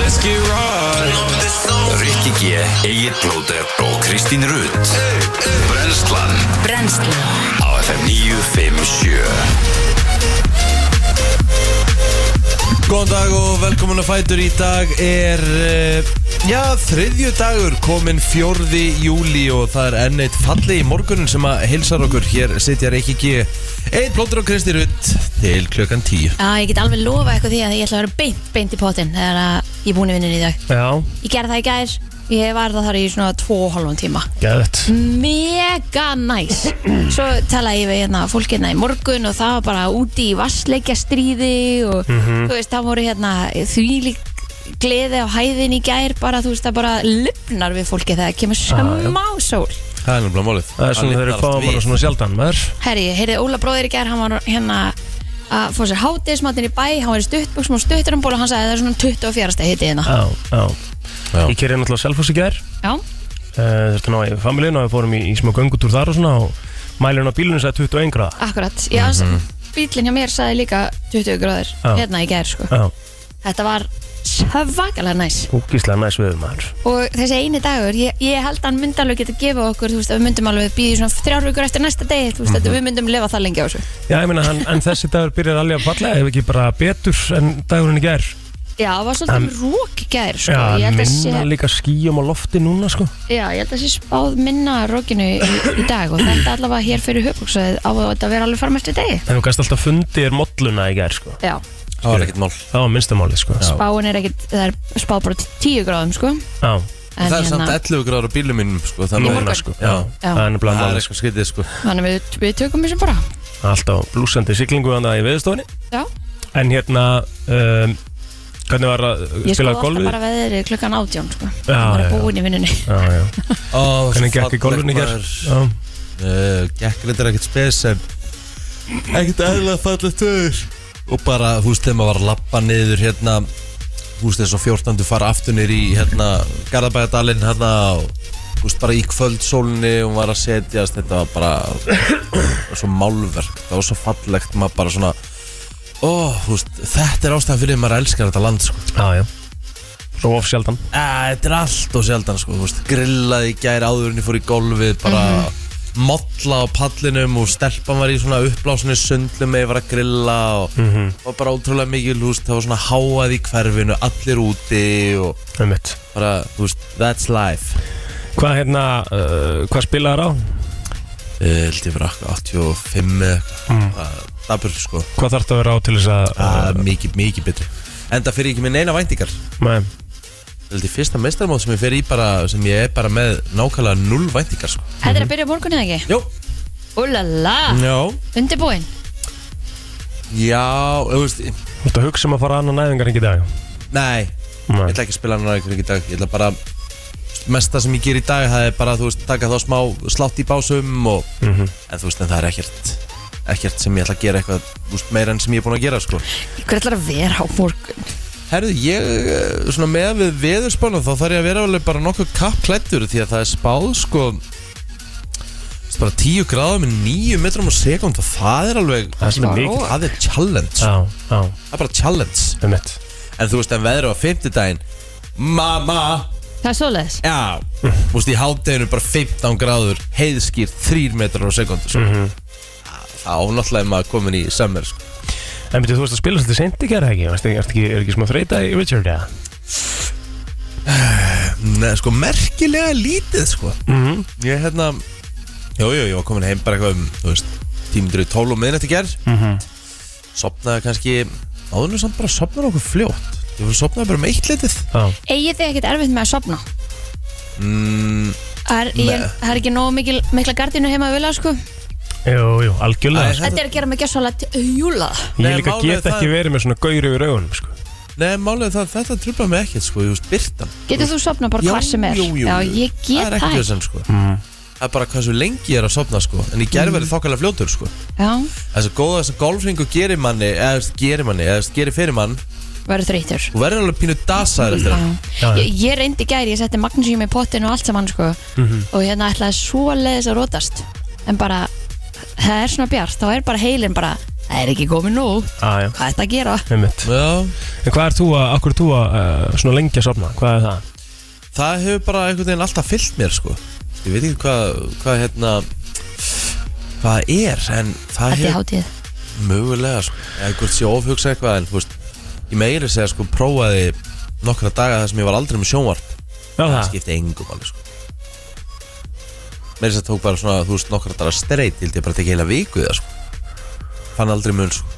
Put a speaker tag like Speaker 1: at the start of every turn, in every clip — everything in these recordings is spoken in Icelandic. Speaker 1: Let's get right
Speaker 2: Rikki G, Egil Blóter og Kristín Rutt Brenslan
Speaker 3: Brennslan
Speaker 2: á FM 957
Speaker 1: Góðan dag og velkomin að fætur í dag er, eh, já, þriðju dagur, komin fjórði júli og það er enn eitt falli í morgunin sem að hilsar okkur Hér sitjar ekki ekki einn blóttur og Kristi Rutt til klukkan tíu
Speaker 3: Já, ég get alveg lofa eitthvað því að ég ætla að vera beint, beint í potin þegar að ég er búin í vinnunni í dag
Speaker 4: Já,
Speaker 3: Ég gerði það í gær, ég var það þar í svona tvo og halvan tíma
Speaker 4: geðvett
Speaker 3: Mega næs Svo talaði ég við hérna fólk hérna í morgun og það var bara úti í vassleikja stríði og þú veist, það voru hérna þvílík gleði á hæðin í gær bara, þú veist, það bara lifnar við fólki þegar það kemur smá sól
Speaker 1: Það er náttúrulega málið
Speaker 4: Það er svona þegar við fáum bara svona sjálfdan maður
Speaker 3: Herri, ég heyrði Óla bróðir í gær, hann var hérna að fóra sér hátismatinn í bæ, hann var í stuttbuksum og stutturamból og hann sagði að það er svona 24. steg hitti hérna.
Speaker 4: Já, já
Speaker 1: Já.
Speaker 4: Ég kerði náttúrulega selfos í gær
Speaker 3: Já,
Speaker 4: uh, Þurfti að ná í familíin og við fórum í, í smá göngutúr þar og svona og mælirinn á bílunum sagði 21 gráða
Speaker 3: akkurat. Ég, mm Bílinn hjá mér sagði líka 20 gráður
Speaker 4: Mhm. Já.
Speaker 3: hérna í gær, sko.
Speaker 4: Já,
Speaker 3: Þetta var svakalega næs.
Speaker 4: úkislega næs veður maður
Speaker 3: Og þessi eini dagur, ég, ég held að hann myndi alveg geta gefa okkur, þú veist, að við myndum alveg býða í svona þrjár vikur eftir næsta degi, þú veist,
Speaker 4: Mhm.
Speaker 3: mm við myndum lifa það lengi á þessu.
Speaker 4: Já, ég meina, hann, en þessi dagur byrjar alveg að falla ef ekki bara betur en dagurinn í gær
Speaker 3: Já, það var
Speaker 4: Hann-
Speaker 3: svolítið rók í gær, sko.
Speaker 4: Já,
Speaker 3: Ég held að sé-
Speaker 4: minna líka skýjum á lofti núna, sko
Speaker 3: Já, ég held að það sé spáð minna rokinu í, í dag og þetta allavega hér fyrir höfbruksæðið á að þetta vera alveg fram eftir degi.
Speaker 4: En þú gæst alltaf fundir molluna í gær, sko
Speaker 3: Já,
Speaker 1: Það var ekkert mál
Speaker 4: Það var minnstamáli, sko Já,
Speaker 3: báin er ekkit, það er spáð bara t- 10 gráðum, sko.
Speaker 4: Já.
Speaker 3: En hérna-
Speaker 1: Það er samt 11 gráður á bílum mínum, sko, þannig
Speaker 3: morgun.
Speaker 4: núna, sko
Speaker 1: Já.
Speaker 4: Það er
Speaker 1: Það er
Speaker 4: nefnilega málið,
Speaker 1: eitthvað skytið, sko
Speaker 3: Þannig við, við tökum þessum bara.
Speaker 4: sko Alltaf blúsandi siglingu hann í veðustofinni
Speaker 3: Já,
Speaker 4: En hérna um, Hvernig var að
Speaker 3: ég skoði
Speaker 4: spila
Speaker 3: alltaf
Speaker 4: golfið?
Speaker 3: bara veðrið klukkan átjón, sko. Já,
Speaker 4: Já,
Speaker 3: bara
Speaker 4: já, Mhm. já.
Speaker 3: búin í vinnunni.
Speaker 4: Já, já.
Speaker 1: Ó,
Speaker 4: Hvernig gekk í golfinu í gerð?
Speaker 1: uh, gekk reyndar ekkert spes en ekkert eðlilega fallið töður og bara, þú veist, þegar maður var að lappa niður hérna, þú veist, þess að 14. fara aftunir í hérna Garðabæðadalinn hérna og þú veist, bara í kvöldsólni og var að setjast þetta var bara svo málverk, það var svo fallegt maður bara svona ó, þú veist, þetta er ástæðan fyrir því að maður elskar þetta land, sko
Speaker 4: Já, já Svo of sjaldan
Speaker 1: Æ, þetta er allt og sjaldan sko, þú veist, grillaði gæri áðurinn ég fór í golfið, bara mm
Speaker 4: Mhm.
Speaker 1: molla á pallinum og stelpan var í svona uppblásunni sundlum eða var að grilla og mm
Speaker 4: Mhm.
Speaker 1: var bara ótrúlega mikil, þú veist, það var svona háað í hverfinu, allir úti og
Speaker 4: um mitt
Speaker 1: bara, þú veist, that's life.
Speaker 4: Hvað hérna, uh, hvað spilaðar á?
Speaker 1: Ég Eh, held ég fyrir 85 eða eitthvað, mm. dabur sko,
Speaker 4: Hvað þarf að vera á til þess að
Speaker 1: það er mikið, mikið betri. Enda fyrir ég ekki með neina væntingar.
Speaker 4: Nei,
Speaker 1: Ég held ég fyrsta meistarmóð sem ég fer í bara, sem ég er bara með nákvæmlega null væntingar sko.
Speaker 3: Þetta er að byrja á morgunni, eða ekki?
Speaker 1: Jó,
Speaker 3: Úlala,
Speaker 4: Mhm.
Speaker 1: já.
Speaker 3: undirbúin.
Speaker 1: Já, þú veist Nei,
Speaker 4: þú ert að hugsa um að fara annan næðingar en ekki í dag
Speaker 1: ég
Speaker 4: Nei,
Speaker 1: ætla ekki að spila hann aðeins í dag Ég ætla bara Mesta sem ég ger í dag, það er bara, þú veist, taka þá smá slátt í básum og
Speaker 4: Mhm.
Speaker 1: En þú veist, en það er ekkert Ekkert sem ég ætla að gera eitthvað, þú veist, meira enn sem ég er búin að gera, sko
Speaker 3: Hver ætlar að vera á morgun?
Speaker 1: Herðu, ég, eh, svona með við veðurspána þá þarf ég að vera alveg bara nokkuð kappklættur því að það er spáð, sko veist, bara 10 gráðum með 9 metrum á sekund og það er alveg,
Speaker 4: það er svona mikið
Speaker 1: það er challenge
Speaker 4: Já, já,
Speaker 1: Það er bara challenge
Speaker 4: um mitt
Speaker 1: En þú veist, en veður á 50 daginn Mamma,
Speaker 3: Það er svoleiðis.
Speaker 1: Já, þú veist, í hádeginu bara 15 gráður, heiðskýr, 3 metrar á sekundu, sko. Mm
Speaker 4: Mhm.
Speaker 1: -hmm. Þá náttúrulega er maður komin í summer, sko.
Speaker 4: En betur þú veist að spila svolítið seint í gera ekki? Varstu, ertu ekki, er ekki smá þreita í Richard, eða?
Speaker 1: Nei, sko, merkilega lítið, sko. Mm -hmm.
Speaker 4: Mhm.
Speaker 1: Ég, hérna, jú, jú, ég var komin heim bara eitthvað um, þú veist, tímundur í 12 og miðnætt í gerð. Mm
Speaker 4: Mhm.
Speaker 1: -hmm. Sopnaði kannski, áðurlega samt bara sopnaði okkur fljótt. Ég fyrir sopnaði bara um eitt litið.
Speaker 4: Já,
Speaker 3: Egið þið ekkert erfitt með að sopna?
Speaker 1: Mm,
Speaker 3: Það er, ég, það er ekki nógu mikil, mikla gardinu heima að vilja sko
Speaker 4: jú, jú, algjörlega
Speaker 1: Æ,
Speaker 4: sko.
Speaker 3: Þetta er að gera mig gjössalega júla
Speaker 4: Ég
Speaker 1: Nei,
Speaker 4: líka
Speaker 1: málið
Speaker 4: get
Speaker 1: er
Speaker 4: ekki
Speaker 1: það-
Speaker 4: verið með svona gauri yfir augunum, sko
Speaker 1: nei, málega það, þetta trublaði mig ekkert, sko, ég veist, byrtan.
Speaker 3: Getur þú sopna bara
Speaker 1: Já,
Speaker 3: hvar sem er?
Speaker 1: jú, jú,
Speaker 3: Já,
Speaker 1: jú.
Speaker 3: ég
Speaker 1: Það
Speaker 3: get
Speaker 1: er
Speaker 3: það
Speaker 1: ekkert þessan sko
Speaker 4: Mhm.
Speaker 1: Það er bara hversu lengi ég er að sopna sko En ég gerði
Speaker 3: Mhm.
Speaker 1: verið þokkalega fljótur sko
Speaker 3: Já,
Speaker 1: Þessi góða þessi golfringu gerir manni Eða þú veist, gerir manni, eða þú veist, gerir fyrir mann
Speaker 3: verður þreytur
Speaker 1: Þú verður alveg pínu dasaður eftir það
Speaker 4: Já, já.
Speaker 3: Ég, ég reyndi í gæri, ég setti magnesium í pottin og allt saman sko
Speaker 1: Mhm.
Speaker 3: og hérna ætlaði svo leiðis að rótast en bara, það er svona bjart þá er bara heilin bara það er ekki komið nóg
Speaker 4: aðja,
Speaker 3: hvað er þetta að gera?
Speaker 4: einmitt
Speaker 1: Já,
Speaker 4: En hvað er þú að, akkur er þú að uh, svona lengi að sofna, hvað er það?
Speaker 1: það hefur bara einhvern veginn alltaf fyllt mér sko Ég veit ekki hvað, hvað hérna Hvað það er, en það
Speaker 3: Þetta er
Speaker 1: hefur
Speaker 3: hátíð
Speaker 1: mögulega sko Eða hvort sé ofhugsa eitthvað, en þú veist Ég meiri segja sko, prófaði nokkra daga þar sem ég var aldrei með sjónvarp
Speaker 4: Já
Speaker 1: Það
Speaker 4: það,
Speaker 1: skipti engum alveg sko Meiri segja tók bara svona, þú veist, nokkra daga streit Hildi ég bara tekið heila viku í það sko Fann aldrei mun sko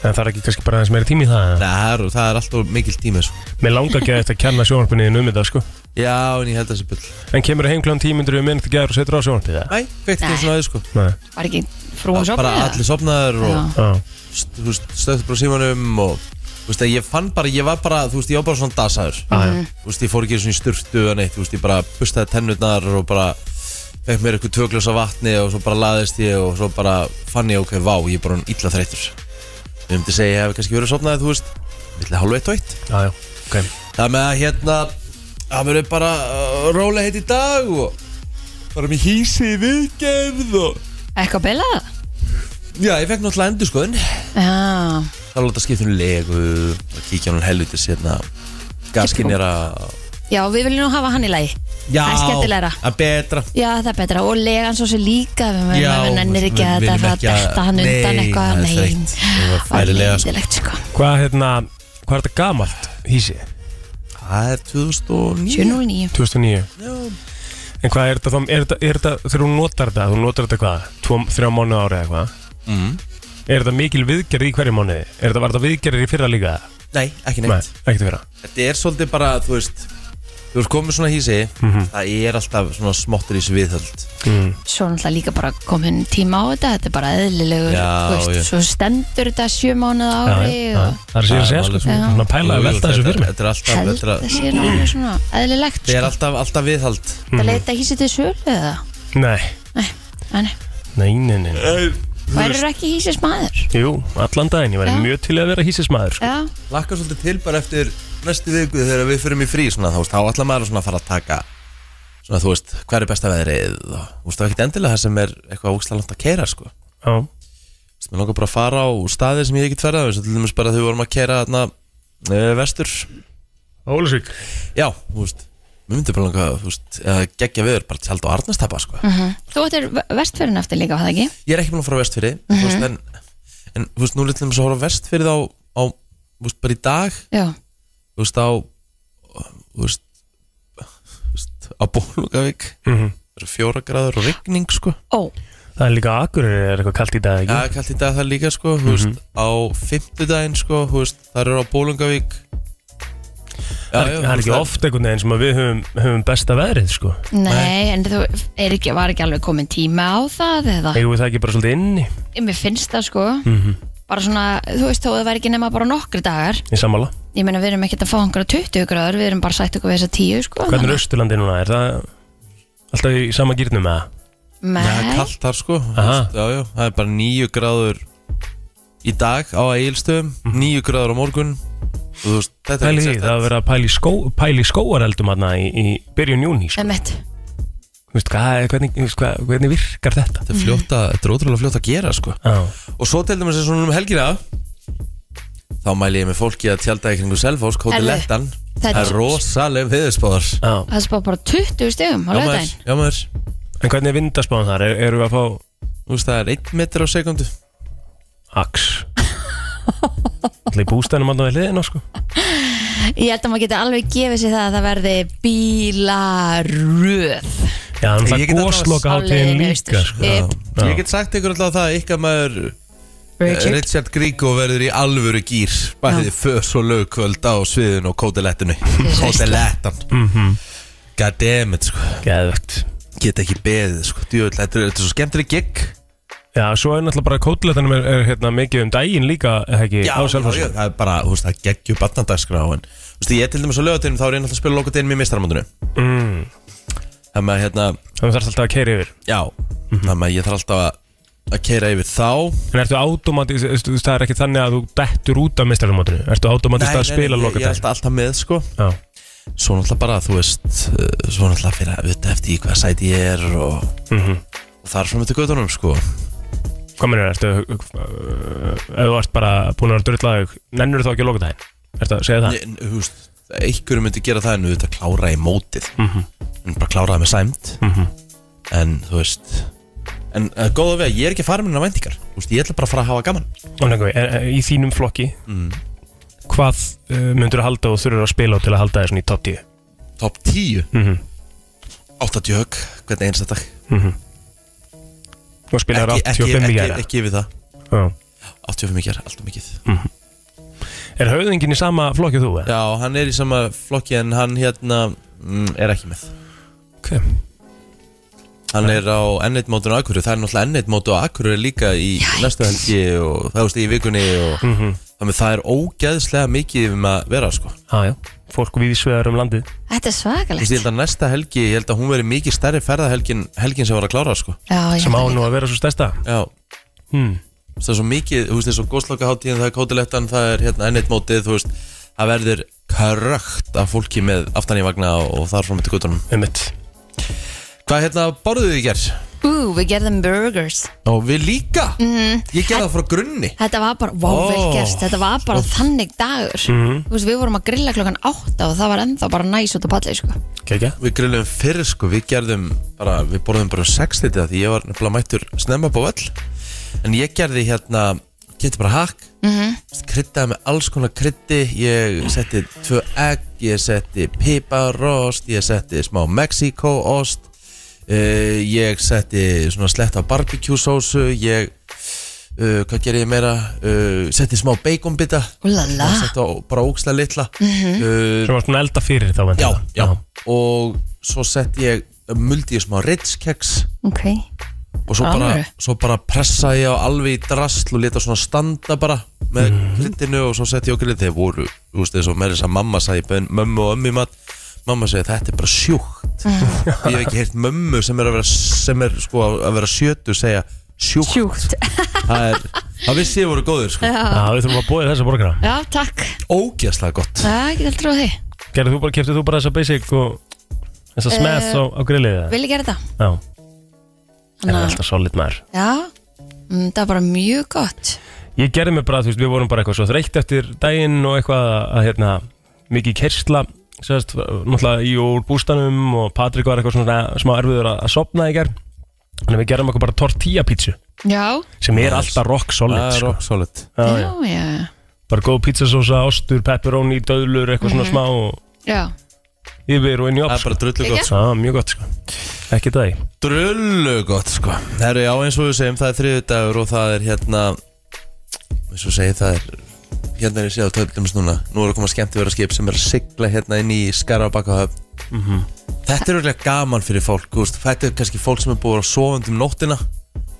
Speaker 4: en það er ekki kannski bara aðeins meiri tími í það eða?
Speaker 1: Nei, það er, það er alltaf mikil tími sko
Speaker 4: Mér langar ekki að þetta kenna sjónvarpinni þínu um þetta sko
Speaker 1: Já, en ég held þessi bull
Speaker 4: En kemur heim klán tímyndur við minn til gæður og setur á sjónvarpið það?
Speaker 1: Nei, kveikt eins og aðeins sko
Speaker 4: Nei,
Speaker 3: Var ekki frúin sopnið?
Speaker 1: Bara allir sopnaður og
Speaker 3: Já.
Speaker 4: já,
Speaker 1: st- þú veist, stöðt bara símanum og þú veist að ég fann bara, ég var bara, þú veist, ég var bara svona dasaður
Speaker 4: aðja,
Speaker 1: þú veist, ég fór ekki svona í sturtu eða neitt, þú veist, ég bara bustaði tennurnar og bara fekk mér eitthvað tvögljós af vatni og svo bara laðist ég og svo bara fann ég, ok, vá, ég er bara hann illa þreytur við myndi segja, ég hef kannski verið sopnaði, þú veist milli hálf eitt og eitt
Speaker 4: aðja, ok
Speaker 1: það með að hérna, það verður bara uh, rólega heitt í dag og bara mér hýsi í viðgerð og
Speaker 3: Eitthvað beilað?
Speaker 1: já, ég fekk náttúrulega endur
Speaker 3: Já,
Speaker 1: Það er láta um skiptinu legu og kíkja á hann helvitis hérna gaskinera
Speaker 3: já við viljum nú hafa hann í lagi Það er skemmtilegra
Speaker 1: Það er betra
Speaker 3: Já, það er betra og legan svo sem líka við
Speaker 1: Já,
Speaker 3: mennum ennir ekki að
Speaker 1: við
Speaker 3: þetta
Speaker 1: viljum
Speaker 3: fara að
Speaker 1: ekki að-
Speaker 3: detta hann undan
Speaker 1: Nei,
Speaker 3: eitthvað
Speaker 1: það er þreytt. Það var fælilega, sko.
Speaker 3: leðilegt sko
Speaker 4: Hvað hérna, hvað er þetta gamalt hísi?
Speaker 1: Það er 2009
Speaker 3: 709
Speaker 4: 2009
Speaker 1: Já.
Speaker 4: En hvað er þetta þá, er þetta, er þetta þegar hún notar þetta, þú notar þetta hvað, tvo, þrjá mánuð ári eða hvað?
Speaker 1: mm.
Speaker 4: Er þetta mikil viðgerð í hverju mánuði? Er þetta, var þetta viðgerðir í fyrra líka? eða?
Speaker 1: Nei, ekki neitt
Speaker 4: Nei, ekkert í fyrra
Speaker 1: Þetta er svolítið bara, þú veist Þú ert komið svona hísi
Speaker 4: Mhm.
Speaker 1: Það er alltaf svona smottur í þessu viðhöld
Speaker 4: mm.
Speaker 3: Svo náttúrulega líka bara komin tíma á þetta þetta er bara eðlilegur
Speaker 1: Já,
Speaker 3: þú veist,
Speaker 1: já.
Speaker 3: Svo stendur þetta sjö mánuð
Speaker 4: Já,
Speaker 3: ári
Speaker 4: já, já.
Speaker 3: og
Speaker 4: Það er síðan að segja
Speaker 1: Það
Speaker 4: sko,
Speaker 1: er
Speaker 3: alveg-
Speaker 4: svona að pæla
Speaker 1: Jú,
Speaker 4: að
Speaker 1: jú,
Speaker 4: velta þessu
Speaker 1: þetta-
Speaker 4: fyrir mig
Speaker 1: Þetta er alltaf,
Speaker 3: held að
Speaker 1: þetta er,
Speaker 3: sé náttúrulega svona eðlilegt
Speaker 1: þetta er
Speaker 3: sko.
Speaker 1: alltaf, alltaf viðhald
Speaker 3: Það
Speaker 4: Mhm.
Speaker 3: leita hísi til sölu eða
Speaker 4: Nei,
Speaker 3: Þannig,
Speaker 4: nei, nei, nei, nei.
Speaker 3: værið ekki hísis maður
Speaker 4: Jú, allan daginn, ég
Speaker 3: Já.
Speaker 4: væri mjög til í að vera hísismæður sko.
Speaker 3: Já,
Speaker 1: Lakka svolítið til bara eftir næstu viku þegar við förum í frí svona, þú veist, þá ætla maður svona að fara að taka svona, þú veist, hver er besta veðrið og þú veist, það er ekkert endilega það sem er eitthvað ógstlega langt að keira, sko Þú
Speaker 4: Já,
Speaker 1: veist, Mér langar bara að fara á staði sem ég hef ekkert ferðað þú veist, til dæmis bara þegar við vorum að keira þarna eh, vestur,
Speaker 4: Ólusvík
Speaker 1: já, þú veist mér myndi bara langa, þú veist, að gegja viður bara tjald á Arnastapa, sko
Speaker 3: þú ættir vestfyrin eftir líka, var það ekki?
Speaker 1: Ég er ekki búin að fara á vestfyrir, þú veist, en, en þú veist, nú litlum að horfa á vestfyrir á, á, þú veist, bara í dag
Speaker 3: Já,
Speaker 1: þú veist á þú veist, þú veist á Bólungavík
Speaker 4: Mhm.
Speaker 1: það eru fjóra gráður og rigning sko
Speaker 3: ó,
Speaker 4: Það er líka akkurir er eitthvað kalt í dag
Speaker 1: það
Speaker 4: ekki?
Speaker 1: er kallt í dag það líka sko þú
Speaker 4: Mhm.
Speaker 1: veist, á fimmtudaginn sko þú veist, það eru á Bólungavík já,
Speaker 4: það, er, það
Speaker 1: þú
Speaker 4: er
Speaker 1: veist,
Speaker 4: ekki oft einhvern veginn sem að við höfum, höfum besta veðrið sko.
Speaker 3: nei, en þú er ekki, var ekki alveg komin tíma á það eða?
Speaker 4: Eigum við það ekki bara svolítið inni
Speaker 3: Mér finnst það sko
Speaker 1: Mhm.
Speaker 3: bara svona, þú veist þó að það væri ekki nema bara nokkri dagar
Speaker 4: í samála
Speaker 3: ég meina við erum ekkert að fá einhverja 20 gráður við erum bara sætt okkur við þessa 10 sko
Speaker 4: Hvernig er Östurlandi núna? Er það alltaf í sama gýrnum eða?
Speaker 1: það er
Speaker 3: Nei,
Speaker 1: kallt þar sko þú
Speaker 4: Aha.
Speaker 1: veist, já, já, það er bara níu gráður í dag á Egilstöðum níu gráður á morgun og þú veist, þetta er
Speaker 4: Mhm. Pæli því,
Speaker 1: ekki
Speaker 4: það var verið að pæli, skó, pæli skóareldum hérna í, í byrjun júni sko.
Speaker 3: emmett
Speaker 4: Þú veist, hvað, hvernig, þú veist, hvað, hvernig virkar þetta?
Speaker 1: þetta er fljótt að, þetta er ótrúlega fljótt að gera sko
Speaker 4: Já,
Speaker 1: Og svo til dæmis eins og núna um helgina Þá mæli ég með fólki að tjálta í kringu Selfoss, Kóti
Speaker 3: Herðu,
Speaker 1: Lettan
Speaker 3: þetta er-
Speaker 1: Það er rosaleg viðurspáðar
Speaker 4: já
Speaker 3: það spá bara 20 stegum á
Speaker 1: Já
Speaker 3: lögdæn
Speaker 1: maður, já maður
Speaker 4: En hvernig er vindaspáðan þar? Er, erum við að fá
Speaker 1: Þú veist það er 1 metr á sekundu
Speaker 4: aks? Allir í bústænum alltaf við hliðina sko
Speaker 3: ég held að maður geti alveg gefið sér það að það verði bílaröð
Speaker 4: Já, en
Speaker 1: Ég
Speaker 4: það
Speaker 1: get allavega
Speaker 4: góðsloka
Speaker 3: sáleiðin
Speaker 4: hátíðin líka
Speaker 3: austur.
Speaker 4: sko.
Speaker 3: Já.
Speaker 4: Já.
Speaker 1: Ég get sagt ykkur alltaf það að ykkar maður Richard,
Speaker 3: Richard
Speaker 1: Richard Gríko verður í alvöru gýr Bæðið fös og lögkvöld á sviðinu og Kóti Lettinu Kóti Lettan God damn it sko
Speaker 4: Mhm. Geðvegt
Speaker 1: Get ekki beðið sko Djöfull, Þetta er, þetta er svo skemmtileg gig
Speaker 4: Já, svo er náttúrulega bara kótiletanum er, er hérna, mikið um daginn líka, eða ekki,
Speaker 1: já,
Speaker 4: á
Speaker 1: já,
Speaker 4: Selfossi.
Speaker 1: já, það er Eh, bara, þú veist, það geggjur barnadagskrá en, þú veist, ég til dæmis á lögatunum þá er ég náttúrulega að spila lokatunum í mistramundinu
Speaker 4: Mm,
Speaker 1: þannig að, hérna,
Speaker 4: þannig þarf alltaf að keira yfir.
Speaker 1: já þannig að ég þarf alltaf að, að keira yfir þá
Speaker 4: En ertu automatist, þú veist, það er ekki þannig að þú dettur út af mestarumótinu. Ertu automatist að spila
Speaker 1: ég, ég er
Speaker 4: lokadaginn?
Speaker 1: alltaf, alltaf með, sko
Speaker 4: Já,
Speaker 1: svo náttúrulega bara, þú veist, uh, svo náttúrulega fyrir að vita eftir í hvað sæti ég er og,
Speaker 4: mhm.
Speaker 1: og þar fram eftir göttunum, sko
Speaker 4: Hvað mennur ertu, uh, ef þú ert bara búin að drölla þau, nennur þá ekki að loka það Ertu að segja það?
Speaker 1: En, þú veist, einhverju myndi gera það en við þetta klára í mótið
Speaker 4: Mhm.
Speaker 1: en bara klára það með sæmt en þú veist en uh, góða vega, ég er ekki farin minna væntingar Þú veist, ég ætla bara að fara að hafa gaman
Speaker 4: En, en, en, eh, í þínum flokki,
Speaker 1: Mm.
Speaker 4: hvað uh, myndur að halda og þurfur að spila á til að halda þér svona í top 10?
Speaker 1: top 10,
Speaker 4: Mm
Speaker 1: 80 högg hvernig einsta dag,
Speaker 4: Mhm. Og spila þér
Speaker 1: ekki, ekki,
Speaker 4: 85 í
Speaker 1: ekki,
Speaker 4: gæra?
Speaker 1: ekki yfir það
Speaker 4: Já. Mhm.
Speaker 1: 85 mikið er alltaf mikið
Speaker 4: Er höfðingin í sama flokki og þú? eða?
Speaker 1: Já, hann er í sama flokki en hann hérna mm, er ekki með
Speaker 4: Ok.
Speaker 1: Hann er á N1 mótun á Akureyri Það er náttúrulega N1 mótu á Akureyri líka í næstu helgi og það veist í vikunni og mm
Speaker 4: Mhm.
Speaker 1: -hmm. þannig að það er ógeðslega mikið um að vera sko Þú
Speaker 4: Já, já. Fólk við svegar um landið.
Speaker 3: Þetta er
Speaker 1: veist, ég
Speaker 3: svakalegt
Speaker 1: held að næsta helgi, ég held að hún veri mikið stærri ferðahelgin helgin sem var að klára sko
Speaker 3: Já, ég
Speaker 4: sem á
Speaker 3: held að
Speaker 4: nú að vera svo stærsta
Speaker 1: Já,
Speaker 4: hmm.
Speaker 1: það er svo mikið, þú veist, það er svo góðslokaháttíðin, það er kótilettan, það er hérna N1 mótið, þú veist Það verður krökt af fólki með aftan í vagna og, og þar frá með til guttunum
Speaker 4: einmitt
Speaker 1: Hvað hérna borðuðu í gerð?
Speaker 3: Ú, við gerðum burgers
Speaker 1: Og við líka Mhm. Ég gerði það frá grunni
Speaker 3: Þetta var bara, wow,
Speaker 1: Ó. Mm.
Speaker 3: vel gert Þetta var bara þannig dagur
Speaker 4: Mhm.
Speaker 3: Þú veist, við vorum að grilla klokkan átta og það var ennþá bara næs út á palli, sko
Speaker 4: Kekja
Speaker 1: Við grillum fyrir sko, við gerðum bara, Við borðum bara sex þetta Því ég var nefnilega mættur snemma upp á völl En ég gerði hérna Geti bara hakk mm -hmm. Kryddaði með alls konar kryddi Ég setti tvö egg Ég setti piparost Ég setti smá mexikoost uh, Ég setti svona slett af barbecue sósu Ég Uh, hvað gerði ég meira uh, setti smá baconbita
Speaker 3: Úlala.
Speaker 1: Og setti á bara ógstlega litla uh,
Speaker 4: sem var svona elda fyrir þá væntanlega.
Speaker 1: já, já. og svo sett ég muldi ég smá ritskeks
Speaker 3: Ok
Speaker 1: og svo bara,
Speaker 3: Alvöru?
Speaker 1: svo bara pressa ég á alveg í drasl og leta svona standa bara með
Speaker 4: Mhm.
Speaker 1: mm. og svo sett ég okkur litið þeir voru, þú veist, þess að með þess að mamma sagði ég bauð mömmu og ömmu í mat mamma segi þetta er bara sjúkt ég hef ekki heyrt mömmu sem er að vera sem er sko að vera sjötu segja sjúkt,
Speaker 3: Sjúkt
Speaker 1: það er það vissi ég voru góður sko,
Speaker 4: Já, við þurfum að búa þessa borgara
Speaker 3: Já, takk
Speaker 1: ógjastlega gott
Speaker 3: Það er ekki alltaf trúið því
Speaker 4: Gerðu þú bara, keftu þú bara þessa basic og þessa smash á, á grillið eða?
Speaker 3: Eh, Vil ég gera þetta?
Speaker 4: Já, það er
Speaker 3: Þannig að-
Speaker 4: alltaf solid maður
Speaker 3: Já mm, Það var bara mjög gott
Speaker 4: Ég gerði mig bara, þú veist, við vorum bara eitthvað svo þreytt eftir daginn og eitthvað að, að hérna, mikið kersla sérst, náttúrulega í úr bústanum og Patrik var eitthvað svona smá erfiður að, að sopna í gerð Þannig að við gerðum okkur bara tortilla pítsu
Speaker 3: Já
Speaker 4: sem er alltaf rock solid
Speaker 1: það er
Speaker 4: sko.
Speaker 1: rock solid
Speaker 4: Já,
Speaker 3: Já, já,
Speaker 4: bara góð pizzasósa, ástur, pepperoni, döðlur, eitthvað svona smá og
Speaker 3: já
Speaker 4: yfir og inn í
Speaker 1: það
Speaker 4: opp
Speaker 1: er bara drullu
Speaker 3: Ekki?
Speaker 1: gott
Speaker 4: sko. Já, mjög gott sko Ekki það í
Speaker 1: Drullu gott sko Það eru já eins og við segjum það er þriðudagur og það er hérna eins og segið það er hérna er ég séð á töflumst núna nú er að koma skemmt vera skip sem er að sigla hérna inn í skara á bakahöf Þetta er auðvitað gaman fyrir fólk þú veist, þetta er kannski fólk sem er búið að sofa um nóttina þú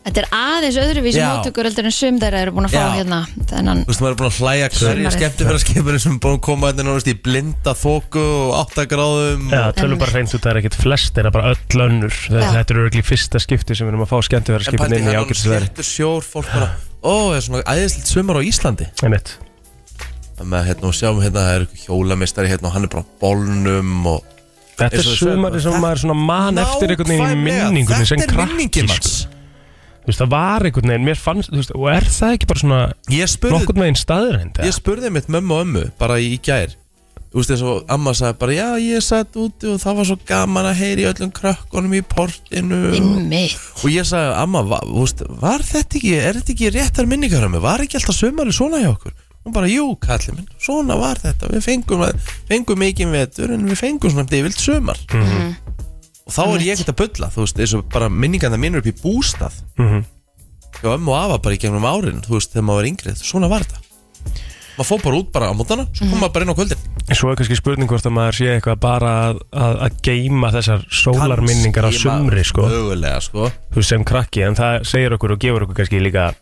Speaker 3: Þetta er aðeins öðruvísi
Speaker 1: Já.
Speaker 3: móttökur heldur en sum þeirra eru búin að fá
Speaker 1: Já.
Speaker 3: hérna þennan
Speaker 1: veist maður er búin að hlæja hverja
Speaker 3: Sumarið.
Speaker 1: skemmt vera skipinu sem er búin að koma hérna nú veist í blinda þóku og 8 gráðum
Speaker 4: Já, tölum bara hreint út, það er ekkit flest er bara öll önnur
Speaker 3: Já.
Speaker 4: Þetta er örgli fyrsta skipti sem við erum að fá skemmtu
Speaker 1: en
Speaker 4: skipin
Speaker 1: pæti
Speaker 4: inn í
Speaker 1: hérna um
Speaker 4: ágætisveðri
Speaker 1: skertur sjór fólk bara ó, það er svona æðislegt sumar á Íslandi
Speaker 4: Einmitt
Speaker 1: með hérna og sjáum hérna það er hjólamistari hérna og hann er bara á bólnum og
Speaker 4: Þetta er
Speaker 1: Eins og við sögum
Speaker 4: sumari
Speaker 1: bara,
Speaker 4: sem
Speaker 1: þetta-
Speaker 4: maður svona man eftir einhvern veginn í
Speaker 1: Nákvæmlega,
Speaker 4: minningunni sem
Speaker 1: þetta er
Speaker 4: krakki
Speaker 1: minningin
Speaker 4: sko.
Speaker 1: manns
Speaker 4: Þú veist, það var einhvern veginn, mér fannst, þú veist, og er það ekki bara svona
Speaker 1: ég spurði,
Speaker 4: nokkurn veginn staðurinn
Speaker 1: ég spurði mitt mömmu og ömmu bara í gær þú veist þess að amma sagði bara já ég satt úti og það var svo gaman að heyri öllum krakkonum í portinu
Speaker 3: Einmitt
Speaker 1: og ég sagði amma va, þú veist, var þetta ekki, er þetta ekki réttar minningar um mig, var ekki alltaf sumari svona hjá okkur hún bara jú kallið minn, svona var þetta við fengum, fengum mikið vetur en við fengum svona divilt sumar og þá er ég ekkert að bulla þú veist, eins og bara minningarna mín eru upp í bústað
Speaker 4: Mhm.
Speaker 1: hjá ömmu og afa bara í gegnum árin þú veist, þegar maður var yngri, svona var þetta maður fór bara út bara á mótana svo
Speaker 4: Mhm.
Speaker 1: kom maður bara inn á kvöldin
Speaker 4: En Svo er kannski spurning hvort að maður sé eitthvað bara að, að, að geima þessar sólarminningar á
Speaker 1: Kannski
Speaker 4: sumri,
Speaker 1: maður-
Speaker 4: sko
Speaker 1: mögulega, sko.
Speaker 4: þú veist, sem krakki en það segir okkur og gefur okkur kannski líka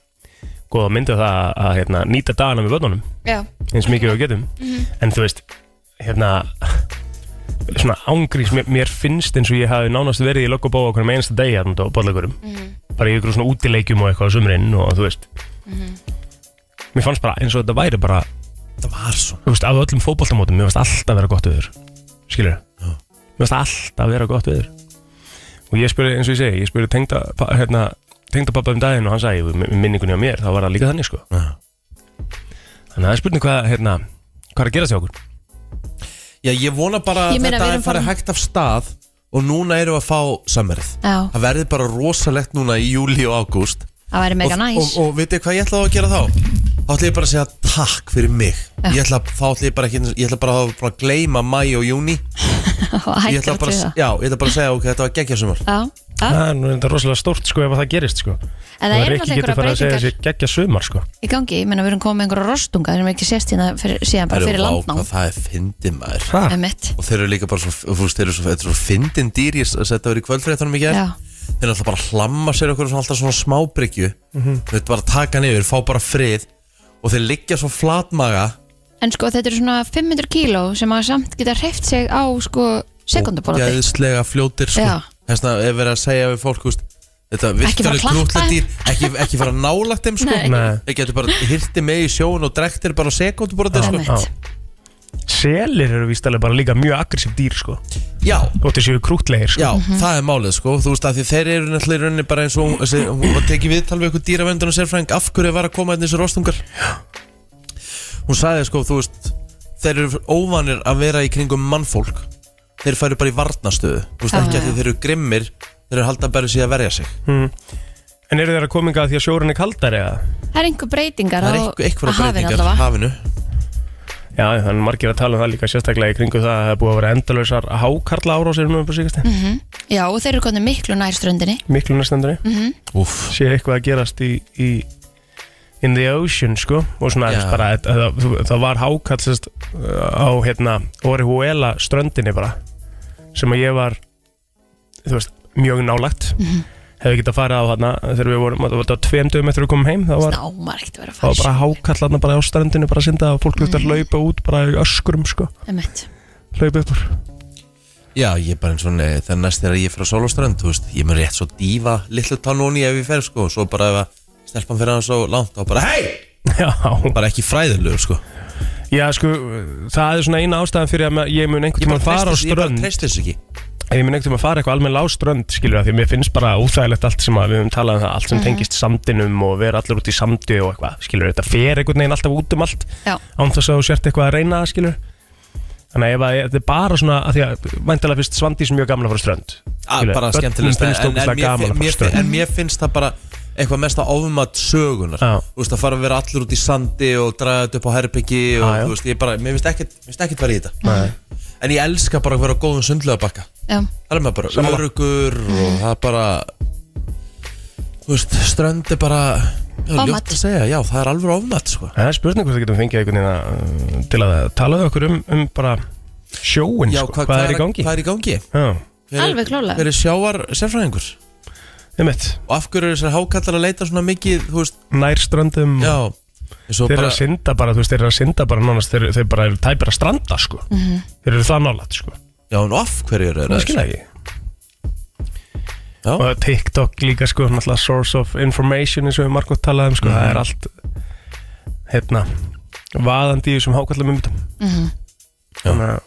Speaker 4: góða myndi á það að, að hérna, nýta dagana með vöðunum
Speaker 3: Já
Speaker 4: eins mikið og við getum en þú veist, hérna svona ángrís, mér, mér finnst eins og ég hafi nánast verið í lokkubó okkur með einasta degi hérna á bollagurum bara í ykkur svona útileikjum og eitthvað á sumrin og þú veist mér fannst bara eins og þetta væri bara
Speaker 1: það var svona
Speaker 4: þú veist, af öllum fótboltamótum, mér fannst alltaf vera gott viður skilur
Speaker 1: Já.
Speaker 4: mér fannst alltaf vera gott viður og ég spurði, eins og ég segi, ég spurði tengda pa- hérna, tengdapappa um daginn og hann sagði "Í minningunni á mér, þá var það líka þannig sko Þannig að það er spurning hvað, hérna, hvað er að gera sér okkur
Speaker 1: Já, ég vona bara
Speaker 3: Ég
Speaker 1: að
Speaker 3: meina,
Speaker 1: þetta
Speaker 3: við
Speaker 1: er
Speaker 3: erum
Speaker 1: farið
Speaker 3: farin-
Speaker 1: hægt af stað og núna erum við að fá samverð
Speaker 3: Já.
Speaker 1: Það verður bara rosalegt núna í júli og ágúst
Speaker 3: Það væri mega
Speaker 1: og,
Speaker 3: næs
Speaker 1: og, og veitir hvað ég ætla að gera þá? Þá ætla ég bara að segja takk fyrir mig ég ætla, Þá ætla ég bara ekki Ég ætla bara að, bara að gleyma mæ og júni Ég ætla
Speaker 3: Hættir
Speaker 1: bara,
Speaker 3: til
Speaker 1: að-
Speaker 3: það
Speaker 1: já, ég ætla bara að segja ok, þetta var geggjasumar
Speaker 3: Já, já.
Speaker 4: Það er nú þetta rosalega stórt sko ef að það gerist sko
Speaker 3: En það
Speaker 4: Og
Speaker 3: eru
Speaker 4: Rikki
Speaker 3: náttúrulega
Speaker 4: getur
Speaker 3: einhverjar
Speaker 4: farið að segja
Speaker 3: breytingar
Speaker 4: sér geggja sumar sko
Speaker 3: í gangi, ég meina við erum komið með einhverja rostunga þeir eru ekki sérst hérna fyrir, síðan bara fyrir landnám
Speaker 1: Það er fyndið maður
Speaker 4: Ha?
Speaker 3: með mitt
Speaker 1: Og þeir eru líka bara svo, þú veist, þeir eru svo, þetta er svo fyndin dýr Ég setja það verið í kvöldfréttunum í gerð
Speaker 3: Já.
Speaker 1: Þeir ætla bara að hlamma sér okkur svona alltaf svona smábryggju mm
Speaker 4: Mhm.
Speaker 1: -hmm. Þeir bara að taka hann yfir, fá bara frið Og þeir liggja svo flatmaga
Speaker 3: En sko þetta eru svona 500 kíló sem að samt geta hreift sig á sko sekundabólati
Speaker 1: Gæðislega fljótir sko.
Speaker 3: Já.
Speaker 1: Þess vegna er verið að segja við fólk úst,
Speaker 3: fara
Speaker 1: Þetta virkilega
Speaker 3: að klappa
Speaker 1: grútlega dýr Ekki, ekki fara nálagt þeim sko.
Speaker 3: Nei.
Speaker 4: Nei.
Speaker 1: Þeir getur bara hirti með í sjón og drektir bara sekundubrótir sko.
Speaker 3: Einmitt.
Speaker 4: Selir eru víst alveg bara líka mjög aggressív dýr sko
Speaker 1: Já,
Speaker 4: Þóttir séu krútlegir sko
Speaker 1: já,
Speaker 3: Mhm.
Speaker 1: það er málið sko. Þú veist að því þeir eru náttúrulega í rauninni bara eins og þessi, hún var tekið viðtal við ykkur dýravendun og sérfræðing af hverju var að koma hérna þessi rostungar Hún sagði sko, þú veist þeir eru óvanir að vera í kringum mannfólk þeir færu bara í varnastöðu þú veist
Speaker 3: Já, já.
Speaker 1: ekki að því þeir eru grimmir þeir eru halda bara sig að verja sig
Speaker 4: En eru þeirra kominga Mhm. því að sjórun er kaldar eða?
Speaker 3: Það er einhver breytingar
Speaker 1: Það
Speaker 3: á
Speaker 1: er einhver, einhverja
Speaker 3: á hafinu
Speaker 1: breytingar
Speaker 3: allavega.
Speaker 1: hafinu
Speaker 4: Já, þannig að margir að tala um það líka sérstaklega í kringu það að það er búið að vera endalausar hákarla árásir nú upp á síkast
Speaker 3: Mhm. Já, og þeir eru konið miklu nær ströndinni Mhm.
Speaker 4: Miklu næstendri
Speaker 1: Úff
Speaker 4: sé eitthvað að gerast í, í in the ocean sko og svona
Speaker 1: Já.
Speaker 4: aðeins bara að, að, að, það var hákallast á hérna Orihuela ströndinni bara sem að ég var þú veist, mjög nálagt
Speaker 3: Mhm.
Speaker 4: hefði getað farið á þarna eh, þegar við vorum, það var tveimdöðum eftir að við komum heim það var,
Speaker 3: Ná, maður ekkert að vera að
Speaker 4: það var
Speaker 3: fara
Speaker 4: bara hákall þarna bara á ströndinni bara að synda og fólk þurfti að laupa út bara í öskurum sko,
Speaker 3: Einmitt.
Speaker 4: laupa upp úr
Speaker 1: Já, ég er bara eins og nei, þegar næst þegar ég fer á sólaströnd, þú veist, ég mun rétt svo dífa litlu tannóni ef ég fer, sko, og svo bara ef að stelpan fyrir hann svo langt, þá bara, hei,
Speaker 4: Já,
Speaker 1: bara ekki fræðilegur, sko.
Speaker 4: já sko, það er svona eina ástæðan fyrir að ég mun einhvern
Speaker 1: Ég bara
Speaker 4: tímann fara á
Speaker 1: treysti þessu- Ég bara
Speaker 4: strönd
Speaker 1: treysti þessu ekki.
Speaker 4: Ef ég minn ekkert um að fara eitthvað almenn láströnd skilur það, því að mér finnst bara óþægilegt allt sem að við höfum talað um það, allt sem tengist sandinum og vera allir út í sandi og eitthvað, skilur þetta fer einhvern veginn alltaf út um allt
Speaker 3: Já,
Speaker 4: án þess að þú sért eitthvað að reyna það, skilur Þannig að ef að- þetta er bara svona að því að væntalega finnst Svandís mjög gamla frá strönd
Speaker 1: Að,
Speaker 4: skilurðu.
Speaker 1: Ah, bara
Speaker 4: Börnum
Speaker 1: skemmtilegst,
Speaker 4: finnst
Speaker 1: en, en,
Speaker 4: ógeðslega
Speaker 1: mér
Speaker 4: gaman
Speaker 1: fi-
Speaker 4: að fara á
Speaker 1: mér fi-
Speaker 4: strönd.
Speaker 1: en mér finnst það bara eitthvað mest að ofmat sögunar.
Speaker 4: Já.
Speaker 1: Þú veist, að fara að vera allir út í sandi og draga þetta upp á herbyggi og,
Speaker 4: Já, já.
Speaker 1: þú veist, ég bara, mér finnst ekkert, mér finnst ekkert verið í þetta. En ég elska bara að vera á góðum sundlaugabakka.
Speaker 3: já,
Speaker 1: Það er maður bara örugur og það er bara Þú veist, strönd er bara já,
Speaker 3: Ofmat.
Speaker 1: ljótt að segja, já, það er alveg ofmat sko.
Speaker 4: Það er spurning hvort við getum fengið einhvern veginn að, uh, til að talaðu okkur um, um bara sjóin,
Speaker 1: Já,
Speaker 4: sko. hvað, er í gangi?
Speaker 1: Hvað er í gangi?
Speaker 4: Já,
Speaker 1: Hver, er-
Speaker 3: Alveg klárlega.
Speaker 1: Hver er sjávar sérfræðingur?
Speaker 4: einmitt,
Speaker 1: Og af hverju eru þessar hákallar að leita svona mikið, þú veist,
Speaker 4: nær ströndum
Speaker 1: já eins og
Speaker 4: Þeir eru
Speaker 1: bara,
Speaker 4: að synda bara, þú veist, þeir eru að synda bara nánast, þeir, þeir bara eru tæpir að stranda, sko. Þeir eru það nálat, sko.
Speaker 1: já, en af hverju eru
Speaker 4: Það
Speaker 1: þeir
Speaker 4: skilja ekki.
Speaker 1: Já.
Speaker 4: Og TikTok líka, sko, náttúrulega source of information eins og við margótt talaðum, sko, það er
Speaker 1: Mhm.
Speaker 4: allt, hérna, vaðandi í þessum hákallum um þetta. Þannig að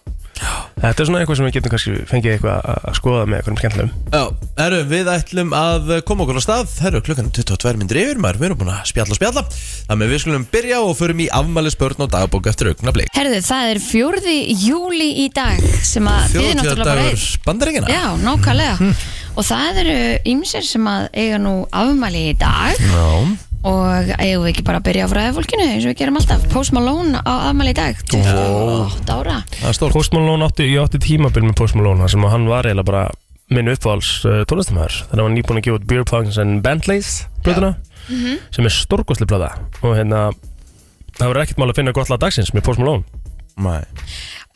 Speaker 4: þetta er svona eitthvað sem við getum kannski fengið eitthvað að að skoða með eitthvað skemmtilegum.
Speaker 1: Já, herru, við ætlum að koma okkur á stað Herru, klukkan er 22 myndir yfir maður Við erum búin að spjalla og spjalla Þannig að við skulum byrja og förum í afmælisbörn og dagbók eftir augnablik
Speaker 3: herðu, það er fjórði júli í dag sem að þið náttúrulega bara
Speaker 1: Þjóðtíðardagur bandaríkina
Speaker 3: Já, nákvæmlega Og það eru ýmsir sem að eiga nú afmæli í dag
Speaker 1: Já.
Speaker 3: og eigum við ekki bara að byrja á fræði fólkinu eins og við gerum alltaf Post Malone á afmæli í dag 28 ára
Speaker 1: það er stórt
Speaker 4: Post Malone átti, ég átti tímabil með Post Malone þar sem að hann var eiginlega bara minn uppáhals uh, tónlistamæður þannig að hann var nýbúin að gefa út Beer Punks and Bentleys blöðuna
Speaker 3: Mhm.
Speaker 4: sem er stórkostli blöða og hérna það verður ekkert mál að finna gott lag dagsins með Post Malone
Speaker 1: Nei.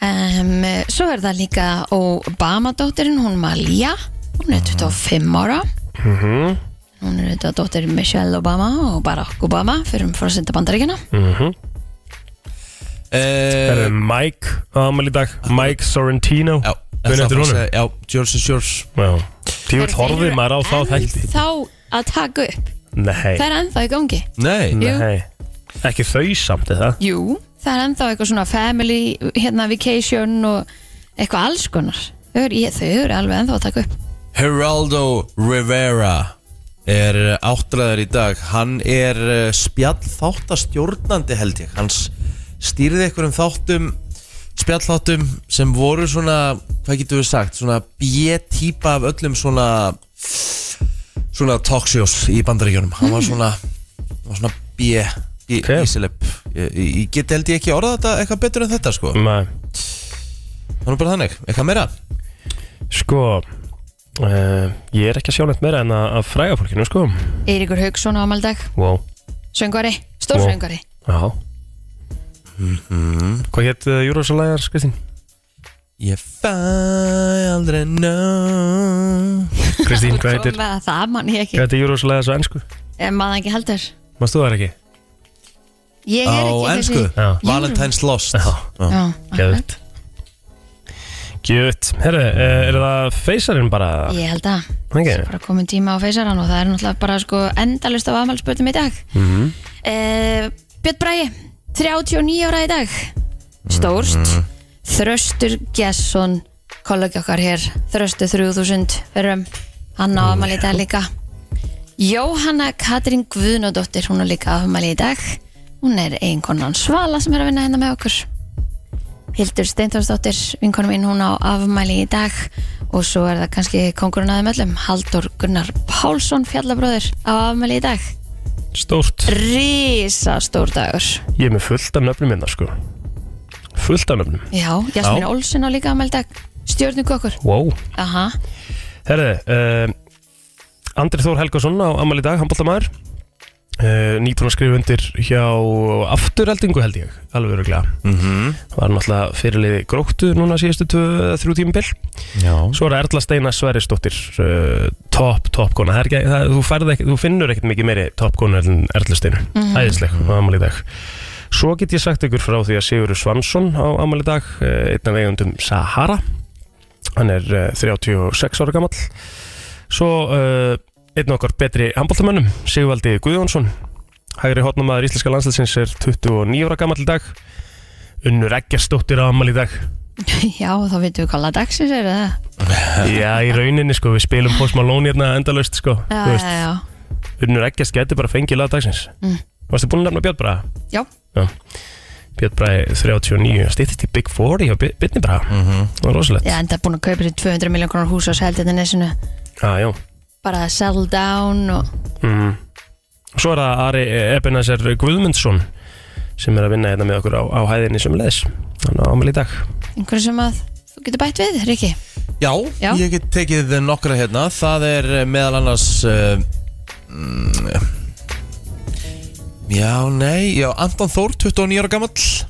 Speaker 3: um, Svo er það líka Obama-dóttirin, hún Malia hún er 25 ára
Speaker 4: Mhm,
Speaker 3: hún er auðvitað dóttir Michelle Obama og Barack Obama fyrir um fórsenda bandaríkina
Speaker 4: Það
Speaker 1: Eh,
Speaker 4: er mhm. Mike ámæli í dag Mike Sorrentino
Speaker 1: Já,
Speaker 4: Muni eftir honum
Speaker 1: Já, George is yours
Speaker 4: Tíu horfið maður á þá þætti
Speaker 3: Þá að taka upp,
Speaker 4: Nei,
Speaker 3: það er ennþá í gangi
Speaker 1: Nei,
Speaker 3: Jú.
Speaker 4: nei Ekki þau samt eða
Speaker 3: Jú, það er ennþá eitthvað svona family, hérna vacation og eitthvað alls konar. Þau eru, ég, þau eru alveg ennþá að taka upp.
Speaker 1: Geraldo Rivera er áttræður í dag hann er eh, spjallþáttastjórnandi held ég hann s- stýrði einhverjum þáttum spjallþáttum sem voru svona hvað getur við sagt, svona B-típa af öllum svona svona talkshows í bandaríkjunum hann var svona, hann var svona B, B
Speaker 4: Ok.
Speaker 1: ísilep ég, ég- ég get held ég ekki orða þetta eitthvað betur en þetta sko,
Speaker 4: Nei.
Speaker 1: það er nú bara þannig eitthvað meira,
Speaker 4: Sko uh, Ég er ekki að sjá neitt meira en að, að fræga fólkinu sko
Speaker 3: Eiríkur Haugsson á amaldag,
Speaker 4: Wow
Speaker 3: söngvari, stórsöngvari
Speaker 4: Já Hvað hétt uh, Júrósalæðar Kristín?
Speaker 1: Mhm. ég fæ aldrei ná
Speaker 4: Kristín, hvað heitir
Speaker 3: Svo með það man ég ekki
Speaker 4: Hvað heitir Júrósalæðar svo ennsku?
Speaker 3: En maður ekki heldur
Speaker 4: Mást þú það ekki?
Speaker 3: Ég er
Speaker 1: á
Speaker 3: ekki
Speaker 1: ennsku,
Speaker 4: Já.
Speaker 1: Valentine's Lost
Speaker 4: Já.
Speaker 1: Já.
Speaker 3: Já, akkurat.
Speaker 4: Gjöðt Gjöðt Herru, uh, er það feysarinn bara?
Speaker 3: Ég held að
Speaker 4: Ok.
Speaker 3: Það er bara komin tíma á feysaran og það er náttúrulega bara sko endalust af afmælspötum í dag mm
Speaker 4: Mhm.
Speaker 3: Björn Bræi 39 ára í dag Stórst Þröstur Gesson kollegi okkar hér, Þröstur 3000 verum, um? hann á afmæli í dag líka Jóhanna Katrín Guðnódóttir, hún er líka á afmæli í dag hún er einkonan Svala sem er að vinna hérna með okkur Hildur Steintórsdóttir, vinkonu mín, hún á afmæli í dag og svo er það kannski kongurinn aðeim öllum, Haldur Gunnar Pálsson, fjallabróður, á afmæli í dag.
Speaker 4: Stórt
Speaker 3: Rísa stór dagur.
Speaker 4: Ég er með fullt af nöfnum minna sko Fullt af nöfnum
Speaker 3: Já, Jasmín
Speaker 1: Já.
Speaker 3: Olsson á líka afmæli í dag, stjórnugokkur.
Speaker 4: Wow
Speaker 3: Aha,
Speaker 4: Herðu, uh, Andri Þór Helgason á Amal í dag, handbóltamæður uh, Nýbúin að skrifa undir hjá afturheldingu held ég, alveg öruglega -hmm. Var náttúrulega fyrirliði gróttu núna síðustu tvö, eða þrjú tímabil
Speaker 1: Já.
Speaker 4: Svo er Erla Steina Sverisdóttir uh, Top, top kona það er ekki, það, þú, færð ekki, þú finnur ekkert mikið meiri top kona en Erla Steina mm -hmm. Æðisleg á Amal í dag Svo get ég sagt ykkur frá því að Sigurður Svansson á Amal í dag uh, Einn af eigundum Sahara Hann er uh, 36 ára gamall Svo uh, einn okkar betri handbóltamönnum, Sigvaldi Guðjónsson Hægri hotnamaður íslenska landslæsins er 29 ára gamall í dag Unnur Eggersdóttir á ammali í dag
Speaker 3: já, þá veitum við hvað laða dagsins er það.
Speaker 4: Já, í rauninni sko, við spilum Post Malone hérna endalaust sko
Speaker 3: Já, já,
Speaker 4: Þú
Speaker 3: já.
Speaker 4: Unnur Eggers getur bara fengið laga dagsins
Speaker 3: Mm.
Speaker 4: Varstu búin að nefna Björn Braga?
Speaker 3: Já,
Speaker 4: Björn Braga 39, stýttist í Big 40 hjá Bi- Byrni Braga Það var rosalegt
Speaker 3: ég er enda búin að kaupa sér 200 miljón krónar hús á Seltjarnanesinu.
Speaker 4: ah, já.
Speaker 3: Bara sell down og
Speaker 4: Mm. Svo er það Ari Ebenezer Guðmundsson sem er að vinna hérna með okkur á, á hæðinni sem leðis hann á ámæli í dag
Speaker 3: einhverju sem að þú getur bætt við, Riki.
Speaker 1: Já,
Speaker 3: Já.
Speaker 1: ég get tekið nokkra hérna Það er eh, meðal annars uh, mm, Já, nei Já, Anton Þór, 29 ára gamall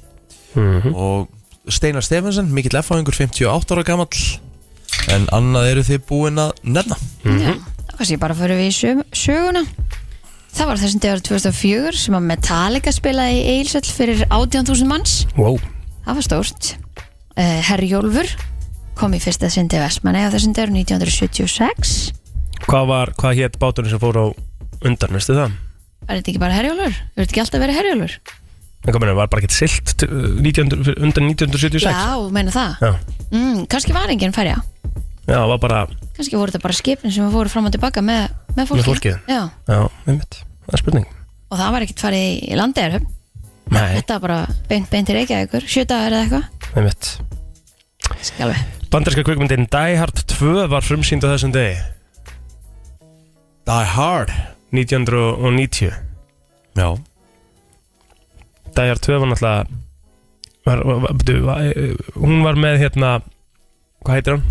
Speaker 1: Og Steinar Stefansson, mikill F-fáingur, 58 ára gamall En annað eru þið búin að nefna
Speaker 4: Mhm.
Speaker 3: Já, þá kannski bara fyrir við í sög- söguna Það var þessum dagur 2004 sem að Metallica spilaði í Eilsöll fyrir 18.000 manns
Speaker 4: wow.
Speaker 3: Það var stórt uh, Herjólfur kom í fyrsta sindi Vestmanni á þessum dagur 1976
Speaker 4: Hvað var, hvað hétt báturinn sem fór á undan, veistu það?
Speaker 3: Var þetta ekki bara Herjólfur? Verður þetta ekki alltaf verið Herjólfur?
Speaker 4: En kominu, var bara ekkert silt t- 1900 undan 1976
Speaker 3: Já, meina það
Speaker 4: Já,
Speaker 3: mm, Kannski var enginn ferja
Speaker 4: já var bara,
Speaker 3: Kannski voru þetta bara skipin sem voru fram og tilbaka með, með fólki
Speaker 4: Með fólkið.
Speaker 3: Já,
Speaker 4: já, einmitt Það er spurning
Speaker 3: og það var ekkert farið í- í landeirhöfn
Speaker 4: Nei,
Speaker 3: Þetta var bara beint, beint til Reykjavíkur Sjö dagar eða eitthvað
Speaker 4: einmitt
Speaker 3: Skjálfi
Speaker 4: Bandarska kvikmyndin Die Hard 2 var frumsýnd á þessum degi
Speaker 1: Die Hard
Speaker 4: 1990
Speaker 1: Já,
Speaker 4: Die Hard 2 var náttúrulega var, var, var, byrju, var, eh, hún var með hérna hvað heitir hann?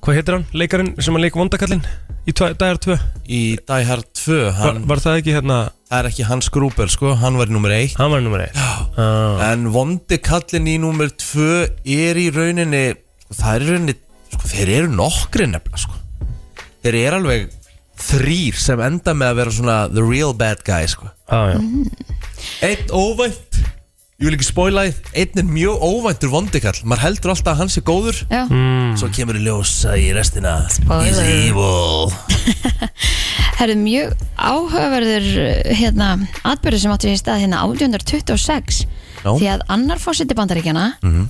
Speaker 4: hvað heitir hann? leikarinn sem að leik vondakallinn í tva- Die Hard 2
Speaker 1: í Die Hard 2
Speaker 4: var,
Speaker 1: hann,
Speaker 4: var það ekki hérna
Speaker 1: Það er ekki Hans Gruber, sko, hann var í nummer 1
Speaker 4: hann var nummer 1 ah,
Speaker 1: En vondi kallin í nummer 2 er í rauninni Það er í rauninni sko, Þeir eru nokkri nefnilega sko. Þeir eru alveg þrýr sem enda með að vera svona The real bad guy sko.
Speaker 4: já.
Speaker 1: Einn óvænt Ég vil ekki spoila því Einn er mjög óvæntur vondi kall Maður heldur alltaf að hann sé góður
Speaker 3: Já,
Speaker 4: Mm.
Speaker 1: Svo kemur í ljósa í restina He's
Speaker 3: Spoiler.
Speaker 1: evil
Speaker 3: það eru mjög áhugaverður uh, hérna, atbyrður sem áttu í stað hérna 1826
Speaker 1: Já.
Speaker 3: því að annar fórseti bandaríkjana uh,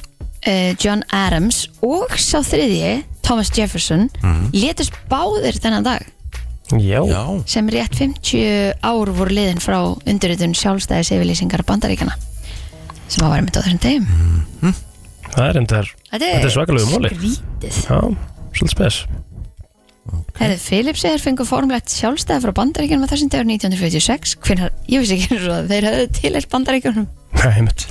Speaker 3: John
Speaker 4: Mhm.
Speaker 3: Adams og sá þriðji Thomas Jefferson mm létust báðir þennan dag
Speaker 4: Já,
Speaker 1: Já,
Speaker 3: sem rétt 50 ár voru liðin frá undirritun sjálfstæðis yfirlýsingar bandaríkana sem að vera mitt á þessum tegum
Speaker 4: Mhm. það er endar Þetta er svakalegu móli
Speaker 3: skrítið
Speaker 4: Já, svolítið spes
Speaker 3: Hefði Philips eða fengur formlegt sjálfstæði frá bandaríkjanum á þessum tegur 1946 hvenar, ég vissi ekki eins og að þeir hefðu tilert bandaríkjanum
Speaker 4: Nei, einmitt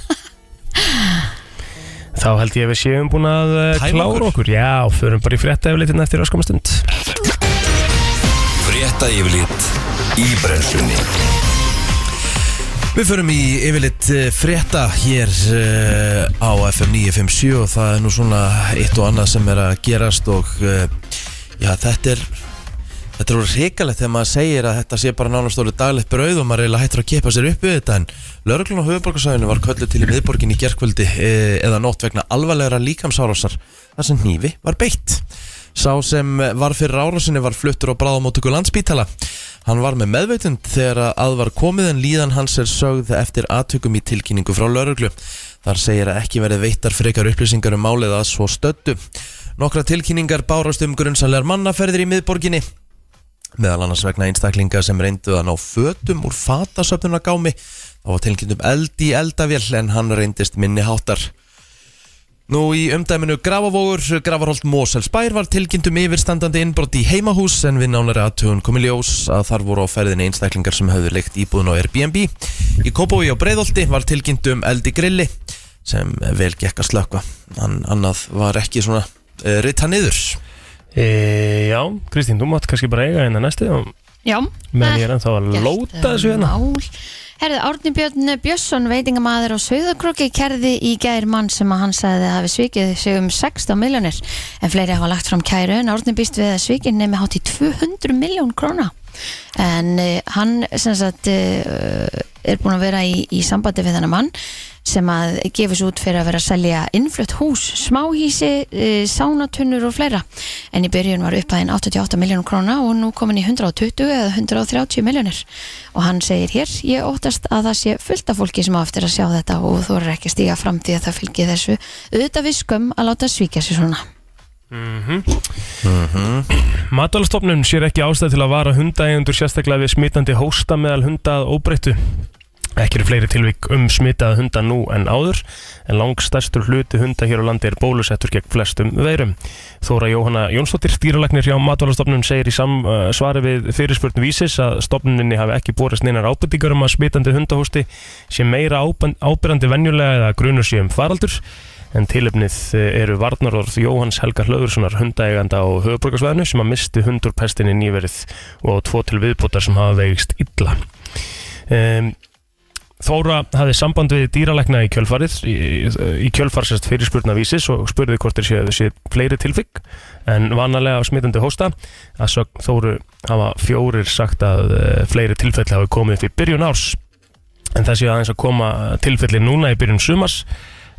Speaker 4: Þá held ég að við séum búin að uh,
Speaker 1: Tæma
Speaker 4: klára
Speaker 1: okkur.
Speaker 4: okkur Já, förum bara í frétta eflitin eftir öskama stund
Speaker 2: Frétta yfirlit í brennslunni
Speaker 1: Við förum í yfirleitt frétta hér uh, á FM 957 og það er nú svona eitt og annað sem er að gerast og uh, já, þetta er þetta er reikalegt þegar maður segir að þetta sé bara nánastóri daglegt brauð og maður eiginlega hættur að kepa sér upp við þetta en lögreglun á höfuborgarsæðinu var köllu til í miðborgin í gerkvöldi eh, eða nótt vegna alvarlegra líkamsárásar þar sem hnífi var beitt Sá sem var fyrir árásinni var fluttur á bráðamótöku landspítala Hann var með meðveitund þegar að var komið en líðan hans er sögð eftir aðtökum í tilkynningu frá lauruglu. Þar segir að ekki verið veittar frekar upplýsingar um málið að svo stöddu. Nokkra tilkynningar bárast um grunnsanlegar mannaferðir í miðborginni meðal annars vegna einstaklinga sem reyndu að ná fötum úr fatasöfnunagámi þá var tilkynnt um eld í eldavél en hann reyndist minni háttar Nú í umdæminu Grafavogur, Grafarholt Moselsbær var tilkynntum yfirstandandi innbrott í heimahús en við nánari aðtögun komi ljós að þar voru á ferðinni einstaklingar sem höfðu leikt íbúðun á Airbnb. Í Kópói á Breiðolti var tilkynntum eldi grilli sem vel gekk að slökva. An annað var ekki svona uh, rita niður.
Speaker 4: e, Já, Kristín, þú mátt kannski bara eiga hérna næstu og
Speaker 3: Já,
Speaker 4: meðan ég er ennþá að lóta þessu hérna
Speaker 3: Mál. Herðu, Árni Björn Björnsson, veitingamæður á Suðakróki, kerði í gær mann sem að hann sagði að hafi svikið sig um 16 miljónir. En fleiri hafa lagt fram kæru en Árni býst við að svikið nefni hátt í 200 miljón króna. En uh, hann sem sagt uh, er búin að vera í, í sambandi við þennan mann sem að gefur svo út fyrir að vera að selja innflutt hús, smáhísi, uh, sánatunnur og fleira. En í byrjun var upphæðin 88 miljónum króna og nú komin í 120 eða 130 miljónir. Og hann segir hér, ég óttast að það sé fullt af fólki sem á eftir að sjá þetta og þú eru ekki að stíga fram því að það fylgir þessu auðvitað við skömm að láta svíkja sér svona.
Speaker 4: Mhm. Matvælastofnun sér ekki ástæð til að vara hundaegundur sérstaklega við smitandi hósta meðal hundað óbreyttu. Ekki eru fleiri tilvík um smitaða hunda nú en áður, en langstærstur hluti hunda hér á landi er bólusettur gegn flestum veirum. Þóra Jóhanna Jónsdóttir, dýralagnir hjá Matvælastofnun, segir í sam, uh, svari við fyrirspurnu vísis að stofnuninni hafi ekki borist neinar ábyrtingar um að smitandi hundahósti sé meira ábend- áberandi venjulega eða grunur sé um faraldur en tilöfnið eru varnarorð Jóhanns Helga Hlöðurssonar hundaeganda á höfuborgarsvæðinu sem að misti hundur pestinni nýverið og á tvo til viðbótar sem hafa vegist illa. Um, Þóra hafði samband við dýralækna í kjölfarið, í, í kjölfarsest fyrirspurna vísis og spurði hvort þeir séu sé fleiri tilfikk en vanalega á smitandi hósta að sögn Þóru hafa fjórir sagt að eh, fleiri tilfelli hafi komið upp í byrjun árs en það séu aðeins að koma tilfelli núna í byrjun sumars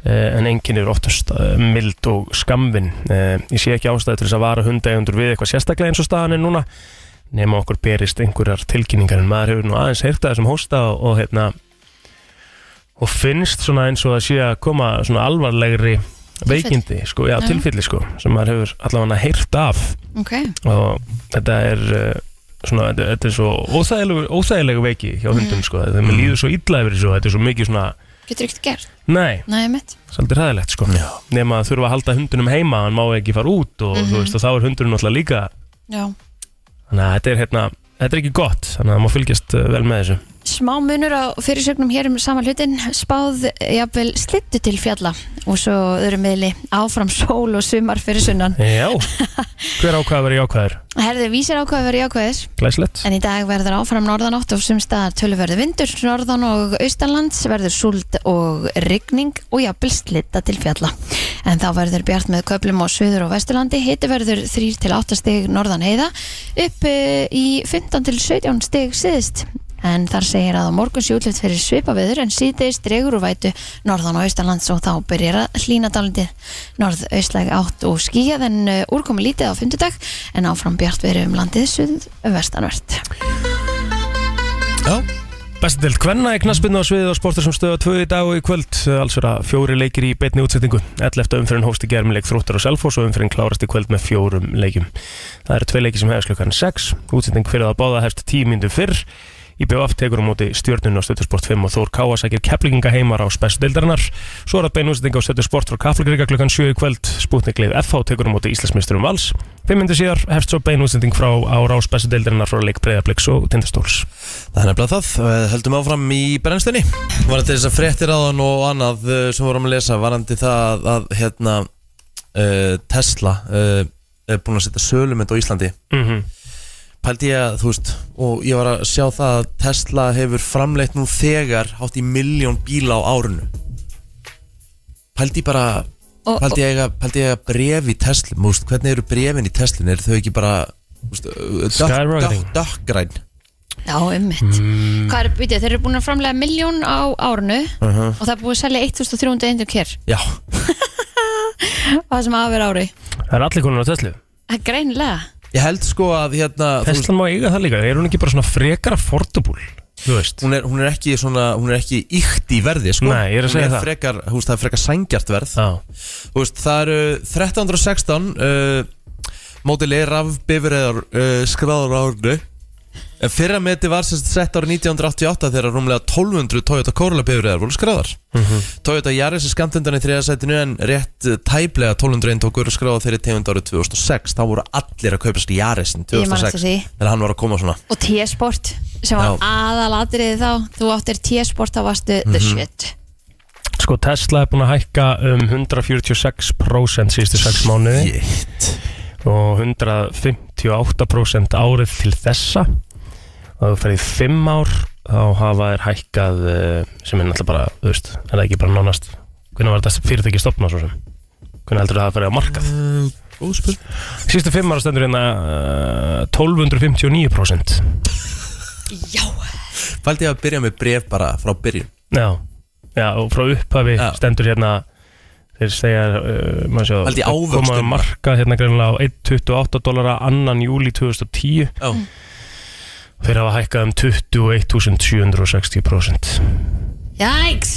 Speaker 4: eh, en enginn er oftast eh, mild og skamvin Eh, ég sé ekki ástæði til þess að vara hundegundur við eitthvað sérstaklega eins og staðan er núna nema okkur berist einhverjar tilkynningar en maður hefur nú aðeins heyrta þessum hósta og, og hérna og finnst svona eins og að sé að koma svona alvarlegri veikindi sko, já,
Speaker 3: Já.
Speaker 4: tilfelli sko, sem maður hefur allavega heyrt af
Speaker 3: Ok.
Speaker 4: og þetta er eh, svona, þetta, þetta er svo óþægilegu, óþægilegu veiki hjá hundum sko, þegar maður líður svo illa yfir þessu og þetta er svo mikið svona,
Speaker 3: Getur ekkert gert?
Speaker 4: nei,
Speaker 3: Nei, mitt.
Speaker 4: svolítið hræðilegt sko nema að þurfa að halda hundunum heima, hann má ekki fara út og þú veist, og þá er hundurinn náttúrulega líka
Speaker 3: Já.
Speaker 4: þannig að þetta er hérna, þetta er ekki gott þannig að það má fylgjast eh, vel með þessu
Speaker 3: Smá munur á fyrirsögnum hér um sama hlutin spáð jafnvel slittu til fjalla og svo öðru miðli áfram sól og sumar fyrir sunnan.
Speaker 4: Já, hver ákvað að vera jákvæður?
Speaker 3: Herði vísir ákvað verið jákvæðis
Speaker 4: Glæslegt
Speaker 3: en í dag verður áfram norðanátt og sem staðar töluverði vindur norðan og austanlands verður súld og rigning og jafnvel slitta til fjalla en þá verður bjart með köplum á suður og vesturlandi hiti verður 3 til 8 stig norðan heiða upp eh, í 15 til 17 stig síðist en þar segir að á morgun sé útlift fyrir svipaveður en síðdeis dregur úr vætu norðan og austanlands og þá byrjar að hlína dálítið norðaustlæg átt og skíjað en eh, úrkomi lítið á fymtudag en áfram bjart verið um landið suð vestanvert
Speaker 1: Já,
Speaker 4: Bestadelt Kvenna í knaspinu á sviðið á sportur sem stöða tvö í dag og í kvöld alls vera fjóri leikir í betni útsettingu 11. umfyrin hófst í gerðum leik þróttar og selfos og umfyrin klárast í kvöld með fjórum leikjum Það eru tvei leiki sem hefðast klukkan 6 útsetting fyrir það báða hefst 10 myndu fyrr í BVF tekur á móti stjörnun á stöðtusport 5 og Þór Káa sækir keflinga heimar á spesdeildarinnar Svo er það bein útsetting á stöðtusport frá Kaflagriga klukkan 7 í kvöld Sputniklið FH tekur á móti Íslandsmeisturum Vals 5 myndu síðar hefst svo bein útsetting frá á rás spesdeildarinnar frá leik Breiðabliks og Tindastóls
Speaker 1: Það er nefnilega það, eh, höldum áfram í brennstunni Varandi þess að fréttir áðan og annað eh, sem vorum að lesa Varandi það að hérna, uh, Tesla uh, er búin að setja sölumynd á Íslandi
Speaker 4: Mhm.
Speaker 1: Pældi ég að, þú veist, og ég var að sjá það að Tesla hefur framleitt nú þegar hátt í miljón bíla á árinu Pældi ég bara,
Speaker 3: Og-
Speaker 1: pældi ég að, pældi ég að bref í Tesla Múst, hvernig eru brefin í Tesla, eru þau ekki bara, þú veist, eh, dökk-
Speaker 4: Skyrocketing.
Speaker 1: dökk- dökkgræn Mhm.
Speaker 3: Já, um ummitt Hvað er, býtið, þeir eru búin að framlega miljón á árnu og það er búið að selja 1300 endur kér
Speaker 1: Já,
Speaker 3: á það sem afir ári
Speaker 4: Það er allir konar á Tesla
Speaker 3: Það er greinilega
Speaker 1: ég held sko að hérna þú veist,
Speaker 4: Tesla má eiga það líka, er hún ekki bara svona frekar affordable, þú veist
Speaker 1: hún er, hún er ekki svona, hún er ekki ykt í verði sko.
Speaker 4: Nei, ég er að segja
Speaker 1: hún er
Speaker 4: það.
Speaker 1: frekar, þú veist, það er frekar sængjart verð
Speaker 4: Já,
Speaker 1: þú veist, það eru 1316 uh, mótili rafbifriðar uh, skráður á árnu en fyrra meti var sérst sett árið 1988 þegar rúmlega 1200 Toyota Corolla bifriðar voru skráðar Toyota Yaris er skamt undan í þriðasætinu en rétt eh, tæplega 1200 eintókur skráða þeirri tegund árið 2006 þá voru allir að kaupa sér Yarisin
Speaker 3: Ég man eftir
Speaker 1: 2006
Speaker 3: því.
Speaker 1: þegar hann var að koma svona
Speaker 3: Og T-sport sem var
Speaker 1: Já.
Speaker 3: aðalatriði þá þú áttir T-sport þá varstu the shit
Speaker 4: sko Tesla er búin að hækka um 146% síðustu 6 mánuði
Speaker 1: Shit.
Speaker 4: og 158% árið til þessa og það ferði 5 ár þá hafa þær hækkað eh, sem er náttúrulega bara, þú veist, er það ekki bara nánast hvernig var þetta fyrirtæki stopnað svo sem hvernig heldur það að ferði á markað
Speaker 1: Eh, Góð spurning
Speaker 4: síðustu 5 ára stendur hérna eh, 1259%
Speaker 3: Já
Speaker 1: Fældi ég að byrja með bref bara frá byrjun
Speaker 4: Já, já og frá upphafi
Speaker 1: Já.
Speaker 4: stendur hérna þeir segja uh, maður sjá,
Speaker 1: Haldið
Speaker 4: það
Speaker 1: ávöxtum
Speaker 4: koma
Speaker 1: bara.
Speaker 4: að marka hérna greinlega á 1,28 dólara annan júli 2010
Speaker 1: Já.
Speaker 4: þeir hafa hækkað um 21.760%
Speaker 3: Jæks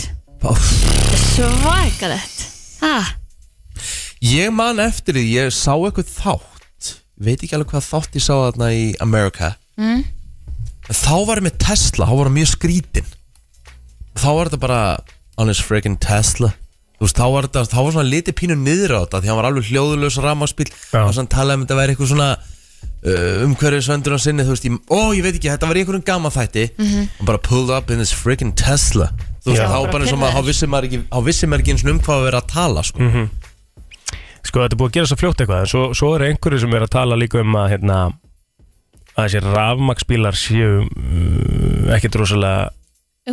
Speaker 3: Svakalett ah,
Speaker 1: Ég man eftir því, ég sá eitthvað þátt Veit ekki alveg hvað þátt ég sá þarna í America mm. Þá var ég með Tesla, þá var það mjög skrítin Þá var þetta bara Honest freaking Tesla Þú veist, þá var þetta, þá var svona litið pínu niður á þetta Því hann var alveg hljóðulegs rammarspil
Speaker 4: Já.
Speaker 1: Og sann talaði um þetta væri eitthvað svona uh, umhverfið svöndur á sinni Þú veist, ég, ó, ég veit ekki, þetta var í einhverjum gaman þætti Og bara pulled up in this freaking Tesla Þú veist,
Speaker 4: Já.
Speaker 1: þá
Speaker 3: Mhm. Bara
Speaker 1: var bara eins og maður,
Speaker 3: pirraður.
Speaker 1: þá vissi maður ekki, þá vissi maður ekki eins og um hvað að vera að tala, sko
Speaker 4: Mhm. sko þetta er búið að gera svo fljótt eitthvað en svo, svo er einhverju sem er að tala líka um að hérna, að þessi rafmaksbílar séu um, ekkert rosalega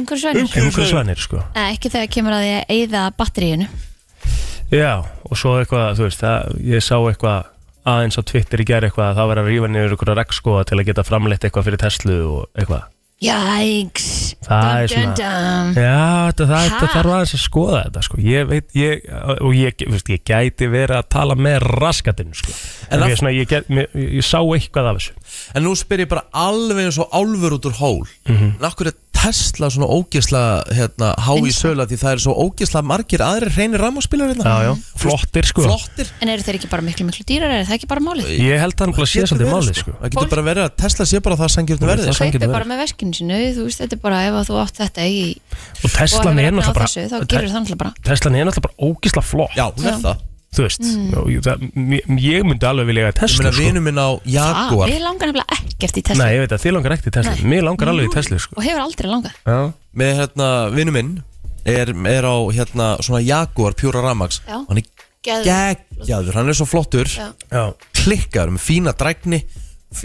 Speaker 3: Umhverfisvænir
Speaker 4: umhverfisvænir sko
Speaker 3: Nei, ekki þegar kemur að því að eyða batteríinu
Speaker 4: sko. Já, og svo eitthvað, þú veist, það, ég sá eitthvað aðeins á Twitter í gerð eitthvað að það var að rífa niður einhverja regnskóa til að geta framleitt eitthvað fyrir Tesla og eitthvað.
Speaker 3: Jæks
Speaker 4: Það er svona-
Speaker 3: dun, dun.
Speaker 4: Já, þetta, það,
Speaker 3: Ah.
Speaker 4: þetta
Speaker 3: Ha?
Speaker 4: þarf aðeins að skoða þetta, sko. Ég veit, ég, og ég, þú veist, ég gæti verið að tala með raskatinn, sko.
Speaker 1: En
Speaker 4: En
Speaker 1: af-
Speaker 4: ég, svona, ég, get, mér, ég, ég sá eitthvað af þessu.
Speaker 1: En nú spyr ég bara alveg eins og álfur út úr hól mm En akkur er Tesla svona ógisla hérna, há í söla Því það er svo ógisla margir aðrir reynir rammaspilar hérna
Speaker 4: Já, já, flottir, sko.
Speaker 1: Flottir
Speaker 3: En eru þeir ekki bara miklu miklu dýrar, er það ekki bara málið?
Speaker 4: Ég held að hann bara sé
Speaker 1: Getur
Speaker 4: svolítið
Speaker 1: verið,
Speaker 4: málið, sko.
Speaker 1: Það getur bara verið að Tesla sé bara það sangjörnum
Speaker 4: Það
Speaker 1: verðið
Speaker 4: er
Speaker 1: sko.
Speaker 4: sanngjarnt
Speaker 3: Kaupi
Speaker 4: verð.
Speaker 3: bara með veskinu sinu, þú veist, þetta er bara ef að þú átt þetta í
Speaker 4: Og
Speaker 3: og
Speaker 4: Teslan
Speaker 3: hefur efni
Speaker 4: er
Speaker 3: á
Speaker 4: náttúrulega
Speaker 3: þessu, þá gerir það
Speaker 4: bara,
Speaker 3: náttúrulega bara
Speaker 4: Teslan er náttúrulega bara ógisla flott,
Speaker 1: Já, hún er
Speaker 3: Já. Mm.
Speaker 1: það
Speaker 4: þú veist. Og ég- það- mér- Ég myndi alveg vilja eiga
Speaker 1: Ég
Speaker 4: Tesla,
Speaker 1: meina
Speaker 4: sko.
Speaker 1: vinur minn á
Speaker 3: Ah,
Speaker 1: Jaguar
Speaker 3: Mér langar nefnilega ekkert í Tesla
Speaker 4: Nei, ég veit að þið langar ekkert í Tesla
Speaker 3: Nei.
Speaker 4: Mér langar alveg í Tesla sko.
Speaker 3: og hefur aldrei langað
Speaker 1: Með hérna vinur minn er, er á hérna svona Jaguar pjúra rammaks
Speaker 3: Já.
Speaker 1: Hann er
Speaker 3: Geðveikt
Speaker 1: geggjaður, hann er svo flottur
Speaker 3: Já.
Speaker 4: Já,
Speaker 1: Klikkaður með fína drækni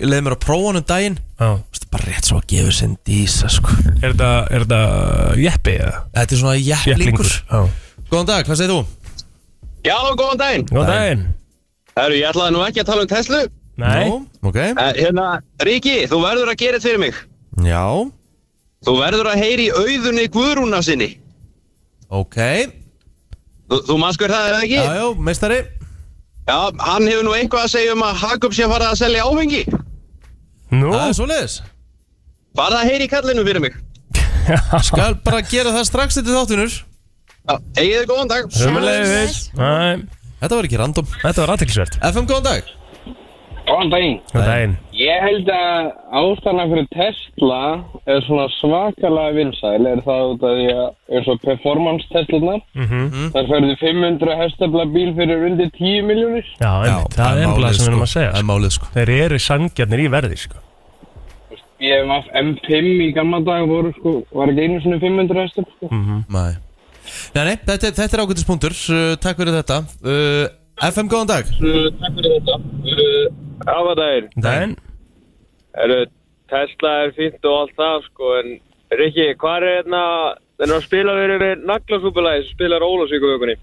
Speaker 1: Leðið mér að prófa hann um daginn
Speaker 4: já
Speaker 1: Þú veist, bara rétt svo að gefa sinn dísa sko
Speaker 4: Er þetta, er þetta Uh, jeppi eða?
Speaker 1: Þetta er svona jepplingur
Speaker 4: Já
Speaker 1: Góðan dag, hvað segir þú?
Speaker 5: Já, góðan daginn.
Speaker 4: Góð daginn
Speaker 5: Herru, ég ætlaði nú ekki að tala um Tesla.
Speaker 4: Nei
Speaker 1: Nú, Ok
Speaker 5: En, hérna, Ríki, þú verður að gera þetta fyrir mig.
Speaker 1: Já
Speaker 5: Þú verður að heyri í auðunni Guðrúna sinni.
Speaker 1: Ok
Speaker 5: Þú, þú manns hver það er það ekki?
Speaker 1: Já, já, meistari
Speaker 5: Já, hann hefur nú eitthvað að segja um að Hakup sé að fara að selja áfengi.
Speaker 4: Nú
Speaker 1: Það er svoleiðis
Speaker 5: Bara að heyri í kallinu fyrir mig.
Speaker 1: Skal bara gera það strax þetta þáttunur
Speaker 5: Egið þið góðan dag
Speaker 4: Sömulegis
Speaker 1: Þetta var ekki random
Speaker 4: Þetta var aðtilsvert
Speaker 1: FM, góðan dag
Speaker 6: Góðan daginn.
Speaker 4: Þetta er einn
Speaker 6: Ég held að ástæðan fyrir Tesla er svona svakalega vinsæl er það út af því að er svo performance Teslanar
Speaker 4: Mhm.
Speaker 1: Mhm.
Speaker 6: þar færðu 500 hestafla bíl fyrir undir 10 miljónir
Speaker 4: Já, einmitt. það er ennblað sem við erum að segja
Speaker 1: Það er
Speaker 4: sko.
Speaker 1: málið sko
Speaker 4: Þeir eru sangjarnir í verði sko.
Speaker 6: BMF M5 í gamla dag voru sko, var ekki einu svona 500 hestafla sko.
Speaker 4: Mhm.
Speaker 1: Nei, nei, nei þetta, þetta er ágætis punktur uh, Takk fyrir þetta uh, FM, góðan dag
Speaker 6: Takk fyrir þetta Afadagir
Speaker 4: Dæn
Speaker 6: Eru, Tesla er fínt og allt það sko, en Rikki, hvað er hérna þennan spilaverið við naglasúpulæði sem spilar Ólasvíku vökunni?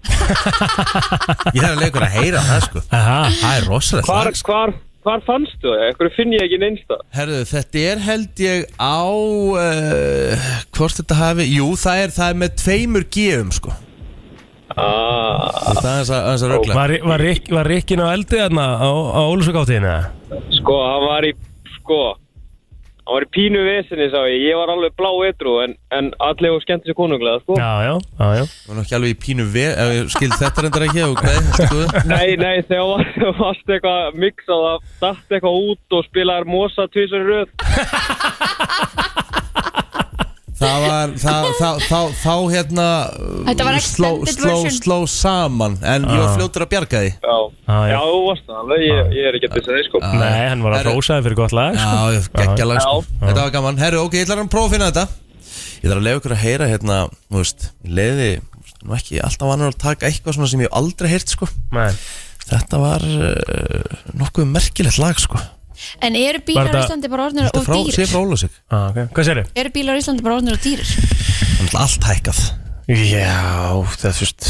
Speaker 1: Ég er alveg ykkur að heyra það sko
Speaker 4: Aha,
Speaker 1: Það er rosalegt
Speaker 6: Hvar,
Speaker 1: lag, sko.
Speaker 6: hvar, hvar fannstu það? Ekkur finn ég ekki neinsta
Speaker 1: Herðu, þetta er held ég á uh, Hvort þetta hafi Jú, það er, það er með tveimur gefum sko
Speaker 6: ah,
Speaker 1: Það er aðeins að, aðeins að rögla
Speaker 4: Var, var, Rik, var Rikkin á eldi þarna á, á Ólusugáttíðina?
Speaker 6: Sko, hann var í sko, hann var í pínu vesinni sá ég, ég var alveg blá etru en, en allir og skemmti sér konunglega sko.
Speaker 4: Já, já, já, já
Speaker 1: Það var nú ekki alveg í pínu ve ef ég skil þetta reyndar ekki og hvað sko.
Speaker 6: Nei, nei, þegar var- varst eitthvað mixað að datt eitthvað út og spilaðar mosa tvisar röð
Speaker 1: Það var það, það, þá, þá hérna uh,
Speaker 3: Þetta var
Speaker 1: sló,
Speaker 3: extended
Speaker 1: sló,
Speaker 3: version.
Speaker 1: sló saman en ég var
Speaker 4: Ah.
Speaker 1: fljótur að bjarga því
Speaker 6: Já,
Speaker 4: Ah, já.
Speaker 6: já, þú varst það alveg, ég, ég er ekki að pissa þig sko
Speaker 4: Nei, hann var að
Speaker 1: Ah. Herru.
Speaker 4: rósaði fyrir gott lag sko.
Speaker 1: Já, geggja lag sko.
Speaker 6: Já.
Speaker 1: Þetta var gaman Herru, ok, ég ætlar að prófa að finna þetta Ég þarf að leiða ykkur að heyra hérna Þú veist, ég leiði Nú ekki alltaf annar að taka eitthvað svona sem ég hef aldrei heyrt sko
Speaker 4: Nei.
Speaker 1: Þetta var uh, nokkuð merkilegt lag sko
Speaker 3: En eru bílar
Speaker 4: Var
Speaker 3: á
Speaker 4: þetta-
Speaker 3: Íslandi bara orðnir
Speaker 1: Þetta
Speaker 3: og
Speaker 1: er frá, sé
Speaker 3: dýrir?
Speaker 1: frá Ólásik
Speaker 4: Ah, okay. Hvað sér
Speaker 3: Eru bílar á Íslandi bara orðnir og dýrir?
Speaker 1: Þannig að allt hækkað
Speaker 4: Já, það, fyrst,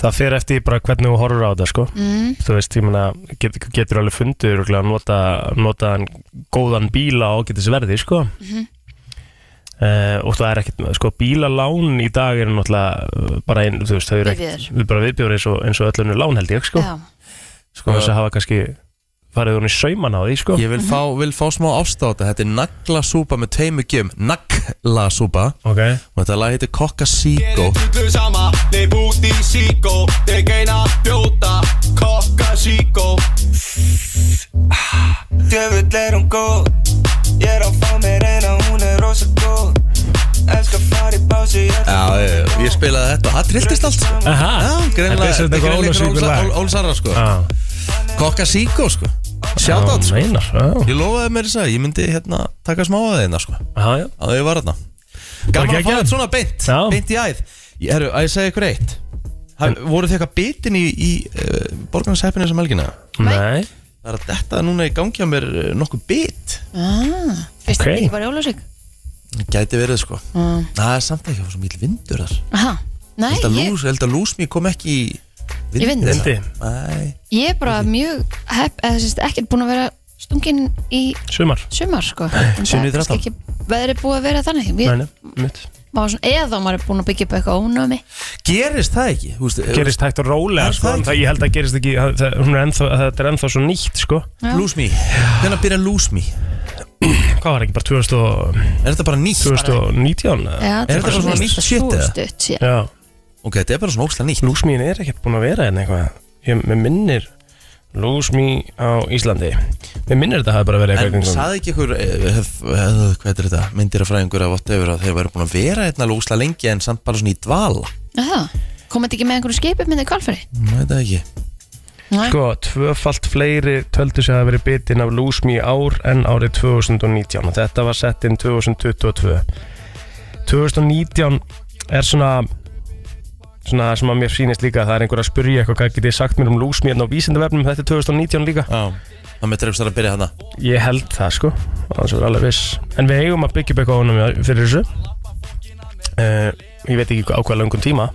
Speaker 4: það fer eftir bara hvernig þú horfur á það sko. mm. þú veist, ég meina get, getur alveg fundur og nota, nota hann góðan bíla og getur sverði sko. mm og það er ekkert sko, bílalán í dag eru náttúrulega uh, bara ein, þú veist, þau eru ekkert við bara viðbjörður eins og, eins og öllunni lán held ég sko.
Speaker 3: Já,
Speaker 4: sko, þess að hafa kannski farið hún í sauman á því sko.
Speaker 1: Ég vil fá, vil fá smá ást á þetta Þetta er naglasúpa með tveimur gjum Naglasúpa
Speaker 4: ok,
Speaker 1: Og þetta lag heitir Kokkasíkó
Speaker 7: Tullu sama, teeb uuti siiko Tekeinä juuta, kokka siiko Djöfull er hún góð Ég er að fá mér eina, hún er rosa góð Elskar fari bási, ég ætla
Speaker 1: Já, ég, ég spilaði þetta og það trilltist allt sko.
Speaker 4: aha
Speaker 1: Já,
Speaker 4: Þetta
Speaker 1: greinlega
Speaker 4: er svolítið eitthvað ólásvíkur lag
Speaker 1: Ólsarra sko
Speaker 4: Já,
Speaker 1: Kokkasíkó sko Sjátt
Speaker 4: já,
Speaker 1: sko
Speaker 4: meinar já,
Speaker 1: Ég lofaði mér þess að ég myndi hérna taka smá að þeirna sko
Speaker 4: já, já.
Speaker 1: að ég var hérna Gaman að fá
Speaker 4: geggjað.
Speaker 1: þetta svona beint,
Speaker 4: Já.
Speaker 1: beint í æð Ég er að ég segja ykkur eitt Haf, Voru þið eitthvað bitin í, í uh, borgarnas heppinu sem helgina?
Speaker 4: Nei,
Speaker 1: Það er að þetta núna í gangi á mér uh, nokkuð bit
Speaker 3: ah, fyrst
Speaker 4: Ok.
Speaker 3: okay. ekki bara jólasík
Speaker 1: Gæti verið sko Það er samt ekki að fá svo mýl vindur þar
Speaker 3: Aha, nei,
Speaker 1: Held að
Speaker 3: ég,
Speaker 1: lús, held að lús mér kom ekki í
Speaker 3: Í vind.
Speaker 4: Vindi.
Speaker 1: Nei,
Speaker 3: ég er bara mjög hepp, eða sérst ekkert búin að vera stungin í
Speaker 4: sumar
Speaker 3: sumar sko En það
Speaker 1: sunnudag
Speaker 3: er kannski ekki veðri búið að vera þannig Við-
Speaker 4: Nei, nei, mitt
Speaker 3: maður svona, eða þá maður er búin að byggja upp eitthvað ónömi
Speaker 1: gerist það ekki þú veist, eh,
Speaker 4: gerist hægt og rólega
Speaker 1: Er
Speaker 4: sko,
Speaker 1: það
Speaker 4: en
Speaker 1: ekki?
Speaker 4: það, ég held að gerist ekki það, það, hún er ennþá, þetta er ennþá svo nýtt sko.
Speaker 1: Lús mér, hvernig byrja lús mér?
Speaker 4: hvað var ekki bara 2000 og-
Speaker 1: Er þetta bara nýtt?
Speaker 4: 2019 eða?
Speaker 3: Já,
Speaker 1: Er þetta svona nýtt shit, eða?
Speaker 3: stutt síðan
Speaker 4: já,
Speaker 1: Ok, þetta er bara svona ókslega nýtt
Speaker 4: lúsmín er ekkert búin að vera en eitthvað, ég mér minnir lúsmí á Íslandi mér minnir þetta hafi bara verið eitthvað
Speaker 1: En
Speaker 4: kringum-
Speaker 1: saði ekki ykkur, eh, hef- hef- hvað er þetta, myndir af fræðingur að votta yfir að þeir væri búin að vera hérna alveg úsla lengi en samt bara svona í dvala
Speaker 3: Það, kom þetta ekki með einhverju skipi hérna minni kvalfæri?
Speaker 1: Nú veit það ekki
Speaker 4: sko, tvöfalt fleiri töldu sig að hafa verið bitin af lúsmí í ár en árið 2019 og þetta var sett inn 2022 2019 er svona svona sem að mér sýnist líka það er einhver að spyrja eitthvað hvað getið þið sagt mér um lúsmí hérna á vísindavefnum þetta er 2019 líka
Speaker 1: Já Það með drefst þar að byrja hana
Speaker 4: ég held það sko það er alveg viss en við eigum að byggja upp eitthvað ánum fyrir þessu uh, ég veit ekki á hvað langum tíma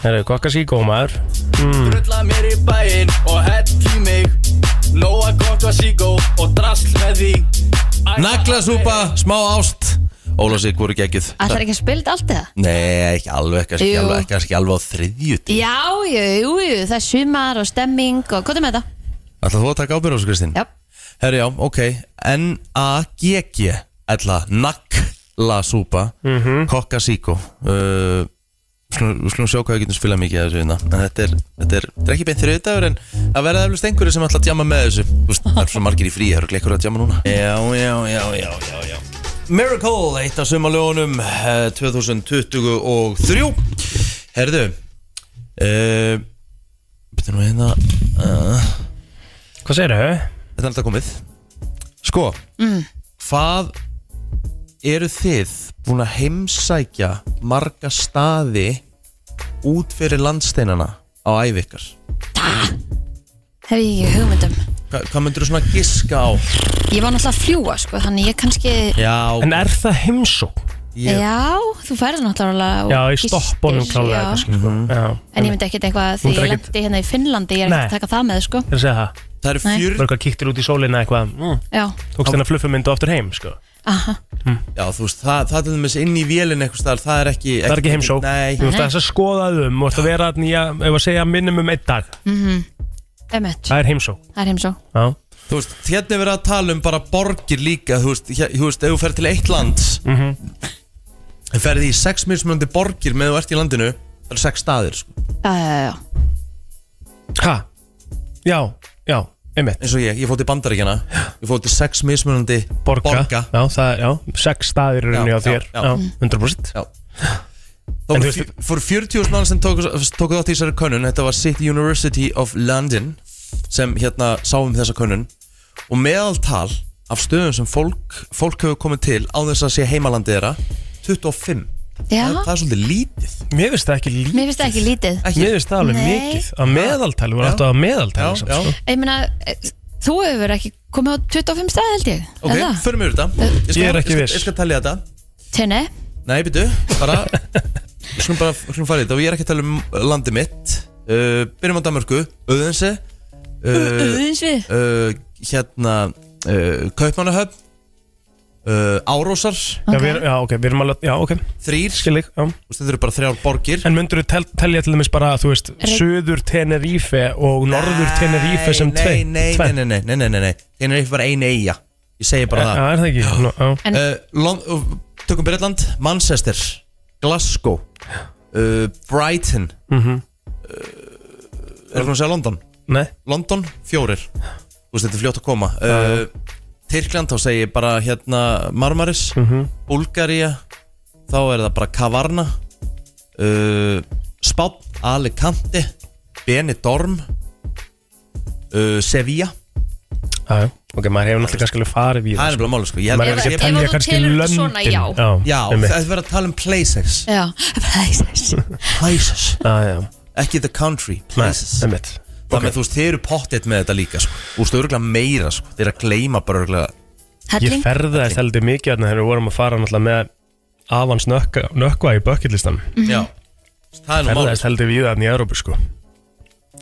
Speaker 4: það eru kokkasíkó maður Mm.
Speaker 7: Drulla mér í bæinn og hell í mig Nóa gott var síkó og drasl með því Æ,
Speaker 1: Naglasúpa, smá ást Óla sig voru geggjuð
Speaker 3: Ætlar ekki að spilda allt eða?
Speaker 1: Nei, ekki alveg, kannski
Speaker 3: Jú.
Speaker 1: alveg, kannski alveg á þriðjut
Speaker 3: Já, jú, jú, jú, það er sumar og stemming og hvað er með þetta?
Speaker 1: Ætla þú að taka ábyrð á þessu Kristín?
Speaker 3: Já,
Speaker 1: Herri já, ok N-A-G-G Ætla, nakk La Supa mm -hmm. Coca Sico uh, slum, slum sjá hvað við getum spilað mikið af þessu hérna en þetta er, þetta er, þetta er ekki beint þrjöðu dagur en það verða eflust einhverju sem ætla að djama með þessu Þú veist, það er svo margir í frí, það eru ekki ekkur að djama núna já, já, já, já, já, já Miracle, eitt af sumalögunum eh, 2023 Herðu uh, Betur nú hérna uh,
Speaker 4: Hvað segir þau?
Speaker 1: Þetta er alltaf komið Sko, hvað eru þið búin að heimsækja marga staði út fyrir landsteinana á ævi ykkar?
Speaker 3: Hef ég ekki hugmyndum
Speaker 1: Hva, hvað myndir þú svona giska á?
Speaker 3: Ég var náttúrulega að fljúa sko Þannig ég kannski
Speaker 1: Já,
Speaker 4: En er það heimsók?
Speaker 1: ég,
Speaker 3: Já, þú færði náttúrulega og
Speaker 4: Já, ég
Speaker 3: gistir,
Speaker 4: stopp honum klálega
Speaker 3: já.
Speaker 4: kannski sko.
Speaker 1: Mhm.
Speaker 4: Já,
Speaker 3: En ég myndi ekkert eitthvað að því
Speaker 4: myndir
Speaker 3: ég
Speaker 4: ekkert-
Speaker 3: lendi hérna í Finnlandi Ég er ekkert
Speaker 4: Nei.
Speaker 3: að taka það með sko
Speaker 4: ég er að segja það
Speaker 1: það eru
Speaker 3: Nei.
Speaker 1: fjör
Speaker 4: Bara eitthvað kíktir út í sólina eitthvað mm,
Speaker 3: Já,
Speaker 4: Tókst þennan fluffumyndu aftur heim sko
Speaker 3: aha
Speaker 1: Já, þú veist, það, það til dæmis inn í vélinn eitthvað staðar, það er ekki
Speaker 4: Það er ekki heimsók
Speaker 1: Nei,
Speaker 4: Þú veist þess að skoða um Þú veist að vera nýja Ef að segja minnum um einn dag
Speaker 3: Emmett,
Speaker 4: Það er heimsók
Speaker 3: mhm. það er heimsó
Speaker 4: Já
Speaker 1: þú veist, hérna er verið að tala um bara borgir líka, þú veist, hér, þú veist ef þú fer til eitt land mm
Speaker 4: Mhm.
Speaker 1: -hmm. ferði í sex mismunandi borgir með þú ert í landinu, það eru sex staðir sko.
Speaker 3: Já, já, já, já
Speaker 4: Ha Já Já Einmitt
Speaker 1: eins og ég, ég fótt í bandaríkjana ég fótt í sex mismunandi
Speaker 4: Borga, Já, það, já Sex staðir eru
Speaker 1: Já,
Speaker 4: henni á
Speaker 1: já,
Speaker 4: þér
Speaker 1: já. Mm.
Speaker 4: Já, 100%
Speaker 1: Já. þá
Speaker 4: En
Speaker 1: voru
Speaker 4: þú
Speaker 1: fjö-
Speaker 4: veist-
Speaker 1: fóru 40.000 mann sem tóku, tóku þátt í þessari könnun þetta var City University of London sem hérna sáum þessa könnun og meðaltal af stöðum sem fólk, fólk hefur komið til á þess að sé heimalandi þeirra 25 það, það er svolítið lítið
Speaker 4: Mér finnst það ekki líka
Speaker 3: mér finnst það ekki lítið
Speaker 1: ekki,
Speaker 4: Mér finnst það alveg
Speaker 3: Nei.
Speaker 4: mikið Að meðaltali Við erum alltaf að
Speaker 1: já,
Speaker 4: meðaltali
Speaker 1: já,
Speaker 4: samt, sko.
Speaker 3: Ég meina, eh, þú hefur ekki komið á 25 stað held ég
Speaker 1: ok,
Speaker 3: eða?
Speaker 1: förum við þetta ég
Speaker 4: Ég er ekki
Speaker 1: ég
Speaker 4: viss.
Speaker 1: skal, ég skal talja þetta
Speaker 3: Tenni,
Speaker 1: Nei, byrju, bara Skulum bara, skulum fara í þetta og ég er ekki að tala um landi mitt uh, Byrjum á Danmörku, Öðense uh,
Speaker 3: uðins við
Speaker 1: uh, Hérna, uh, Kaupmannahöfn uh, Árósar,
Speaker 4: já, við erum- já, ok, við erum alveg Já, ok,
Speaker 1: þrýr Þú
Speaker 4: skil ég já.
Speaker 1: veist, Þetta eru bara þrjár borgir
Speaker 4: En myndur þú tel, telja til dæmis bara, þú veist,
Speaker 3: Reyk-
Speaker 4: söður Tenerife og norður Tenerife sem
Speaker 1: nei,
Speaker 4: tvei?
Speaker 1: nei, nei, nei, nei, nei, nei, nei, nei Tenerife var ein eiga Ég segi bara
Speaker 4: Já, er það ekki? Nú, já.
Speaker 1: það uh, Lon, uh, Tökum Bretland, Manchester Glasgow uh, Brighton mm
Speaker 4: Mhm.
Speaker 1: -hmm. uh, Erum við að segja London?
Speaker 4: Nei,
Speaker 1: London, fjórir Þú veist, þetta er fljótt að koma uh, Tyrkland, þá segi ég bara hérna Marmaris,
Speaker 4: Mhm.
Speaker 1: Búlgaría Þá er það bara Kavarna uh, Spán Alicante Benidorm uh, Sevilla
Speaker 4: já, já. Ok, maður hefur náttúrulega kannski alveg farið við
Speaker 1: Það er
Speaker 4: það.
Speaker 1: nefnilega máli sko Ég,
Speaker 4: Maður
Speaker 1: ég,
Speaker 4: hefur
Speaker 3: Ef- ef
Speaker 1: ég,
Speaker 4: kannski að telja
Speaker 3: þú
Speaker 4: kannski
Speaker 3: telur þetta
Speaker 4: löndin.
Speaker 3: svona, já.
Speaker 1: Já,
Speaker 4: einmitt.
Speaker 1: það er verið að tala um places
Speaker 3: Já, places
Speaker 1: Places,
Speaker 4: Já, já.
Speaker 1: ekki the country
Speaker 4: Nei,
Speaker 1: Places
Speaker 4: einmitt.
Speaker 1: Það með þú veist, þeir eru pottet með þetta líka sko Þú veist, örgulega meira sko Þeir eru að gleyma bara örgulega
Speaker 4: Ég
Speaker 3: Helling,
Speaker 4: ferðaðist heldur mikið hérna þegar við vorum að fara náttúrulega með avans nökka, nökkva í bucketlistan.
Speaker 1: Já, það er nú máli
Speaker 4: Ferðaðist heldur við hérna í Európu, sko.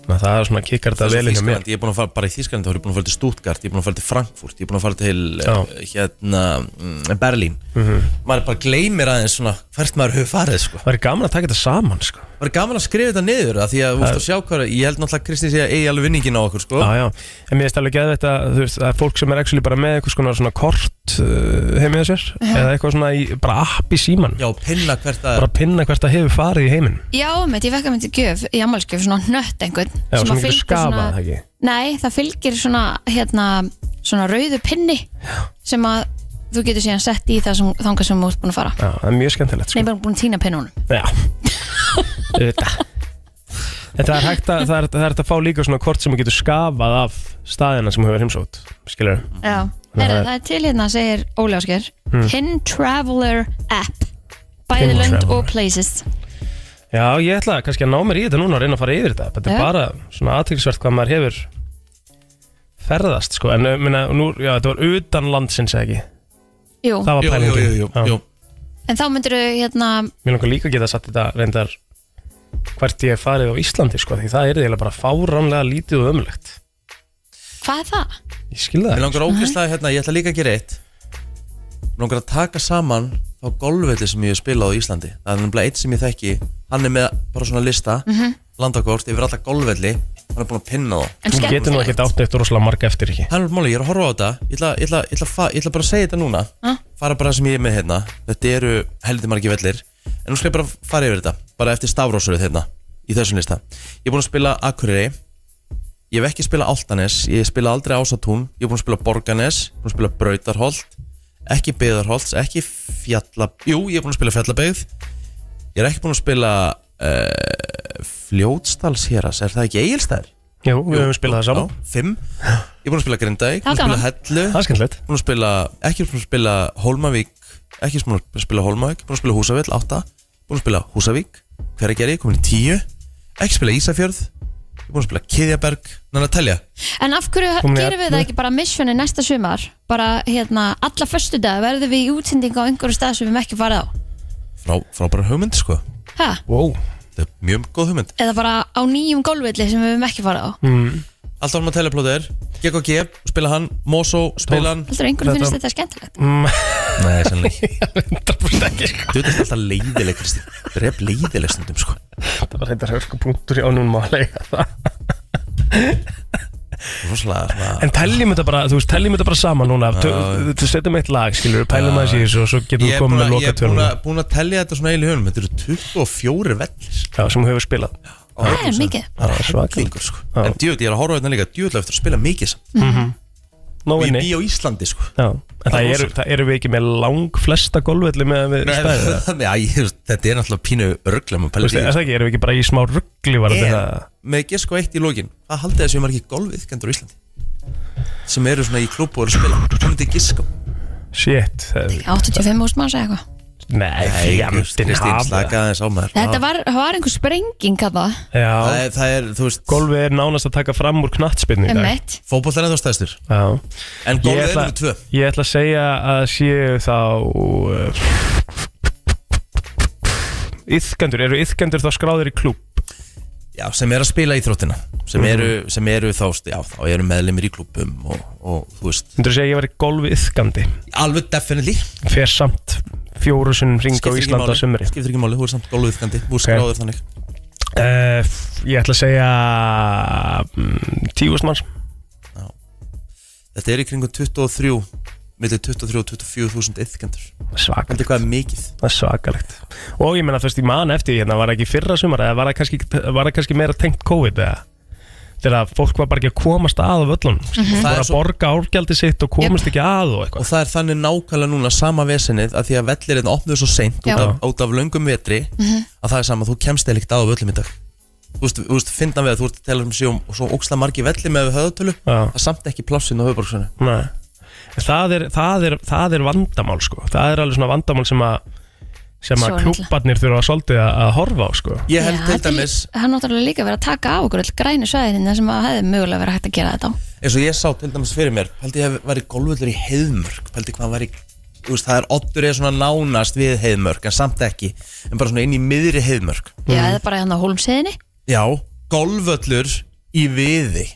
Speaker 4: Ná, það er svona kikkar þetta
Speaker 1: Þess að
Speaker 4: vel inn hjá mér.
Speaker 1: Þýskaland, ég er búin að fara bara í Þýskaland þá er ég búin að fara til Stuttgart, ég er búin að fara til Frankfurt ég er búin að fara til
Speaker 4: Já.
Speaker 1: uh, hérna mm, Berlín
Speaker 4: Mhm.
Speaker 1: maður bara gleymir aðeins svona hvert maður hefur farið sko.
Speaker 4: Það er gaman að taka þetta saman, sko.
Speaker 1: maður er gaman að skrifa þetta niður af því að, úst, að sjá hvað, er- ég held náttúrulega að Kristi sé að eigi alveg vinningin á okkur sko.
Speaker 4: Já, já, en mér finnst alveg geðveitt að þú veist, það er fólk sem er actually bara með eitthvað svona, svona kort uh, heim í sér eða eitthvað svona í, bara app í síman
Speaker 1: já, pinna hvert að
Speaker 4: bara pinna hvert það hefur farið í heiminn
Speaker 3: já, mitt, ég vekka myndi gjöf í ammálskjöf svona nött einhvern
Speaker 4: Já,
Speaker 3: sem
Speaker 4: svona
Speaker 3: að
Speaker 4: einhver
Speaker 3: fylgir
Speaker 4: skafa, það ekki?
Speaker 3: Nei, það fylgir svona hérna, svona rauðu pinni sem að þú getur síðan sett í það sem, þangað sem þú ert búin að fara
Speaker 4: Já, það er mjög skemmtilegt
Speaker 3: Nei,
Speaker 4: sko.
Speaker 3: bara búin að týna pinnunum
Speaker 4: Já, auðvitað En það er hægt að, það er, það er hægt að fá líka svona kort sem getur skafað af staðina sem hefur heimsótt skilur
Speaker 3: Já, Herra, það er til hérna segir Óli Ásker
Speaker 4: Hmm.
Speaker 3: Pin Traveler App
Speaker 4: Pin
Speaker 3: Bæði lönd
Speaker 4: Traveler.
Speaker 3: og places
Speaker 4: Já, ég ætla kannski að ná mér í þetta núna og reyna að fara yfir þetta Þetta er
Speaker 3: Já.
Speaker 4: bara svona aðtryggsvert hvað maður hefur ferðast sko En uh, minna, nú, já, þetta var utan landsins eða ekki
Speaker 3: Jú,
Speaker 4: Það var
Speaker 1: Jú, jú,
Speaker 4: pælingin
Speaker 1: jú, jú,
Speaker 4: Já.
Speaker 1: jú.
Speaker 3: en þá myndir þau hérna
Speaker 4: Mér langar líka að geta satt þetta reyndar hvert ég hef farið á Íslandi sko, því það er eiginlega bara fáránlega lítið og ömulegt.
Speaker 3: Hvað er það?
Speaker 4: Ég skilða
Speaker 1: Mér
Speaker 4: það.
Speaker 1: langar ógæslega hérna, ég ætla líka að gera eitt Mér langar að taka saman þá golfvelli sem ég hef spilað á Íslandi Það er nefnilega eitt sem ég þekki Hann er með bara svona lista landakort yfir alla golfvelli Hann er búin að pinna þá
Speaker 3: En
Speaker 4: Þú getur nú ekkert átt eitt rosalega marga eftir ekki.
Speaker 1: Það er alveg máli, ég er að horfa á þetta Ég ætla, ég ætla, ég ætla, að fa- ég ætla bara að segja þetta núna
Speaker 3: Ha?
Speaker 1: fara bara sem ég er með hérna Þetta eru heldur margir vellir En nú skal ég bara fara yfir þetta Bara eftir stafrósurð hérna Í þessum lista Ég er búin að spila Akureyri Ég hef ekki spilað Altanes Ég hef spilað aldrei Ásatún Ég hef búin að spila Borganes Búin að spila Brautarholt Ekki Beðarholt Ekki Fjalla Jú, ég hef búin að spila Fjallabegð Ég er ekki búin að spila uh, Fljótsdalshéras Er það ekki Egilstær?
Speaker 4: Jú, við höfum spilað það saman
Speaker 1: Fimm Ég er búin að spila Grindæk
Speaker 3: Það var
Speaker 1: Búin að spila
Speaker 3: gaman.
Speaker 1: Hellu
Speaker 4: Það er skemmtilegt
Speaker 1: Búin að spila Ekki búin að spila Hólmavík Ekki búin að spila Hólmavík Búin að spila Húsavill Átta Búin að spila Húsavík Hveragerði Komin í tíu Ekki spila Ísafjörð Ég er búin að spila Kiðjaberg Nann að telja
Speaker 3: En af hverju
Speaker 4: Komum við
Speaker 3: gerum við
Speaker 4: efni?
Speaker 3: það ekki bara missioni næsta sumar? Bara hérna, alla förstu dag verðum við í útsendingu á einhverju stað sem við erum ekki farið á
Speaker 1: Frá, frá bara hugmynd sko
Speaker 3: ha?
Speaker 4: Wow
Speaker 1: Þetta er mjög góð hugmynd
Speaker 3: Eða bara á nýjum gólfvelli sem við erum ekki farið á
Speaker 4: Mm.
Speaker 1: Alltaf hann að telja plótið er Gekk og gef Spila hann Mosó Spila hann
Speaker 3: Heldur einhverjum finnst þetta skemmtilegt
Speaker 1: Nei, sannlega
Speaker 4: Það fórst ekki sko
Speaker 1: Þú veist alltaf leiðileg Kristín Dref leiðileg stundum sko
Speaker 4: Það var þetta hörku punktur í ánum málega það
Speaker 1: Róslega svona
Speaker 4: En teljum þetta bara, þú veist, teljum þetta bara saman núna Tö- Þú þú setjum eitt lag, skilur, pælum aðeins í þessu og svo getum
Speaker 1: Ég
Speaker 4: við
Speaker 1: er búin
Speaker 4: komið með
Speaker 1: að, ég
Speaker 4: loka
Speaker 1: er búin að, búin að telja þetta svona eiginlega í höfum Þetta eru 24 vellir
Speaker 4: Já, sem hún hefur spilað
Speaker 3: Það er mikið
Speaker 4: Já, svakal
Speaker 1: Klingur, sko.
Speaker 4: Já.
Speaker 1: En djúvill, ég er að horfa á þetta líka Djúvill á eftir að spila mikið samt
Speaker 4: Nó
Speaker 1: Og ég
Speaker 4: inni
Speaker 1: bý á Íslandi sko.
Speaker 4: Mhm. Já, en það eru, það eru við ekki með lang flesta golfvelli með að við
Speaker 1: Nei,
Speaker 4: stæðum það
Speaker 1: Nei, æ, þetta er náttúrulega pínu örglum
Speaker 4: Þú veist, er það ekki, erum við ekki bara í smá ruggli var þetta
Speaker 1: sko. Með gisk og eitt í lógin Hvað haldið þessi margir golfið kendur á Íslandi sem eru svona í klúbu og eru að spila Hvað myndi gisk á?
Speaker 4: Shit, það,
Speaker 3: 85 hús manns eða eitthvað
Speaker 4: nei, fjandinn
Speaker 1: Kristín, slaka aðeins á maður
Speaker 3: Þetta var, það var einhver sprenging að það
Speaker 1: Það
Speaker 4: Já,
Speaker 1: er, það er, þú veist,
Speaker 4: golfið er nánast að taka fram úr knattspinni í
Speaker 3: um
Speaker 4: dag
Speaker 3: eitt
Speaker 1: fótboll er ennþá stæðstur
Speaker 4: Já,
Speaker 1: En
Speaker 4: ég
Speaker 1: golfið er
Speaker 4: ætla,
Speaker 1: nummer tvö
Speaker 4: ég ætla að segja að séu þá uh, Íþkendur, eru íþkendur þá skráðir í klúb
Speaker 1: Já, sem eru að spila íþróttina sem eru, sem eru þá, já, þá eru meðlemir í klúbum og, og þú veist,
Speaker 4: Myndur þú segja að ég var í golfi íþkandi
Speaker 1: alveg definitely
Speaker 4: Fer samt fjóru sinum ring á
Speaker 1: Skiptir ekki
Speaker 4: Íslanda
Speaker 1: máli.
Speaker 4: á sumri
Speaker 1: Skiptir ekki máli, þú er samt góluðiðkandi Þú er skráður þannig
Speaker 4: uh, Ég ætla að segja um, Tífust manns
Speaker 1: Þetta er í kringum 23 Millir 23 og 24 þúsund iðkendur
Speaker 4: Svakalegt,
Speaker 1: Þetta er hvað er mikið
Speaker 4: það er svakalegt Og ég menna þú veist, ég man eftir því hérna Var það ekki fyrra sumar eða var það kannski, var það kannski meira tengt COVID eða Þegar að fólk var bara ekki að komast að af öllun mm
Speaker 1: Mhm. Það
Speaker 4: Var
Speaker 1: er
Speaker 4: að
Speaker 1: svo-
Speaker 4: borga árgjaldi sitt og komast ekki að og eitthvað
Speaker 1: Og það er þannig nákvæmlega núna sama vesenið að því að vellir þetta opnuðu svo seint út
Speaker 3: Já.
Speaker 1: af, út af löngum vetri að það er sama, þú kemst eða ekkert á völlum í dag Þú veist, þú veist, finna við að þú ert að tala um sig um svo óksla margi velli með höðatölu
Speaker 4: Já.
Speaker 1: það er samt ekki plássinn á höfuborgsvönu
Speaker 4: Nei. Það, er, það, er, það er vandamál sko. það er alveg svona vandamál sem að sem að
Speaker 3: Svo er
Speaker 4: klúbarnir þurfa svolítið að, að horfa á sko.
Speaker 1: Ég held til
Speaker 3: þetta er lí-
Speaker 1: dæmis,
Speaker 3: Það er náttúrulega líka verið að taka á okkur öll grænu svæðinina sem að hefði mögulega verið hægt að gera þetta á
Speaker 1: eins og ég sá til dæmis fyrir mér held ég hef verið golvöldur í heiðmörk held ég hvað væri, þú veist, það er oddur eða svona nánast við heiðmörk en samt ekki, en bara svona inn í miðri heiðmörk
Speaker 3: Já,
Speaker 4: Mhm.
Speaker 3: eða bara hérna á hólmseðinni
Speaker 1: já, golvöllur í viði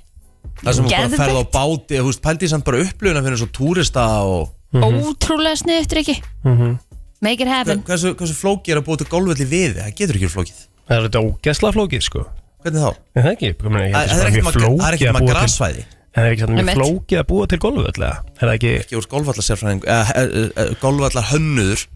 Speaker 1: það sem þú bara
Speaker 3: Geðveikt.
Speaker 1: ferð á báti þú veist, pældi ég samt bara upplöfuna fyrir eins og túrista og
Speaker 3: Mhm,
Speaker 4: Mhm.
Speaker 3: Ótrúlega sniðugt, Riki Make it happen
Speaker 1: hversu, hversu flóki er að búið til golvöll í viði það getur ekki verið flókið,
Speaker 4: það er þetta ógæsla flókið sko.
Speaker 1: hvernig þá?
Speaker 4: Er það ekki, Ég meina, ég
Speaker 1: Það það
Speaker 4: held að
Speaker 1: er
Speaker 4: það sé
Speaker 1: ekkert
Speaker 4: mjög
Speaker 1: um að- það er ekkert
Speaker 4: flókið að
Speaker 1: um að
Speaker 4: búa til-
Speaker 1: grassvæði
Speaker 4: En það er ekki satt mjög
Speaker 3: Einmitt.
Speaker 4: flókið að búa til golfvöll eða? er það ekki
Speaker 1: ekki úr eh, golvallarsérfræðing golvallar hönnuður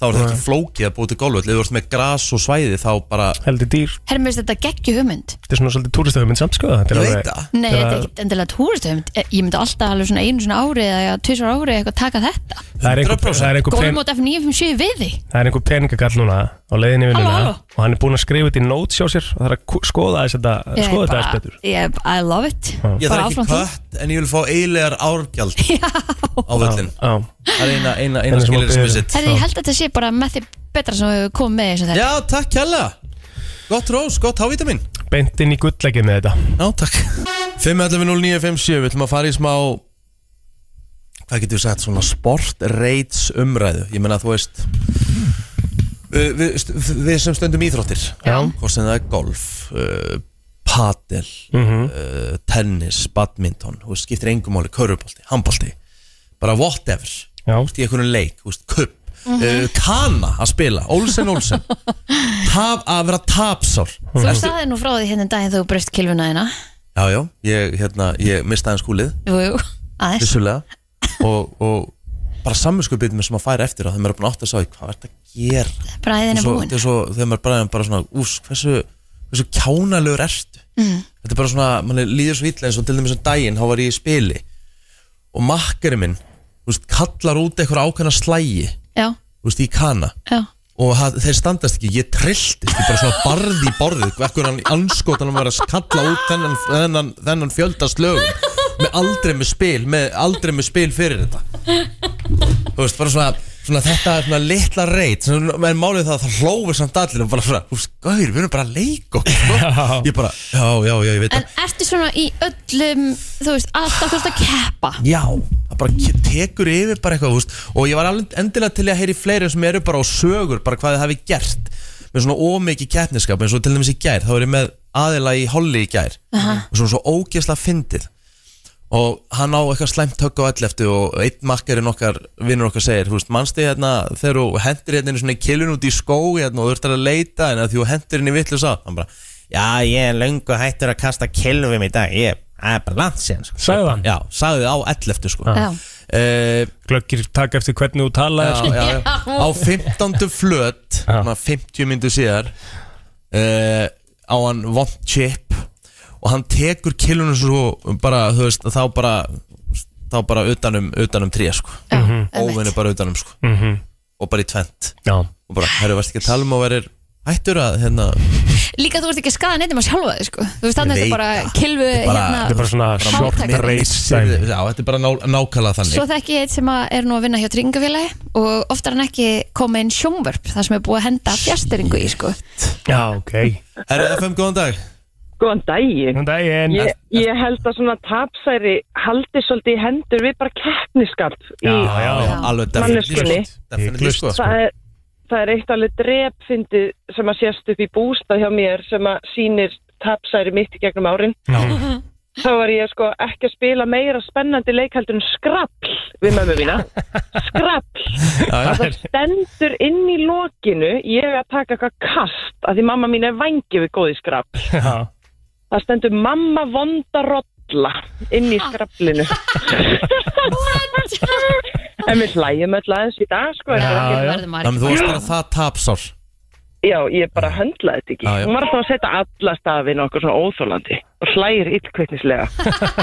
Speaker 1: þá er það ekki flókið að búið til golvöll ef þú ert með gras og svæði þá bara
Speaker 4: heldur dýr
Speaker 3: Herra, mér finnst þetta geggju hugmynd
Speaker 4: þetta er svona svolítið túristöfuminn samt sko. Þetta
Speaker 1: Ég
Speaker 4: er alveg-
Speaker 1: veit það.
Speaker 3: Nei,
Speaker 4: Eða-
Speaker 3: þetta er ekkert endilega túristöfund Ég myndi alltaf alveg svona einu svona ári eða tvisar ári eitthvað taka þetta
Speaker 4: það er einhver-
Speaker 1: 100%.
Speaker 4: það er einhver pen-
Speaker 3: Gólmót F957 við því
Speaker 4: það er einhver peningakall núna á leiðinni í
Speaker 3: Halló,
Speaker 4: vinnuna
Speaker 3: halló.
Speaker 4: og hann er búinn að skrifa þetta í notes hjá sér og það er að ko- skoða þess þetta
Speaker 3: Ég
Speaker 4: Eh, skoða þetta
Speaker 3: bara-
Speaker 4: aðeins betur
Speaker 3: ég, I love it
Speaker 1: Ég
Speaker 3: Bara
Speaker 1: þarf ekki
Speaker 3: áfram því.
Speaker 1: kött en ég vil fá eiginlegar árgjald á völlin
Speaker 4: Já.
Speaker 1: Það er eina, eina, eina
Speaker 4: Þannig sem
Speaker 1: skilir
Speaker 4: að
Speaker 1: sem
Speaker 4: biður.
Speaker 1: er sitt
Speaker 3: Herra, ég held að þetta sé bara með því betra sem við komum með eins og þetta
Speaker 1: Já, takk kjalla Gott rós, gott hávítamin
Speaker 4: beint inn í gullegið með þetta
Speaker 1: Já, takk 5.11.09.57 Við ætlum að fara í smá Hvað getur við sagt? Svona sportreits umræðu Ég meina þú veist við, við, st- við sem stöndum íþróttir
Speaker 4: Já.
Speaker 1: Hvort sem það er golf uh, Padel
Speaker 4: Mhm.
Speaker 1: uh, Tennis, badminton Þú veist, skiptir engum máli, körfubolti, handbolti Bara whatever
Speaker 4: Já.
Speaker 1: í einhvern leik, úst, kupp uh, Kana að spila, Olsen Olsen Taf, að vera tapsár
Speaker 3: Þú staðið nú frá því hérna um daginn þegar þú breyst kilfuna hérna
Speaker 1: Já, já, ég, hérna, ég mistaði skúlið
Speaker 3: Jú, jú, aðeins
Speaker 1: vissulega og, og bara samvinskupitnum sem maður fær eftir á þegar maður er búin að átta að sagja hvað er þetta að gera
Speaker 3: Bræðin er
Speaker 1: svo,
Speaker 3: búin
Speaker 1: þetta er svo, þegar maður bræðin bara svona ús, hversu, hversu kjánalegur ertu
Speaker 3: Mm.
Speaker 1: þetta er bara svona, mann líður svo illa eins og til dæmis um daginn, þá var ég í spili og makkari minn þú veist, kallar út eitthvað ákveðna slægi
Speaker 3: Já,
Speaker 1: þú veist, í kana
Speaker 3: já
Speaker 1: og það, þeir standast ekki, ég trilltist ég bara svona barði í borðið ekkur hann anskotan að vera að kalla út þennan, þennan, þennan fjöldast lögum með aldrei með spil með aldrei með spil fyrir þetta þú veist, bara svona, svona þetta er svona litla reyt svona, en málið það að það hlófið samt allir og bara svona, þú veist, gauður, við erum bara að leika okkur sko. ég bara, já, já, já, ég veit
Speaker 3: En
Speaker 1: það
Speaker 3: ertu svona í öllum, þú veist, alltaf þú veist að keppa
Speaker 1: já, það bara ke- tekur yfir bara eitthvað, þú veist, og ég var alveg endilega til í að heyri fleiri sem eru bara á sögur bara hvað þið hafi gert með svona ómikið keppniskap eins og til dæmis í gær, þá er ég með aðila í holli í gær og svona svo ógeðslega fyndið og hann á eitthvað slæmt högg á all eftir og einn makkarinn okkar, vinnur okkar segir þú veist, mannstu hérna þegar þú hendir hérna einu svona kilun út í skó hérna og þú ert að leita en að því þú hendir hérna í vitlu sá hann bara, já ég er löngu hættur að kasta kilvum í dag, ég það er bara landsins sko.
Speaker 4: Sagði hann?
Speaker 1: Já, sagði á all eftir sko
Speaker 3: Já,
Speaker 1: Eh,
Speaker 4: Glöggir taka eftir hvernig þú
Speaker 1: já,
Speaker 4: talaði sko.
Speaker 1: já, já. á 15. flöt
Speaker 4: Já.
Speaker 1: svona 50 myndu síðar uh, á hann vond chip og hann tekur kilunum svo bara, þú veist, þá bara þá bara utanum, utanum tré sko.
Speaker 3: já,
Speaker 1: óvinni
Speaker 3: einmitt.
Speaker 1: bara utanum sko.
Speaker 4: Mhm.
Speaker 1: og bara í tvent
Speaker 4: Já,
Speaker 1: og bara, herru, varst ekki að tala um að verður hættur að, hérna,
Speaker 3: Líka þú ert ekki að skaða neitt um að sjálfa þig, sko Þú veist, þannig að þetta
Speaker 1: Ég veit
Speaker 3: bara
Speaker 1: það.
Speaker 3: kilfu
Speaker 1: Þetta er bara-
Speaker 4: þetta er bara
Speaker 3: hérna
Speaker 4: svona short
Speaker 3: Máltækni.
Speaker 4: race dæmi.
Speaker 1: já, þetta er bara ná, nákala þannig
Speaker 3: Svo þekki ég eitt sem að er nú að vinna hjá tryggingafélagi og oftar en ekki koma inn sjónvörp þar sem er búið að henda fjasteringu í sko.
Speaker 4: Já, ok
Speaker 1: herru, FM, góðan dag
Speaker 8: Góðan daginn.
Speaker 4: Þannig daginn
Speaker 8: Ég, ég held að svona tapsæri haldi svolítið í hendur við bara keppniskap.
Speaker 4: Já,
Speaker 8: í,
Speaker 4: já, já
Speaker 1: alveg
Speaker 8: Manneskunni.
Speaker 1: definitely, sko. definitely sko.
Speaker 8: það, er, það er eitt alveg drepfindi sem að sést upp í bústað hjá mér sem að sýnir tapsæri mitt í gegnum árin.
Speaker 4: Já.
Speaker 8: Þá var ég sko ekki að spila meira spennandi leikhaldur en skrapl við mömmu mína. Skrapl.
Speaker 1: Já,
Speaker 8: Það stendur inn í lokinu ég er að taka eitthvað kast að því mamma mín er vangið við góði skrapl.
Speaker 4: Já.
Speaker 8: Það stendur mamma vonda rolla inn í skraplinu. en við hlægjum öll aðeins í dag, sko.
Speaker 4: Já,
Speaker 8: Já,
Speaker 4: já.
Speaker 8: ekki,
Speaker 3: Verður maður ekki
Speaker 1: Þannig þú varst
Speaker 3: bara-
Speaker 1: bara það tapsár
Speaker 8: já ég bara höndlaði þetta ekki.
Speaker 1: Já, já.
Speaker 8: Hún var alltaf að setja alla stafin okkur svona óþólandi og hlægir illkveitnislega.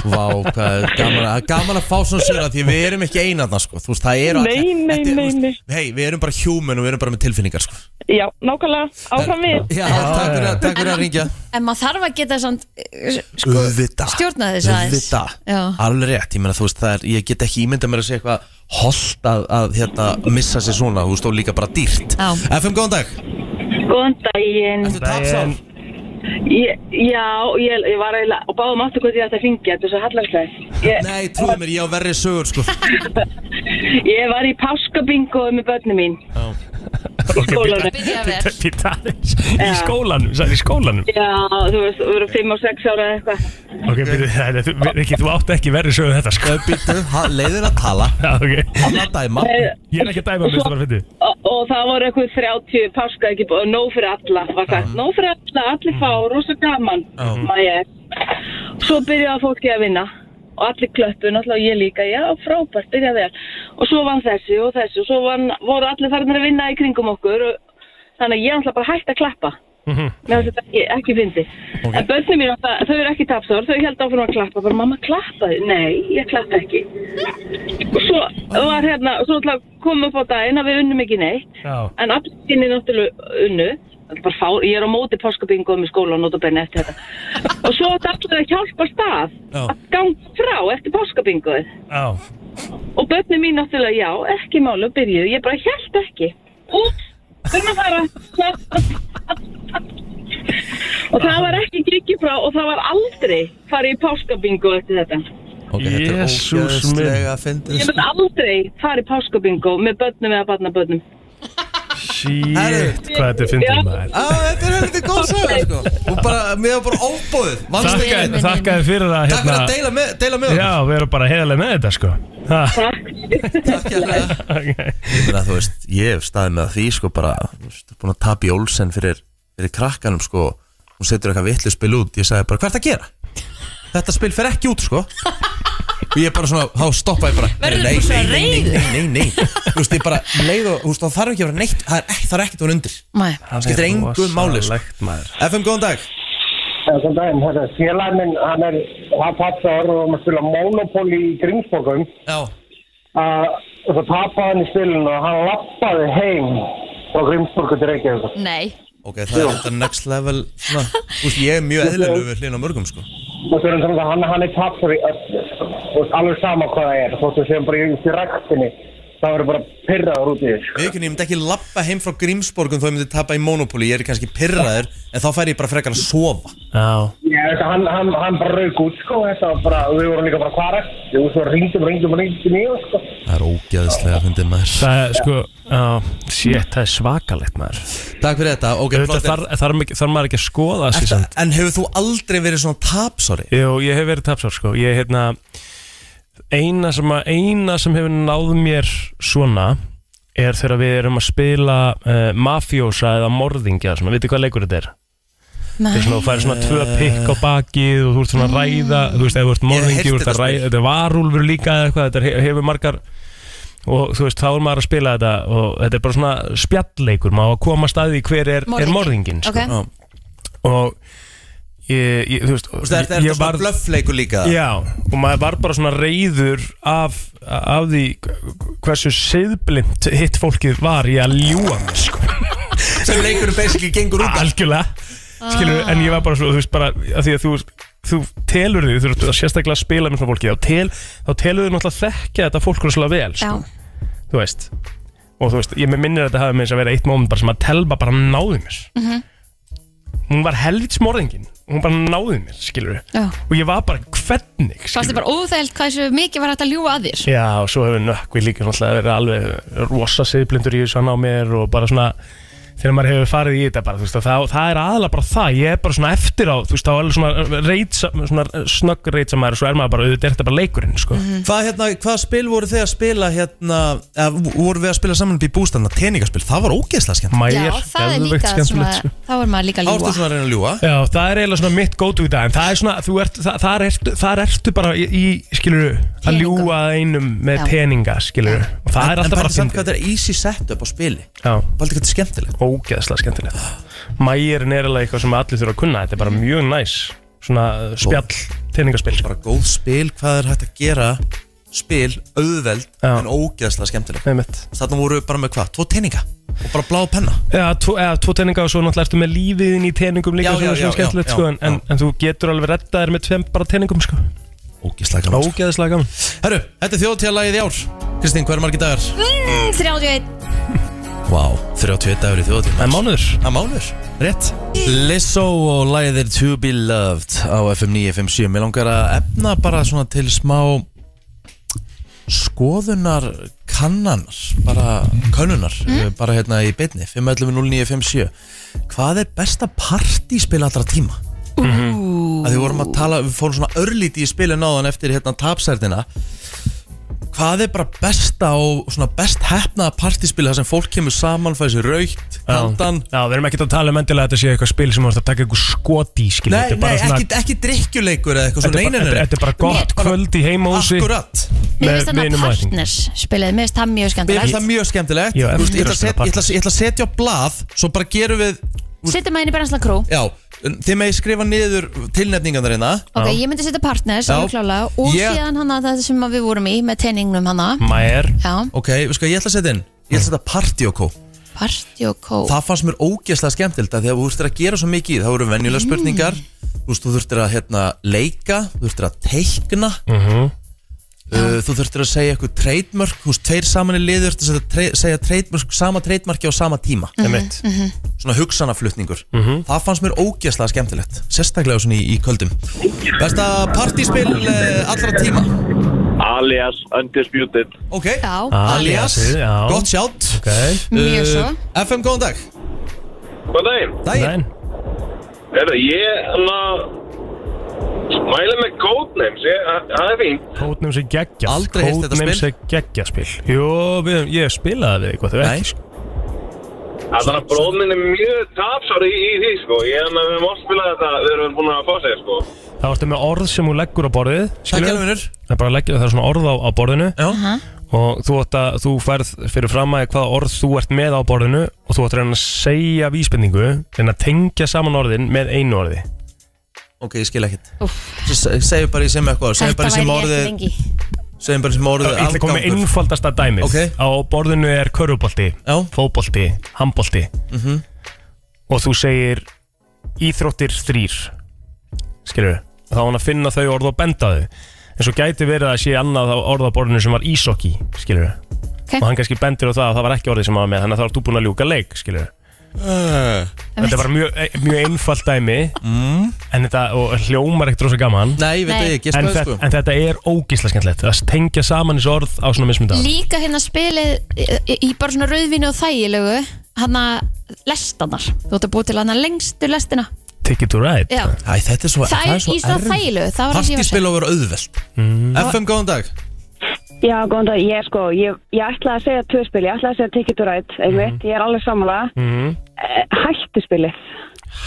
Speaker 1: Vá, hvað er gaman, að- gaman að fá svona sér að því við erum ekki einarna sko. Þú veist, það eru
Speaker 8: Nei, nei,
Speaker 1: þetta
Speaker 8: nei,
Speaker 1: er, þú veist,
Speaker 8: nei.
Speaker 1: Hey, við erum bara human og við erum bara með tilfinningar sko.
Speaker 8: já, nákvæmlega, áfram við.
Speaker 1: Já, takk fyrir, að- takk fyrir að ringja
Speaker 3: En maður þarf að geta samt eh, sko,
Speaker 1: Öðvita
Speaker 3: stjórna þess aðeins Já.
Speaker 1: Alveg rétt, ég meina þú veist það er Ég get ekki ímynda mér að segja eitthvað Holt að, að hérna, missa sér svona Þú stóð líka bara dýrt
Speaker 3: Já.
Speaker 1: FM, góðan dag
Speaker 9: Góðan daginn.
Speaker 1: Ertu tapsár?
Speaker 4: Daginn.
Speaker 9: Ég, já, ég, ég var eiginlega, og báðum aftur hvort ég ætti að ringja, þetta er svo hallarklæð.
Speaker 1: Nei, trúðu mér, ég á verri sögur sko.
Speaker 9: Ég, ég var í páskabingo með börnum mín.
Speaker 1: Já.
Speaker 9: Í skólanum.
Speaker 3: Byrja vel.
Speaker 4: Bíddu- bíddu aðeins. Í skólanum, sagði í skólanum
Speaker 9: Já, þú veist, við erum fimm og sex ára eða eitthvað.
Speaker 4: Ok, byrju, það, þú, ekki, þú átt ekki verið sögum þetta sko
Speaker 1: Ö, Býttu, Eh, ha- leiðir að tala
Speaker 4: Já, ok
Speaker 1: Hann að dæma
Speaker 4: Ég er ekki að dæma, minnst það var fyndið
Speaker 9: Og, og það voru eitthvað 30 páska, ekki, og nóg fyrir alla, var sagt. Nóg fyrir alla, allir fá, rosa gaman.
Speaker 1: Já.
Speaker 9: Mæja. Svo byrjaði fólki að vinna og allir klöppu, náttúrulega ég líka, já, frábært, byrjaði vel. Og svo vann þessi og þessi og svo vann, voru allir farinir að vinna í kringum okkur. Og, þannig að ég náttúrulega bara hætti að klappa. Mér finnst þetta ekki, ekki fyndi. En börnum mín, það, þau eru ekki tapsar, þau held áfram að klappa. Bara, mamma, klappaði. Nei, ég klappa ekki. Og svo var hérna, svo ætla að koma upp á daginn að við unnum ekki neitt.
Speaker 4: Já,
Speaker 9: En afskinni náttúrulega unnu. Það er bara Fár, ég er á móti páskabingoðum í skóla og nota benni eftir þetta. Og svo þetta allir að hjálpa stað
Speaker 1: Já.
Speaker 9: að ganga frá eftir páskabingoð.
Speaker 4: já
Speaker 9: Og börnum mín náttúrulega, já, ekki málu, byrjuðu. Ég bara held ekki. Út, þurfum að fara. og það var ekki gikið frá og það var aldrei farið í páskabingo eftir þetta.
Speaker 1: Ok, þetta er
Speaker 4: Jesús minn.
Speaker 1: ógeðslega fyndið,
Speaker 9: Ég
Speaker 1: sko.
Speaker 9: mun aldrei farið í páskabingo með börnum eða barnabörnum.
Speaker 4: Shit, hvað þetta er fyndið
Speaker 9: Já.
Speaker 4: maður
Speaker 1: Já, þetta er heldur góð saga sko. Og bara, mér var bara óbóðið Manstu
Speaker 3: Þakka-
Speaker 1: ekki
Speaker 4: Þakkaði
Speaker 3: minn.
Speaker 4: þakkaði fyrir að
Speaker 1: Takk fyrir
Speaker 4: hérna
Speaker 1: að deila með, deila með
Speaker 4: Já, við erum bara heiðarlega með þetta sko Ha,
Speaker 9: Takk.
Speaker 1: Takk hérna
Speaker 4: ok.
Speaker 1: Ég meina, þú veist, ég hef staðið með að því sko bara Þú veist, búin að tapa í Olsen fyrir, fyrir krakkanum sko Hún setur eitthvað vitlu spil út Ég sagði bara, hvað er það að gera? Þetta spil fer ekki út sko og ég bara svona, þá stoppa ég bara
Speaker 10: Verður
Speaker 1: nei,
Speaker 10: þú svo
Speaker 1: nei, nei,
Speaker 10: reiður?
Speaker 1: nei, nei, nei, nei Þú veist, ég bara leið og, þú veist, þá þarf ekki að vera neitt það er, ekki- það er ekkert að vera undir
Speaker 3: Nei.
Speaker 1: skiptir engu máli sko.
Speaker 4: Rosalegt, maður.
Speaker 1: FM, góðan dag
Speaker 11: Þessum daginn, þetta er félagin minn, hann er að tapsa orðum um að spila Monopoly í Grímsbókum.
Speaker 1: Já.
Speaker 11: Og það tapaði hann í spilinu og hann lappaði heim frá Grímsbóku til Reykjavík.
Speaker 10: Nei
Speaker 1: Ok, það er þetta next level svona, Þú veist, ég er mjög eðlilegur við hlýna mörgum sko
Speaker 11: Og það er þannig að hann, hann er tapsar í öllu, sko. Og alveg sama hvað það er, þóttu séum bara í ræktinni, það verður bara pyrraður út í sko. þessu.
Speaker 1: Við ekki, ég myndi ekki lappa heim frá Grímsborgum þó ég myndi tapa í Monopoly, ég er kannski pirraður en þá fær ég bara frekar að sofa
Speaker 4: Já
Speaker 11: Já, þetta, hann, hann, hann bara rauk út, sko, þetta var bara, við vorum líka bara hvar er, þú veist, við ringdum, ringdum, ringdum í og, sko.
Speaker 1: Það er ógeðslega fyndið maður
Speaker 4: Það er sko, á, shit, það er svakalegt maður
Speaker 1: Takk fyrir þetta, ok
Speaker 4: Þetta
Speaker 1: flott.
Speaker 4: þarf þar, þar maður ekki að skoða þessi
Speaker 1: Þetta-
Speaker 4: samt
Speaker 1: En hefur þú aldrei verið svona tapsori?
Speaker 4: Jú, ég hef verið tapsár sko Ég er hérna eina sem, að, eina sem hefur náð mér svona er þegar við erum að spila uh, mafjósa eða morðingja svona, veitir hvað leikur þetta er? Þetta er svona, þú færi svona tvö pikk á bakið og þú ert svona að ræða, þú veist, ef þú ert morðingi
Speaker 1: heyrt
Speaker 4: þú ert
Speaker 1: Mm.
Speaker 4: að
Speaker 1: þetta
Speaker 4: ræða,
Speaker 1: spil.
Speaker 4: þetta er varúlfur líka eða eitthvað, þetta er- hefur margar og þú veist, þá er maður að spila þetta og þetta er bara svona spjallleikur maður á að koma staði hver er, er morðingin sko.
Speaker 1: Já.
Speaker 4: og ég, ég, þú veist,
Speaker 1: Þú veist, er þetta- er
Speaker 4: ég
Speaker 1: þetta svona
Speaker 4: varð-
Speaker 1: blöffleikur líka?
Speaker 4: Já, og maður var bara svona reyður af, af því hversu siðblind hitt fólkið var í að ljúa mig sko.
Speaker 1: Sem leikurinn basically gengur út af.
Speaker 4: Algjörlega, skilur, en ég var bara svona, þú veist bara, að því að þú þú telur því, þú ert að sérstaklega að spila með svona fólki, þá, tel, þá telur þau náttúrulega þekkja þetta fólk rosalega vel, sko. þú veist og þú veist, ég með minnir að þetta hafi með þess að vera eitt móment bara sem að telma bara náði mér
Speaker 10: Mhm.
Speaker 4: hún var helvits morðingin hún bara náði mér, skilur
Speaker 3: Já.
Speaker 4: og ég var bara, hvernig,
Speaker 3: Fannst þið bara óþægild hvað þessu mikið var hægt að ljúa að þér
Speaker 4: Já, og svo hefur nökkvi líka náttúrulega verið alveg rosa siðblindur í þessu hann á mér og bara svona þegar maður hefur farið í þetta bara, þú veist, það, það er aðalega bara það, ég er bara svona eftir á þú veist, þá er alveg svona, reitsa, svona snögg reitsa maður og svo er maður bara, auðvitað er þetta bara leikurinn sko.
Speaker 3: Mhm.
Speaker 1: Hvað, hérna, hvað spil voru þið að spila hérna, eða, voru við að spila saman upp í bústanda, teningaspil, það var ógeðslega skemmt
Speaker 3: Já, það er líka svona,
Speaker 4: sko.
Speaker 3: þá er maður líka að ljúa
Speaker 1: Ástu svona að reyna að ljúa
Speaker 4: Já, það er eiginlega svona mitt gótu í dag en það er svona, þú ert, það, það ertu, það ertu bara í, í skiluru, að ljúa að einum með
Speaker 1: Já.
Speaker 4: teninga, skiluru og það er
Speaker 1: En
Speaker 4: alltaf
Speaker 1: pældi
Speaker 4: bara
Speaker 1: samt
Speaker 4: fyndið.
Speaker 1: hvað þetta er easy setup á spili
Speaker 4: Já.
Speaker 1: Baldi hvað þetta er skemmtilegt
Speaker 4: Ógeðslega skemmtilegt Mærin er alveg eitthvað sem allir þurfa að kunna Þetta er bara mjög næs Svona uh, spjall, teiningaspil
Speaker 1: Bara góð spil, hvað er hægt að gera spil, auðveld, en ógeðslega skemmtilegt
Speaker 4: Einmitt.
Speaker 1: Þarna voru við bara með hvað, tvo teninga og bara blá penna
Speaker 4: Já, tvo, eða, tvo teininga og svo náttúrulega ertu með lífiðin í teiningum líka
Speaker 1: Já,
Speaker 4: sem
Speaker 1: já,
Speaker 4: er svona
Speaker 1: já,
Speaker 4: skemmtilegt
Speaker 1: já,
Speaker 4: sko,
Speaker 1: já,
Speaker 4: en, en, en þú getur alveg reddað þér með tveim bara teiningum sko.
Speaker 1: Ógeðslega gaman sko.
Speaker 4: Ógeðslega gaman
Speaker 1: Herru, þetta er þjóðtíðalagið í ár Kristín, hvað er margir dagar?
Speaker 3: mm, 31
Speaker 1: Vá, 31 dagur í þjóðatíma
Speaker 4: En mánuður
Speaker 1: En mánuður, rétt Lizzo og læðir To Be Loved á FM 957 Mér langar að efna Hérna bara svona til smá skoðunar kannanar bara kannunar,
Speaker 3: Mm.
Speaker 1: bara hérna í beinni 511-0957 Hvað er besta partíspil allra tíma? Að því vorum að tala, við fórum svona örlíti í spilin áðan eftir hérna tapsærdina Hvað er bara besta og svona best hefnaða partíspil þar sem fólk kemur saman, fæði sér raukt, kaldan
Speaker 4: Já, við erum ekkert að tala um endilega að þetta sé eitthvað spil sem þú ert að taka eitthvað skot í skilur
Speaker 1: Nei, nei, ekki, ekki drikkjuleikur eða eitthvað
Speaker 4: Þetta
Speaker 1: svona,
Speaker 4: er
Speaker 1: nei, nei,
Speaker 4: bara-
Speaker 1: nei, nei.
Speaker 4: þetta er bara gott kvöld í heimahúsi.
Speaker 1: Akkurat
Speaker 3: Mér finnst þarna partners spilaði, mér finnst það mjög
Speaker 1: Mér finnst
Speaker 3: skemmtilegt
Speaker 1: það mjög skemmtilegt
Speaker 4: Já,
Speaker 1: Þú veist, Ég ætla að
Speaker 4: eftir
Speaker 1: set- ég ætla að- ég ætla að setja á blað Svo bara gerum við
Speaker 3: Settum maður inn í brennslan krú
Speaker 1: Já, en þið megið skrifa niður tilnefningarnar hérna
Speaker 3: Ok, ég myndi setja partners,
Speaker 1: Já.
Speaker 3: alveg klálega Og
Speaker 1: Ég-
Speaker 3: síðan hana þetta sem að við vorum í með teiningnum hana
Speaker 4: Mæjar
Speaker 3: Já,
Speaker 1: Ok, við sko, ég ætla að setja inn Ég ætla að setja party og kó
Speaker 3: party og kó
Speaker 1: Það fannst mér ógeðslega skemmtilegt að því að þú þurftir að gera svo mikið í því. Það voru venjulega
Speaker 3: Mm.
Speaker 1: spurningar Þú veist, þú þurftir að hérna, leika Þú þurftir að teikna Uh, þú þurftir að segja eitthvað trademark Þú veist, tveir saman í liður Þú þurftir að tre- segja trademark, sama trademarki á sama tíma
Speaker 4: Einmitt.
Speaker 1: Svona hugsanaflutningur Það fannst mér ógeðslega skemmtilegt Sérstaklega svona í, í köldum Besta partíspil uh, allra tíma
Speaker 12: Alias Undisputed
Speaker 1: Ok,
Speaker 3: Já.
Speaker 1: alias,
Speaker 4: Aliasið, já.
Speaker 1: gott sjátt
Speaker 4: okay.
Speaker 3: Mjög svo.
Speaker 1: FM, góðan dag
Speaker 12: Góðan daginn
Speaker 1: Daginn
Speaker 12: Herra, ég hann að mæla með Codenames ég, Það er fínt
Speaker 4: Kótnum sem geggja
Speaker 12: Aldrei heyrt þetta
Speaker 4: Kótnum
Speaker 12: spil.
Speaker 4: sem geggja spil Jó, við, ég spilaði við eitthvað þau ekki sko.
Speaker 12: Þannig að hérna, bróð minn er mjög tapsar í, í því sko Ég hann að við mátt spila þetta Við erum búin að fá sig sko
Speaker 4: þá ertu með orð sem hún leggur á borðið skilurðu?
Speaker 1: Takk, Elvinur.
Speaker 4: það er bara að leggja það er svona orð á, á borðinu
Speaker 1: Já.
Speaker 4: og þú, átt að, þú færð fyrir fram að hvaða orð þú ert með á borðinu og þú ætti að reyna að segja vísbendingu reyna að tengja saman orðin með einu orði
Speaker 1: Ok, ég skil ekkert Segðu bara í sem eitthvað Segðu bara í sem orðið Segjum bara sem orðið
Speaker 4: Ég ætla að koma með
Speaker 1: afgangur.
Speaker 4: einfaldasta dæmið
Speaker 1: Ok.
Speaker 4: Á borðinu er körubolti, fóbolti, handbolti
Speaker 1: Mhm.
Speaker 4: Og þú segir Íþróttir þrýr Skilur Þá á hann að finna þau orð og benda þau En svo gæti verið að sé annað á orð á borðinu sem var ísokki Skilur
Speaker 3: Ok.
Speaker 4: Og hann kannski bendir á það að það var ekki orðið sem hann var með Þannig að þá ert þú búin að ljúka leik Skilur
Speaker 3: Eh.
Speaker 4: Þetta er bara mjög, eh, mjög einfalt dæmi mm. En þetta og hljómar ekkert rosa gaman
Speaker 1: Nei, ég veit Nei. það, ég giskaði,
Speaker 4: en,
Speaker 1: sko.
Speaker 4: þetta, en þetta er ógísla skemmtilegt Það tengja saman þessu orð á svona mismynda
Speaker 3: Líka hérna spilið í- í bara svona rauðvinni og þægilegu hann að lestanar þú ætti að búið til hann að lengstu lestina
Speaker 4: Take it to ride
Speaker 3: Já.
Speaker 1: Æ, þetta er svo
Speaker 3: það er í svona þægilegu það var það sem ég var að
Speaker 1: Partíspil á að vera auðveld FM, góðan dag
Speaker 10: Já, góðan dag, ég sko, ég, ég ætlaði að segja tvöspil, ég ætlaði að segja Ticket to Ride, einmitt, ég er alveg sammála. Eh, Hættuspilið.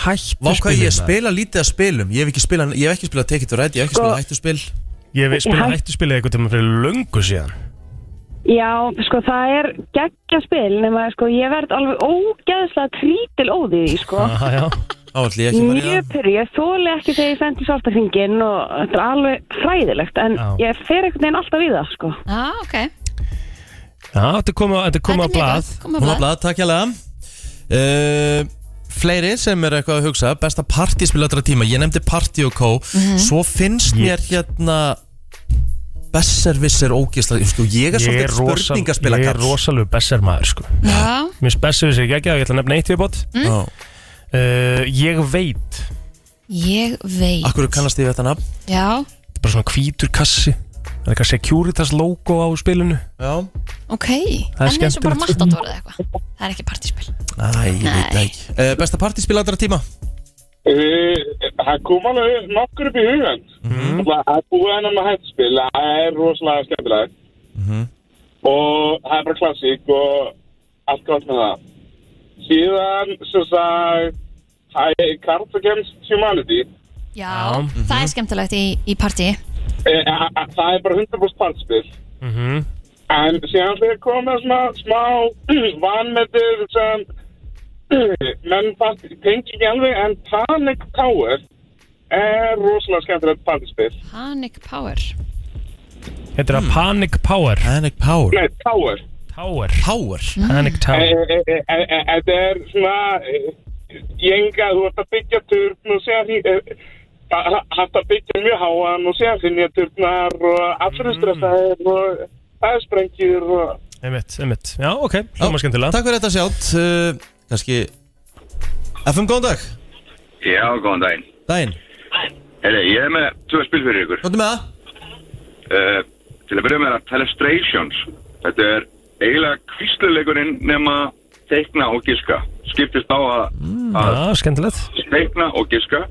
Speaker 1: Hættu Mhm. Vá hvað ég spila lítið að spilum Ég hef ekki spilað, ég hef ekki spilað Take it to Ride Ég hef ekki
Speaker 10: Sko-
Speaker 1: spilað hættuspil
Speaker 4: Ég hef spilað
Speaker 10: Hæ-
Speaker 4: hættuspilið eitthvað tíma fyrir löngu síðan
Speaker 10: Já, sko, það er geggja spil, nema, sko, ég verð alveg ógeðslega trítil óðið í, því, sko.
Speaker 4: já
Speaker 1: Þá ætlum ég ekki að fara í
Speaker 10: Mjög pyrri, ég þóli ekki þegar ég sendi svarta hringin og þetta er alveg fræðilegt, en
Speaker 4: Já.
Speaker 10: ég fer einhvern veginn alltaf í það, sko.
Speaker 3: Já, ah, ok.
Speaker 4: Já, þetta kom á- þetta kom á
Speaker 3: Þetta er mjög
Speaker 4: blað
Speaker 3: gott, kom á
Speaker 1: það Hún að blað, takk hérlega uh, Fleiri sem er eitthvað að hugsa Besta partíspil allra tíma Ég nefndi Party og Co
Speaker 3: Mhm.
Speaker 1: Svo finnst
Speaker 4: Ég-
Speaker 1: mér hérna Besserviss er ógisla sko, Ég er svolítið
Speaker 4: rosa-
Speaker 1: spurningastila
Speaker 4: Ég er rosalegu besser maður sko
Speaker 3: Já.
Speaker 4: Mér finnst besser við sér ekki að ég ætla að nefna eitt viðbót
Speaker 1: Mm.
Speaker 4: uh, Ég veit
Speaker 3: ég veit
Speaker 1: Akkur kannast þið við þetta nafn
Speaker 3: já,
Speaker 4: Þetta er bara svona hvítur kassi Það er eitthvað Securitas logo á spilinu
Speaker 1: Já
Speaker 3: ok
Speaker 4: Það er
Speaker 3: en eins og bara
Speaker 4: skemmtilegt.
Speaker 3: matador eða eitthvað það er ekki partíspil
Speaker 1: Æ, ég veit það ekki uh, Besta partíspil allra tíma
Speaker 13: Eh, Það kom alveg nokkur upp í hugan Það er búið hennar með hættspil Það er rosalega skemmtilegt Og það er bara klassík Og allt gott með það Síðan sem sagt Það er Cards Against Humanity
Speaker 3: já, það
Speaker 4: Mhm.
Speaker 3: er skemmtilegt í, í partí
Speaker 13: Eh, a- a- Það er bara 100% partspil
Speaker 4: Mhm.
Speaker 13: En síðan þegar komið smá, smá vanmetir sem menn fast tengi ekki alveg en Panic Tower er rosalega skemmtilegt partispil
Speaker 3: panic power
Speaker 4: Þetta er að Panic Power
Speaker 1: Hmm. Panic Power
Speaker 13: Nei, Tower
Speaker 4: Tower Mm.
Speaker 1: Power
Speaker 4: Panic Tower
Speaker 13: Eh, eh, eh, eh, eh, Þetta er svona eh, jenga, þú ert að byggja turn og eh, séðan hægt að byggja mjög háan og séðan finja turnar og
Speaker 3: Mhm.
Speaker 13: allir stressaðir og það er sprengjur og
Speaker 4: Einmitt, einmitt Já, ok, hljóma skemmtilega
Speaker 1: Takk fyrir þetta sjátt uh, Kanski FM, góðan dag
Speaker 14: Já, góðan daginn.
Speaker 1: Daginn
Speaker 14: Heyri, ég er með tvö spil fyrir ykkur.
Speaker 1: Hvað er með það?
Speaker 14: Uh, til að byrja með það, Telestrations. Þetta er eiginlega kvísluleikurinn nema teikna og giska. Skiptist á að
Speaker 1: Hmm.
Speaker 4: Já, skemmtilegt
Speaker 14: teikna og giska.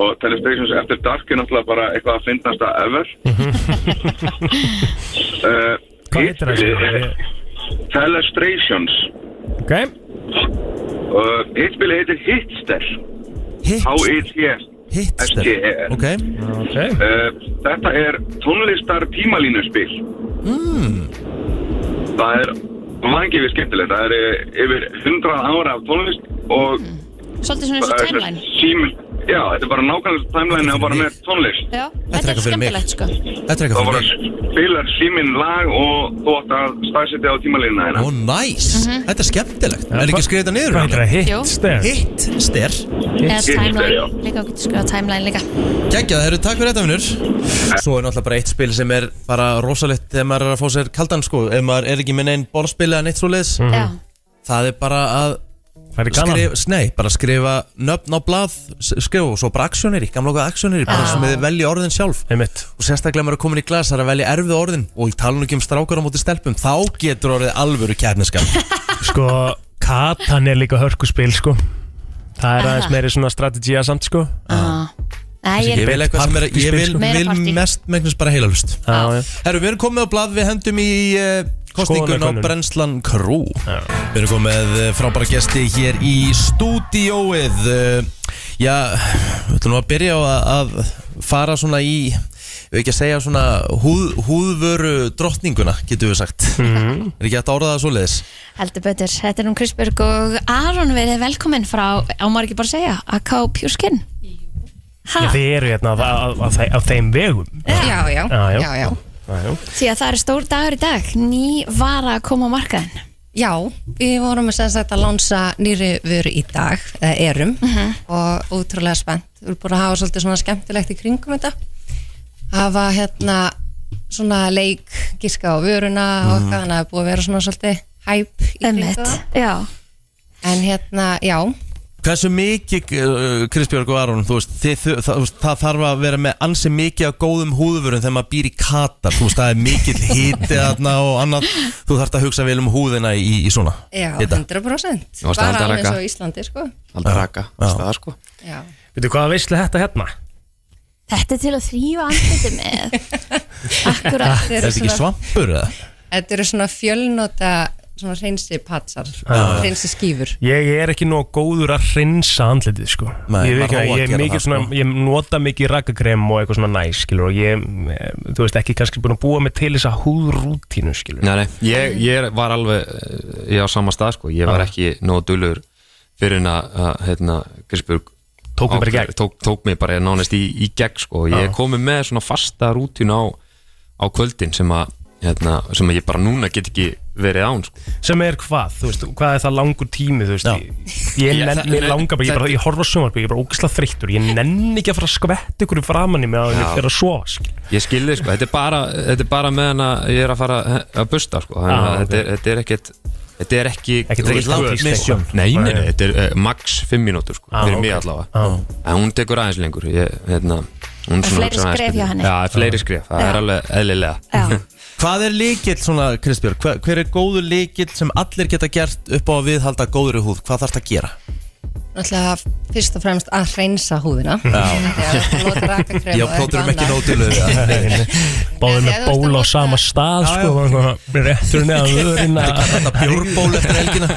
Speaker 14: Og Telestrations eftir dark er náttúrulega bara eitthvað að finnast að ever. uh,
Speaker 4: Hvað heitir það?
Speaker 14: það? Telestrations.
Speaker 4: Ok
Speaker 14: Uh, hitt spilið heitir Hitster. H-I-T-S.
Speaker 1: Hitster.
Speaker 14: Ok.
Speaker 4: okay.
Speaker 14: Eh, þetta er tónlistar tímalínuspil.
Speaker 1: mm.
Speaker 14: Það er vangifir skemmtilegt. Það er eh, yfir 100 ára af tónlist og...
Speaker 3: svolítið Hmm. svona eins og
Speaker 14: það er
Speaker 3: timeline
Speaker 14: Síminn. Já, þetta er bara nákvæmlega timeline og bara með tónlist.
Speaker 3: já, þetta er
Speaker 14: eitthvað fyrir mig.
Speaker 3: skemmtilegt sko
Speaker 1: Þetta er eitthvað
Speaker 14: Það bara spilar síminn lag og þú átt að staðsetja á tímalínuna hérna.
Speaker 1: Ó, næs Þetta er skemmtilegt Er ekki að skrifa þetta niður? Hvað
Speaker 4: er
Speaker 3: Mhm. Jú. Hitster?
Speaker 1: Hitster
Speaker 3: eða timeline líka, þú getur skrifað timeline líka
Speaker 1: Gægja, það eru takk fyrir þetta, vinnur Svo er náttúrulega bara eitt spil sem er bara rosalegt Ef maður er að fá sér kaldan, sko Ef maður er ekki með neinn borðspil eða neitt svoleiðis
Speaker 3: Já.
Speaker 1: Það er bara að
Speaker 4: Færi gaman.
Speaker 1: Nei, bara skrifa nöfn á blað s- Skrifa og svo bara aksjónir í, gamla okkar aksjónir Bara sem þið velja orðin sjálf
Speaker 4: Einmitt.
Speaker 1: Og sérstaklega ef maður er komin í glas Það er að velja erfið orðin Og ég tala nú ekki um strákar á móti stelpum Þá getur orðið alvöru kærniskap
Speaker 4: Sko, Katan er líka hörkuspil sko Það er aðeins meiri svona strategía samt sko
Speaker 3: Nei,
Speaker 1: Ég vil eitthvað sem er Ég vil,
Speaker 3: Meira partí.
Speaker 1: vil mest megnast bara heilalust
Speaker 4: Já, já.
Speaker 1: Herru, við erum komið á blað Við hendum í uh, Kostningun á
Speaker 4: Skoðanakönnun.
Speaker 1: Brennslan Crew Við erum komið eh, frábæra gesti hér í stúdíóið Eh, Já, við ætlum nú að byrja á að, að fara svona í Við ekki að segja svona húð, húðvöru drottninguna, getum við sagt Er ekki hægt að orða það svoleiðis?
Speaker 3: Heldur betur, þetta er um Krisberg og Aron verið velkomin frá, á maður ekki bara að segja, AK Pure Skin Ha,
Speaker 4: Þið eru hérna á, á, á, þe- á þeim vegum
Speaker 3: já, já,
Speaker 4: Já, já.
Speaker 15: já, já.
Speaker 4: Já, já.
Speaker 3: Því að það er stór dagur í dag, ný vara að koma á markaðin
Speaker 15: Já, við vorum sem sagt að lansa nýri vöru í dag, eða erum
Speaker 3: Mhm.
Speaker 15: og útrúlega spennt. Við erum búin að hafa svolítið svona skemmtilegt í kringum þetta. Hafa hérna svona leik, giska á vöruna og
Speaker 3: Mhm.
Speaker 15: hvað hann hafi búið að vera svona svolítið hæp í kringum það.
Speaker 3: Já.
Speaker 15: En hérna, já,
Speaker 1: Hversu mikið, eh, Kristbjörg og Aron, þú veist, þið, þau- það, þú veist, það þarf að vera með ansi mikið af góðum húðvörum þegar maður býr í Katar, þú veist, það er mikill hiti þarna og annað, þú þarft að hugsa vel um húðina í, í svona
Speaker 15: já,
Speaker 1: hita.
Speaker 15: 100%.
Speaker 1: Þú varst
Speaker 15: Bara
Speaker 1: að halda
Speaker 15: alveg
Speaker 1: raka.
Speaker 15: svo í Íslandi, sko.
Speaker 1: Alltaf raka, staða
Speaker 4: sko
Speaker 15: Já.
Speaker 4: Veitu hvaða veislu þetta hérna?
Speaker 3: Þetta er til að þrýfa andliti með
Speaker 1: Ah,
Speaker 3: Akkurat
Speaker 15: Þetta eru svona-
Speaker 1: svampur eða?
Speaker 15: Þetta eru svona fjölnota svona reynsi patsar,
Speaker 4: Já.
Speaker 15: reynsi skýfur.
Speaker 4: Ég er ekki nóg góður að hreinsa andlitið sko
Speaker 1: Nei,
Speaker 4: Ég,
Speaker 1: maður
Speaker 4: veit
Speaker 1: á
Speaker 4: ekki,
Speaker 1: að
Speaker 4: ég,
Speaker 1: gera
Speaker 4: er mikið
Speaker 1: það,
Speaker 4: svona,
Speaker 1: sko.
Speaker 4: ég nota mikið rakakrem og eitthvað svona næs skilur og ég, eh, þú veist, ekki kannski búin að búa mig til þessa húðrútínu skilur
Speaker 16: Nei, nei, ég, ég var alveg eh, ég á sama stað sko, ég var
Speaker 4: Já.
Speaker 16: ekki nóg dölur fyrir en að að, hérna, Grisbjörg
Speaker 4: Tók mig bara í
Speaker 16: gegn tók, tók mig bara nánast í, í gegn sko, ég
Speaker 4: Já.
Speaker 16: er komið með svona fasta rútínu á, á kvöldin sem að, hérna, sem að ég bara núna get ekki verið án sko.
Speaker 4: sem er hvað, þú veist, hvað er það langur tími þú veist, ég- ég
Speaker 16: Já, það-
Speaker 4: nenn, ég
Speaker 16: nei,
Speaker 4: langar bara, ég, bara, ég horfa sjónvarpið, ég er bara ógislega þreyttur, ég nenn ekki að fara að skvetta ykkur í framann í mig að ég
Speaker 16: Já.
Speaker 4: fer að sofa skil.
Speaker 16: ég skilði sko, þetta er bara, þetta er bara meðan að ég er að fara að busta sko, þannig að
Speaker 4: Já,
Speaker 16: þetta, er, þetta er ekkert þetta er ekki
Speaker 4: Ah, Ekkert
Speaker 16: þú veist,
Speaker 4: langt
Speaker 16: þú veist,
Speaker 4: mission.
Speaker 16: nei, nei, nei, þetta er eh, max 5 mínútur sko,
Speaker 4: Já,
Speaker 16: fyrir mig
Speaker 4: Ah, ok.
Speaker 16: allavega
Speaker 4: Já.
Speaker 16: en hún tekur aðeins lengur ég, hérna,
Speaker 3: Það
Speaker 16: hún
Speaker 3: er
Speaker 16: svona
Speaker 3: fleiri
Speaker 16: hugsa aðeins
Speaker 3: skref hjá
Speaker 16: betur.
Speaker 3: henni.
Speaker 16: já, það er
Speaker 4: Ah.
Speaker 16: fleiri skref, það er alveg eðlilega
Speaker 1: Hvað er líkill svona, Kristbjörg, hver, hver er góður líkill sem allir geta gert upp á að viðhalda góðri húð, hvað þarfst að gera?
Speaker 15: Náttúrulega fyrst og fremst að reynsa húðina.
Speaker 1: Já, plóturum ekki nóg til
Speaker 4: Báðið
Speaker 15: Já,
Speaker 4: með
Speaker 15: þú veist,
Speaker 4: ból á sama stað sko, bara svona réttur neðan vörina
Speaker 1: Þetta er kallað bjórból eftir helgina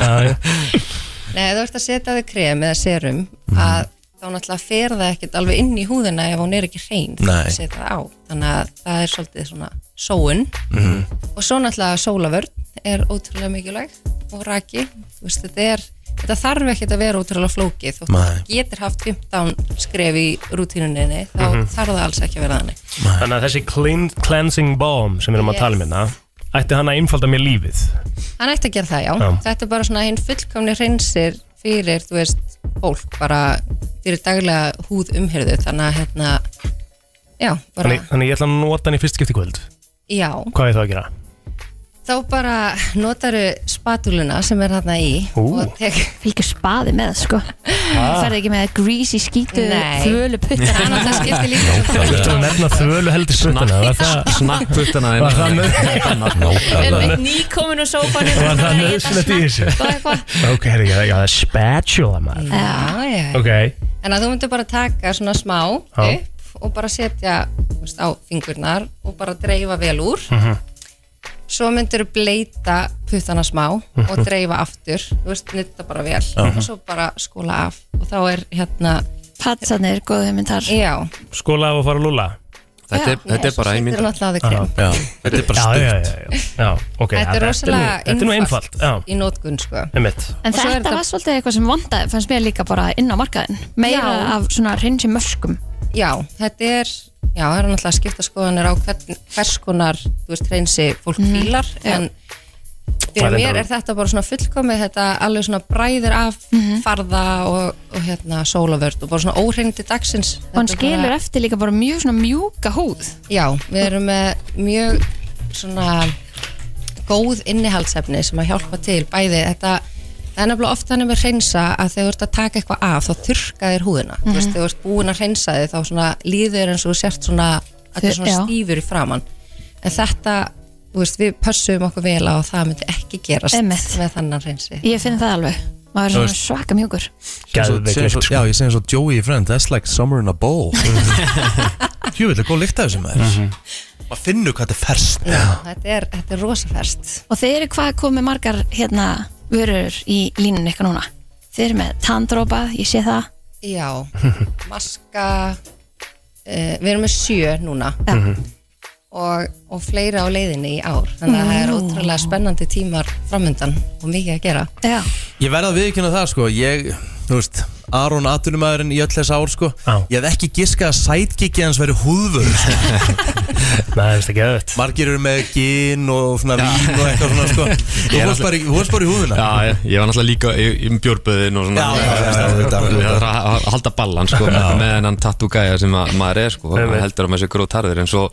Speaker 15: Nei, ef þú ert að setja á þig krem eða serum
Speaker 4: Mhm.
Speaker 15: að þá náttúrulega fer það ekkert alveg inn í húðina ef hún er ekki hrein þegar
Speaker 16: Nei.
Speaker 15: þú setja það á. Þannig að það er svolítið svona sóun
Speaker 16: Mhm.
Speaker 15: og svo náttúrulega sólavörn er ótrúlega mikilvæg og raki Þú veist, þetta, er, þetta þarf ekkert að vera ótrúlega flókið þótt
Speaker 4: Nei.
Speaker 15: þú getur haft 15 skref í rútínuninni þá
Speaker 4: Mhm.
Speaker 15: þarf það alls ekki að vera þannig
Speaker 4: Þannig að þessi clean, cleansing balm sem við erum að
Speaker 15: Yes.
Speaker 4: tala um hérna ætti hann að einfalda mér lífið
Speaker 15: Hann ætti að gera það, já.
Speaker 4: Já.
Speaker 15: Þetta er bara svona hinn fullkomni hreinsir fyrir, þú veist, fólk bara fyrir daglega húð umherðu, þannig að hérna, já, bara,
Speaker 4: þannig, þannig ég ætla að nota hann í fyrst skipti í kvöld
Speaker 15: já.
Speaker 4: Hvað er það að gera?
Speaker 15: Þá bara notaru spatuluna sem er þarna í
Speaker 4: Ú.
Speaker 15: og tek...
Speaker 3: Fylgjur spaði með, sko. Það ferði ekki með greasy skítu
Speaker 15: Nei.
Speaker 3: Þvölu puttar
Speaker 15: Hann alltaf skiptir líka
Speaker 4: Þú ættu að nefna þvölu heldur sputtana Var það
Speaker 16: Snakkputtana
Speaker 4: Var það nöð-
Speaker 3: Er mitt nýkomin og sófanum
Speaker 4: var það nöðsynlegt í þessu? Ok, herri, já, já, það er spatula maður
Speaker 15: Já, já.
Speaker 4: Ok,
Speaker 15: En að þú myndir bara taka svona smá
Speaker 4: Já.
Speaker 15: upp og bara setja þú veist, á fingurnar og bara dreifa vel úr.
Speaker 4: Mhm.
Speaker 15: Svo myndir þú bleita puttana smá og dreifa aftur, þú veist, nutta bara vel
Speaker 4: Já.
Speaker 15: og svo bara skóla af og þá er hérna...
Speaker 3: Patsarnir, góðu hugmyndar.
Speaker 15: Já.
Speaker 4: skóla af að fara að lúla
Speaker 15: Þetta er- Já, þetta er nei, bara svo ein setur mínúta. hann alltaf á þig krem.
Speaker 4: Þetta er bara stutt Já, ok,
Speaker 15: þetta er
Speaker 4: nú-
Speaker 15: rosalega
Speaker 4: Þetta er nú einfalt Já,
Speaker 15: í nótgun, sko.
Speaker 4: einmitt
Speaker 3: En þetta var svolítið eitthvað sem vandaði, fannst mér líka bara inn á markaðin. Meira
Speaker 15: Já.
Speaker 3: af svona reynsi mörgum.
Speaker 15: Já, þetta er, já, það eru náttúrulega skipta skoðanir á hvern, hvers konar, þú veist, reynsi fólk
Speaker 3: Mhm.
Speaker 15: fílar, en
Speaker 3: Það
Speaker 15: fyrir
Speaker 3: er
Speaker 15: mér
Speaker 3: reyndar-
Speaker 15: er þetta bara svona fullkomið, þetta alveg svona bræðir af
Speaker 3: Mhm.
Speaker 15: farða og, og hérna sólavörd og bara svona óhreinindi dagsins.
Speaker 3: Og hann skilur eftir líka bara mjög svona mjúka húð.
Speaker 15: Já, við erum með mjög svona góð innihaldsefni sem að hjálpa til bæði þetta Það er nefnilega oft þannig með hreinsa að þegar þú ert að taka eitthvað af þá þurrka þér húðina þú veist,
Speaker 3: Mhm.
Speaker 15: þegar þú ert búin að hreinsa þig þá svona líður þér eins og þú sért svona að þetta er svona
Speaker 3: Já.
Speaker 15: stífur í framann en þetta, þú veist, við pössum okkur vel á að það myndi ekki gerast
Speaker 3: Einmitt.
Speaker 15: með þannan hreinsi
Speaker 3: Ég finn það alveg. Maður
Speaker 1: Þú
Speaker 3: er svona
Speaker 1: veist.
Speaker 3: svaka mjúkur.
Speaker 1: Geðveikt lykt, sko. Já, ég segi eins og
Speaker 16: Mhm.
Speaker 1: Joey í Friend That's like summer in a bowl Jú, vilja góð lykt af þessum maður maður finnur hvað þetta er ferskt
Speaker 15: Þetta er, þetta er rosaferst
Speaker 3: Og þeir eru hvað komið margar hérna vörur í línunni ykkur núna Þeir eru með tandrópa, ég sé það
Speaker 15: Já, maska uh, Við erum með sjö núna Mhm. og, og fleira á leiðinni í ár Þannig að það er
Speaker 3: Nú.
Speaker 15: ótrúlega spennandi tímar framöndan og mikið að gera
Speaker 3: Já,
Speaker 1: Ég verða að viðkynna það sko Ég, þú veist, Aron Atunumæðurinn í öll þess ár sko Ég hef ekki giskað að sætkikið hans veri húðvör sko.
Speaker 4: Nei, það er ekki öðvöld
Speaker 1: Margir eru með gin og svona vín og eitthvað svona sko
Speaker 16: Ég
Speaker 1: Þú
Speaker 16: er náttúrulega-
Speaker 1: varst bara í- þú varst bara í húðuna
Speaker 16: Já, ég, ég var náttúrulega líka í, í björböðin og svona
Speaker 1: Já, já, já, já,
Speaker 16: Ég
Speaker 1: auðvitað, auðvitað.
Speaker 16: þarf að að halda ballan sko, með með þennan tattoo gæja sem að, maður er sko, maður heldur að maður sé grótarður en svo,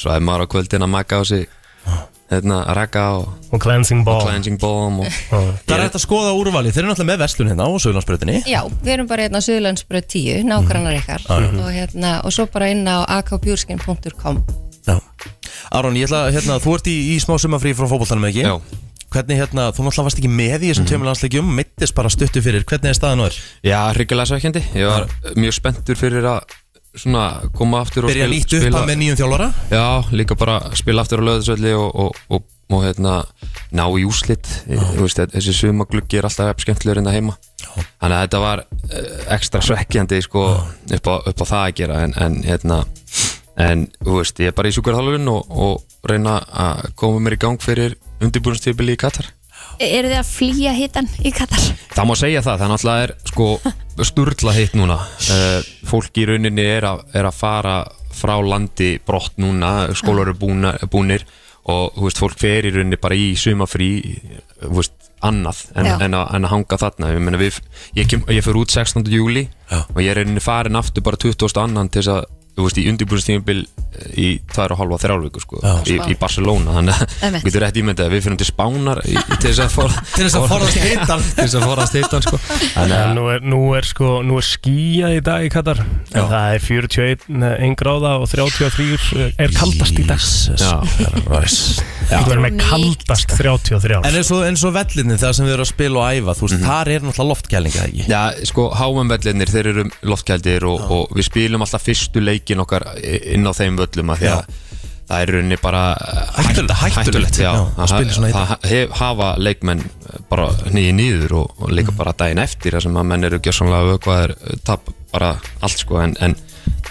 Speaker 16: svo er maður á kvöldin að maka á sig hérna, raka og,
Speaker 4: og cleansing
Speaker 16: balm og cleansing balm og,
Speaker 1: Það er hægt að skoða úrvalið, þeir eru náttúrulega með verslun hérna á Söðlandsbröðinni
Speaker 15: Já, við erum bara hérna á Suðurlandsbröð 10, nágrannar ykkar
Speaker 1: Mhm.
Speaker 15: og, hérna, og svo bara inn á akbjúrskin.com
Speaker 1: Aron, ég ætla, að, hérna, þú ert í, í smá sumafrí frá fótboltanum ekki? Já Hvernig, hérna, þú náttúrulega varst ekki með í þessum tveimur landsleikjum, mittist bara stuttu fyrir, hvernig er staðan og er?
Speaker 16: Já, hryggilega svekkjandi Ég var mjög spenntur fyrir að svona, koma aftur og
Speaker 1: Byrja
Speaker 16: spila-
Speaker 1: nýtt upp
Speaker 16: spila-
Speaker 1: að með nýjum þjálfara?
Speaker 16: Já, líka bara spila aftur á löðisvelli og, og, og, og hérna, ná í úslit Þú veist, þessi sumagluggi er alltaf jafn skemmtilegur en það heima Þannig að þetta var eh, ekstra svekkjandi sko, upp, á, upp á það að gera en, en hérna En, þú veist, ég er bara í sjúkarþálfun og, og reyna að koma mér í gang fyrir undirbúinnstífili í Katar
Speaker 3: E, eru þið að flýja hitan í Katar?
Speaker 16: Það má segja það, það náttúrulega er sko sturla hitt núna uh, Fólk í rauninni er að, er að fara frá landi brott núna skólar eru búna, búnir og þú veist, fólk fer í rauninni bara í sumafrí þú veist, annað en,
Speaker 17: Já.
Speaker 16: en, að, en að hanga þarna ég, meni, við, ég, kem, ég fer út 16. júli og ég er í rauninni farin aftur bara 22. annan til þess að þú veist, í undirbúinnstíðumbil í 2,5-3 viku sko, í, í Barcelona þannig að
Speaker 1: Einmitt.
Speaker 16: getur rétt ímyndað að við fyrir til Spánar í, til þess að, for,
Speaker 1: Til þess að forðast hitann.
Speaker 16: til þess að forðast hitan sko.
Speaker 4: Þannig að nú er, nú er sko, nú er skíjað í dag í Katar Já. Það er 41 1 eh, gráða og 33 er kaldast í dag
Speaker 1: Jesus
Speaker 4: Þú er með kaldast 33
Speaker 1: En eins og, eins og vellinni, það sem við erum að spila og æfa, þú veist, þar er náttúrulega loftkælinga ekki?
Speaker 16: Já, sko, háumvellinir, þeir eru loftkældir og, og við spilum alltaf fyrstu leikin okkar inn á þeim völlum af því að það er í rauninni bara
Speaker 1: Hættulegt, hættulegt,
Speaker 16: já,
Speaker 1: já, að spila svona í dag.
Speaker 16: það hef, hafa leikmenn bara nýju nýður og, og
Speaker 1: Mm.
Speaker 16: líka bara daginn eftir þar sem að menn eru gjörsamlega vökvaðir uh, tap bara allt sko en, en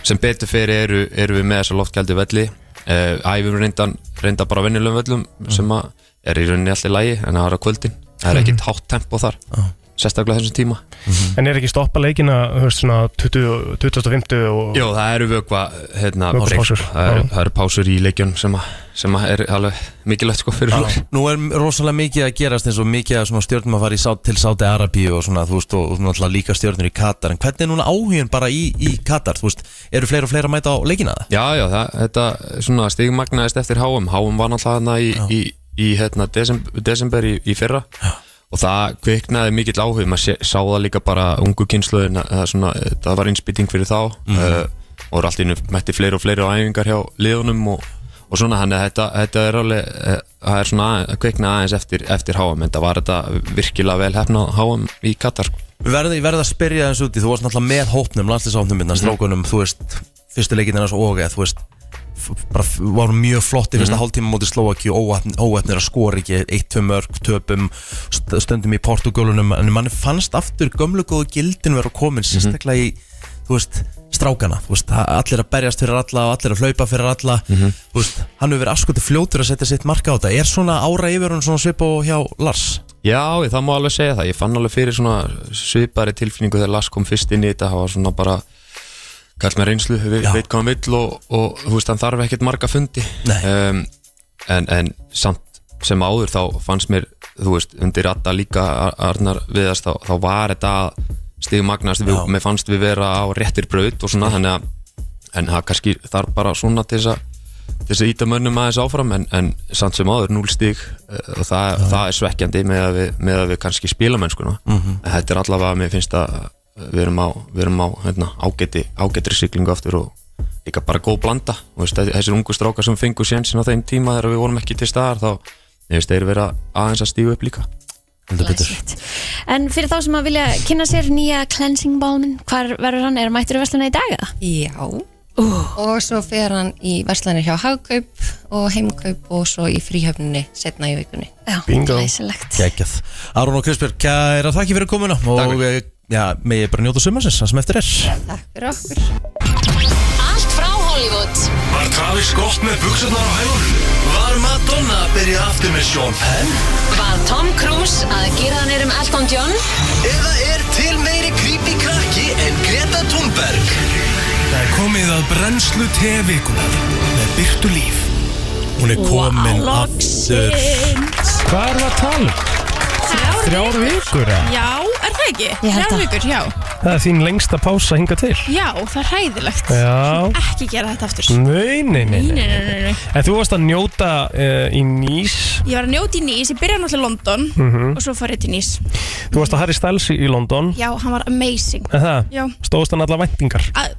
Speaker 16: sem betur fyrir eru, eru við með þessa loftkældi velli uh, æfum reyndan, reynda bara venjulegum völlum
Speaker 1: Mm.
Speaker 16: sem að er í rauninni allt í lagi en það er á kvöldin, það er
Speaker 1: Mhm.
Speaker 16: ekkit hátt tempo þar sérstaklega þessum tíma
Speaker 4: En er ekki stoppa leikina, þú veist, svona 20, 25 og
Speaker 16: Jó, það eru vökva hérna,
Speaker 4: Vökva
Speaker 16: break,
Speaker 4: pásur,
Speaker 16: sko. það, eru,
Speaker 4: já.
Speaker 16: það eru pásur í leikjun sem, að- sem að er alveg mikilvægt sko fyrir okkur
Speaker 1: Nú er rosalega mikið að gerast eins og mikið að stjórnum að fara í sát, til Sáti Arabíu og svona, þú veist, og, og náttúrulega líka stjórnur í Katar en hvernig er núna áhugin bara í, í Katar, þú veist, eru fleira og fleira að mæta á leikina það?
Speaker 16: Já, já, það, þetta svona stigmagnaðist eftir HM HM var náttúrulega þarna í, í, í hérna, desember, desember í, í fyrra og það kviknaði mikill áhug maður sé, sá það líka bara ungu kynsluðin það, er svona, eh, það var innspýting fyrir þá mm.
Speaker 17: Mhm.
Speaker 16: uh, og allt innu mætti fleiri og fleiri á æfingar hjá liðunum og, og svona þannig að þetta, þetta er alveg eh, það er svona að kvikna aðeins eftir, eftir HM en það var þetta virkilega vel hefnað HM í Katar sko.
Speaker 1: Við verðum ég verð að spyrja þessu úti, þú varst náttúrulega með hópnum, landslýsápnum minna, strákunum, þú veist, fyrstu leikinn hans og þú veist, f- bara f- var mjög flott í fyrsta
Speaker 16: Mhm.
Speaker 1: hálftíma móti Slovaki og óætnir að skora ekki eitt, tvö mörg, töpum, st- stöndum í Portugálunum, en mann fannst aftur gömlu góðu gildin vera komin, sérstaklega í, þú veist, strákana, þú veist, það- allir að berjast fyrir alla og allir að hlaupa fyrir alla, þú veist, hann hefur verið askutu fljótur að setja sitt marka á þetta, er svona ára yfir hún svona svip og hjá Lars?
Speaker 16: Já, ég- það má alveg segja það. Ég fann alveg fyrir svona svipari tilfinningu þegar Lars kom fyrst inn í þetta. Það var svona bara, kall með reynslu, við, veit hvað hann vill og, og þú veist, hann þarf ekkert marga fundi. Um, en, en samt sem áður þá fannst mér, þú veist, undir ratta líka Ar- Arnar viðast, þá, þá var þetta stigmagnast. Við,
Speaker 17: Já.
Speaker 16: mér fannst við vera á réttir braut og svona, þannig að en það kannski þarf bara svona til þess að til þess að íta mönnum aðeins áfram en, en samt sem áður 0 stík og það, það er svekkjandi með að við, með að við kannski spilamennskuna
Speaker 17: Mhm.
Speaker 16: en þetta er allavega að mér finnst að við erum á, við erum á hérna, ágæti, ágætri siglingu aftur og líka bara góð blanda Þú veist, þessir ungu strákar sem fengu sjensin á þeim tíma þegar við vorum ekki til staðar þá ég veist, þeir vera aðeins að stígu upp líka
Speaker 1: Heldur betur
Speaker 3: En fyrir þá sem að vilja kynna sér nýja cleansing balmin, hvar verður hann? Er mættur í versluna í dag? eða?
Speaker 15: Já, og svo fer hann í verslanir hjá hagkaup og heimkaup og svo í fríhöfninni setna í vikunni
Speaker 3: Já,
Speaker 1: Bingo.
Speaker 3: Glæsilegt.
Speaker 1: Kækjað Aron og Kristbjörg, kæra þakki fyrir komuna Og eh, já, megi bara njóta sumarsins, það sem eftir er
Speaker 15: Fyrir okkur
Speaker 17: Allt frá Hollywood
Speaker 2: Var Travis gott með buksunar á hælunum? Var Madonna að byrja aftur með Sean Penn?
Speaker 17: Var Tom Cruise að gera hann er um Elton John?
Speaker 2: Eða er til meiri creepy krakki en Greta Thunberg?
Speaker 18: Það er komið að brennslu tevikunar með byrtu líf
Speaker 1: Hún er komin
Speaker 18: Wow,
Speaker 1: aftur
Speaker 4: Hvað er það að tala? um?
Speaker 19: Þrjár,
Speaker 4: Þrjár vikur, eða?
Speaker 19: Já, er það ekki? Þrjár vikur, já
Speaker 4: Það er þín lengsta pása hinga til
Speaker 19: Já, það er hræðilegt
Speaker 4: Já.
Speaker 19: Ekki gera þetta aftur
Speaker 4: Nei, nei, nei,
Speaker 19: nei,
Speaker 4: nei.
Speaker 19: nei, nei.
Speaker 4: En þú varst að njóta uh, í Nýs
Speaker 19: Ég var að njóta í Nýs, ég byrjaði náttúrulega í London
Speaker 4: Mhm.
Speaker 19: og svo fór ég til Nýs
Speaker 4: Þú varst að Harry Styles í í London
Speaker 19: Já, hann var amazing
Speaker 4: Er það?
Speaker 19: Já.
Speaker 4: Stóðst hann alla væntingar
Speaker 19: að,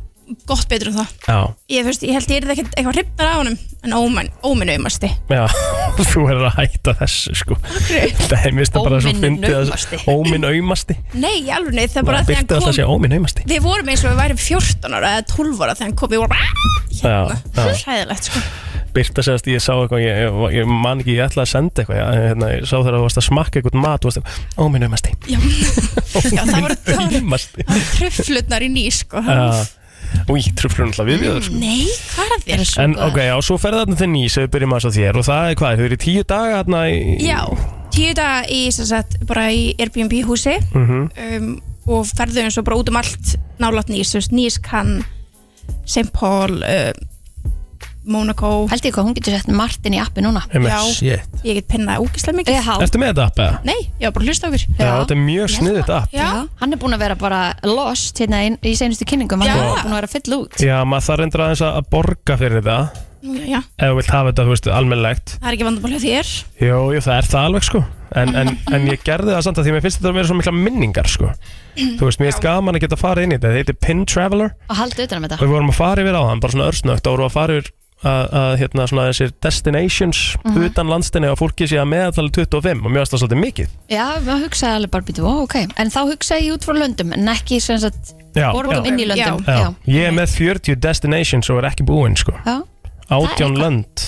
Speaker 19: Gott betur en það
Speaker 4: Já
Speaker 19: Ég, fyrst, ég held ég er ekkert eitthvað hrifnar af honum en ómenn, ómenn auðmasti
Speaker 4: Já, þú er að hætta þessu sko
Speaker 19: hverju?
Speaker 4: Það er mist að bara svo
Speaker 19: Óminn
Speaker 4: fyndið að-
Speaker 19: naumasti.
Speaker 4: Óminn aumasti
Speaker 19: Nei, í alveg neitt, það er bara
Speaker 4: Það
Speaker 19: af því að
Speaker 4: byrti alltaf að segja óminn aumasti
Speaker 19: Við vorum eins og við værum 14 ára eða 12 ára þegar hann kom, við vorum
Speaker 4: Já, já
Speaker 19: hræðilegt sko
Speaker 4: Birta segast ég sá eitthvað, ég, ég, ég man ekki, ég ætlaði að senda eitthvað, ég, hérna, ég sá þegar þú varst að smakka eitthvað mat, þú varst að, óminn aumasti,
Speaker 19: Já, það voru
Speaker 4: aumasti.
Speaker 19: tröflutnar í Nýs sko
Speaker 4: Já. Új, truflur náttúrulega við við það sko.
Speaker 19: Nei, hvað er þér?
Speaker 4: En ok, já, svo ferði þarna til nýs ef við byrjum aðeins á þér og það er hvað, þau eru í tíu daga þarna í...
Speaker 19: Já, tíu daga í, sem sagt, bara í Airbnb húsi
Speaker 4: Mhm.
Speaker 19: um, og ferðu eins og bara út um allt nálat nýs, þú veist, nýs kann St. Paul uh, Monaco
Speaker 3: Held ég hvað, hún getur sett Martin í appi núna
Speaker 4: Einmitt.
Speaker 19: Já,
Speaker 4: Shit.
Speaker 19: ég get pinnaði ógislega mikið
Speaker 4: Ertu með þetta app eða?
Speaker 19: Nei, ég var bara að hlusta okkur
Speaker 4: Já, þetta er mjög sniðið app
Speaker 3: Já. hann er búinn að vera bara lost hérna inn- í senustu kynningum, hann
Speaker 4: Já.
Speaker 3: er búinn að vera fyll út
Speaker 4: Já, maður þarf endur aðeins að að borga fyrir það
Speaker 19: Nú, já, já,
Speaker 4: ef þú vilt hafa þetta, þú veist, almennlegt
Speaker 19: það er ekki vandamál hjá þér
Speaker 4: Jú, jú, það er það alveg sko en, en, en ég gerði það samt að því að mér finnst þetta að vera svo mikla minningar sko Þú veist, mér finnst gaman að geta farið inn í þetta, þetta er Pin Traveler
Speaker 3: og halda utan um
Speaker 4: og við
Speaker 3: þetta
Speaker 4: vorum að fara yfir á hann, bara svona örsnögt og vorum að fara yfir að, að hérna svona þessir destinations
Speaker 3: Mhm.
Speaker 4: utan landstinni og fólki sé að meðaltali 25 og mjög að það svolítið mikið
Speaker 3: já, maður hugsaði alveg bara býtu, ó ok en þá hugsaði ég út frá löndum, en ekki sem sagt,
Speaker 4: Já,
Speaker 3: borgum
Speaker 4: já.
Speaker 3: inn í löndum
Speaker 4: Já. Ég er með 40 destinations og er ekki búinn sko
Speaker 3: Já.
Speaker 4: Átján lönd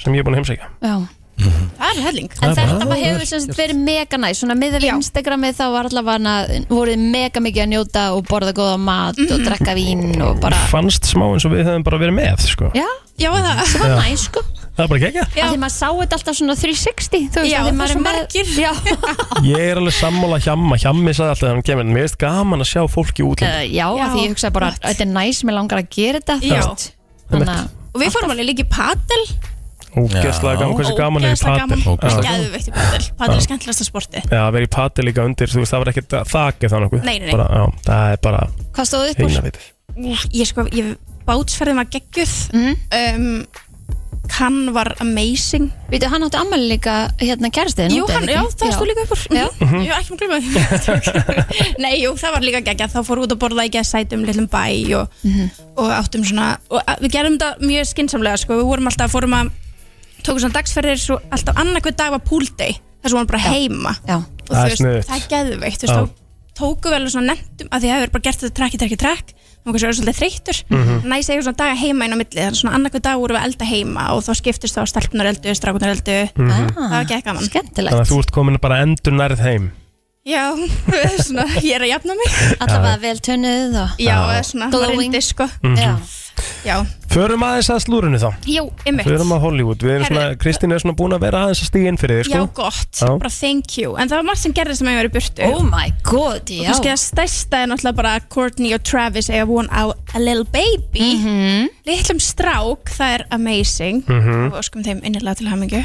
Speaker 4: sem ég er búinn að heimsækja
Speaker 3: Já.
Speaker 19: Það er helling
Speaker 4: Það er
Speaker 3: En þetta
Speaker 4: bara-
Speaker 3: bara hefur sem sagt verið mega næst Svona miðað við Instagramið þá var allavega voruð mega mikið að njóta og borða góða mat
Speaker 19: Mm.
Speaker 3: og drekka vín og bara
Speaker 4: Fannst smá eins og við höfum bara verið með sko
Speaker 3: Já,
Speaker 19: já það
Speaker 3: Það var
Speaker 4: Já.
Speaker 3: næst sko
Speaker 4: Það er bara gegja
Speaker 3: Af Því maður sá þetta alltaf svona 360 þú veist,
Speaker 19: Já,
Speaker 3: af því
Speaker 19: það
Speaker 3: maður
Speaker 19: er svo
Speaker 3: með- Já,
Speaker 4: Ég er alveg sammála hjamma, hjammi sagði alltaf þegar hann kemur en mér finnst gaman að sjá fólki út
Speaker 19: Eh,
Speaker 3: uh, já, af því ég hugsaði bara Þetta er næst, mér langar að gera þetta þú
Speaker 4: Já.
Speaker 3: veist. Þannig að
Speaker 19: Og við fórum alveg líka í padel
Speaker 4: Ógæslega gaman, hversu gaman er í
Speaker 19: Ógeðslega
Speaker 4: patel
Speaker 19: gaman Gæðveikt í padel Padel er skemmtilegasta sporti
Speaker 4: Já, að vera í patel líka undir, þú veist, það var ekkert þakið þannig
Speaker 19: Nei, nei, nei.
Speaker 4: bara, já, Það er bara
Speaker 19: Hvað stóð upp úr?
Speaker 4: Hina vitið.
Speaker 19: Úf, ég sko, ég bátsferðin var geggjuð um, Kann var amazing
Speaker 3: Mhm. Veitu, hann átti ammæli líka hérna kærastið
Speaker 19: Jú, hann, já, það stóð líka upp úr Já,
Speaker 3: Mhm.
Speaker 19: ég var ekki maður glöma Nei, jú, það var líka geggjað Þá fórum við út að borða í geðsætum lillum bæ og, og áttum svona og að- Við gerum þetta mjög skinsamlega sko. Við vorum alltaf, fórum að Tókum svona dagsferðir svo alltaf annarkvöð dag var pool day Það svo hann bara heima já. Og
Speaker 4: Það
Speaker 19: þú
Speaker 4: er
Speaker 19: veist,
Speaker 4: sniðugt.
Speaker 19: það er geðveikt Þú veist,
Speaker 4: Já.
Speaker 19: þá tóku vel svona nefndum að því að það hefur bara gert þetta trekk, trekk, trekk og kannski verið svolítið þreyttur
Speaker 4: Mhm.
Speaker 19: næs eiga svona daga heima inn á milli þannig svona annarkvöð dag vorum við að elda heima og þá skiptist þá stelpunar eldu, strákunar eldu
Speaker 4: Mhm.
Speaker 3: Ah,
Speaker 19: það var ekki gaman
Speaker 4: Þannig að þú ert komin bara endur nærð heim
Speaker 19: Já, svona, ég er að jafna mig
Speaker 3: Allavega vel tönnuð og
Speaker 19: Já, eða svona
Speaker 3: Glowing.
Speaker 19: rindi, sko
Speaker 4: Mhm.
Speaker 19: Já, já
Speaker 4: Förum aðeins að slúrinu þá
Speaker 19: Jú, einmitt
Speaker 4: Förum að Hollywood, við erum svona, Kristín er svona búin að vera aðeins að stíða inn fyrir þig, sko
Speaker 19: Já, gott,
Speaker 4: Já.
Speaker 19: bara thank you En það var margt sem gerðist sem ég var í burtu
Speaker 3: Oh my
Speaker 19: Og
Speaker 3: god, já
Speaker 19: kannski að stærsta er náttúrulega bara að Courtney og Travis eiga von á a little baby mm -hmm. Litlum strák, það er amazing
Speaker 3: Mhm.
Speaker 19: Og skum þeim innilega til hamingju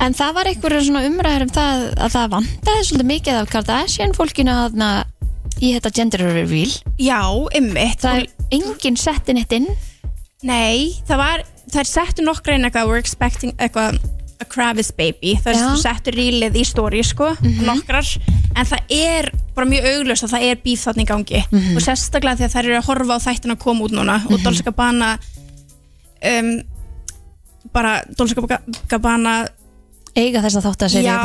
Speaker 3: En það var einhverjum svona umræður um það að það vandaði svolítið mikið af Kardashian fólkinu hana, í þetta gender reveal
Speaker 19: Já, ymmið
Speaker 3: Það er enginn sett inn eitt inn
Speaker 19: Nei, það var, það er settu nokkra inn eitthvað We're expecting eitthvað a Kravis baby Það
Speaker 3: Já. Mhm.
Speaker 19: er settu rílið í stóri sko, nokkrar En það er bara mjög auglöst að það er bíf þarna í gangi
Speaker 3: Mhm.
Speaker 19: Og sérstaklega því að þær eru að horfa á þættina að koma út núna Og Dolce Gabbana um, Bara Dolce Gabbana
Speaker 3: eiga þess að þátt að
Speaker 19: Já,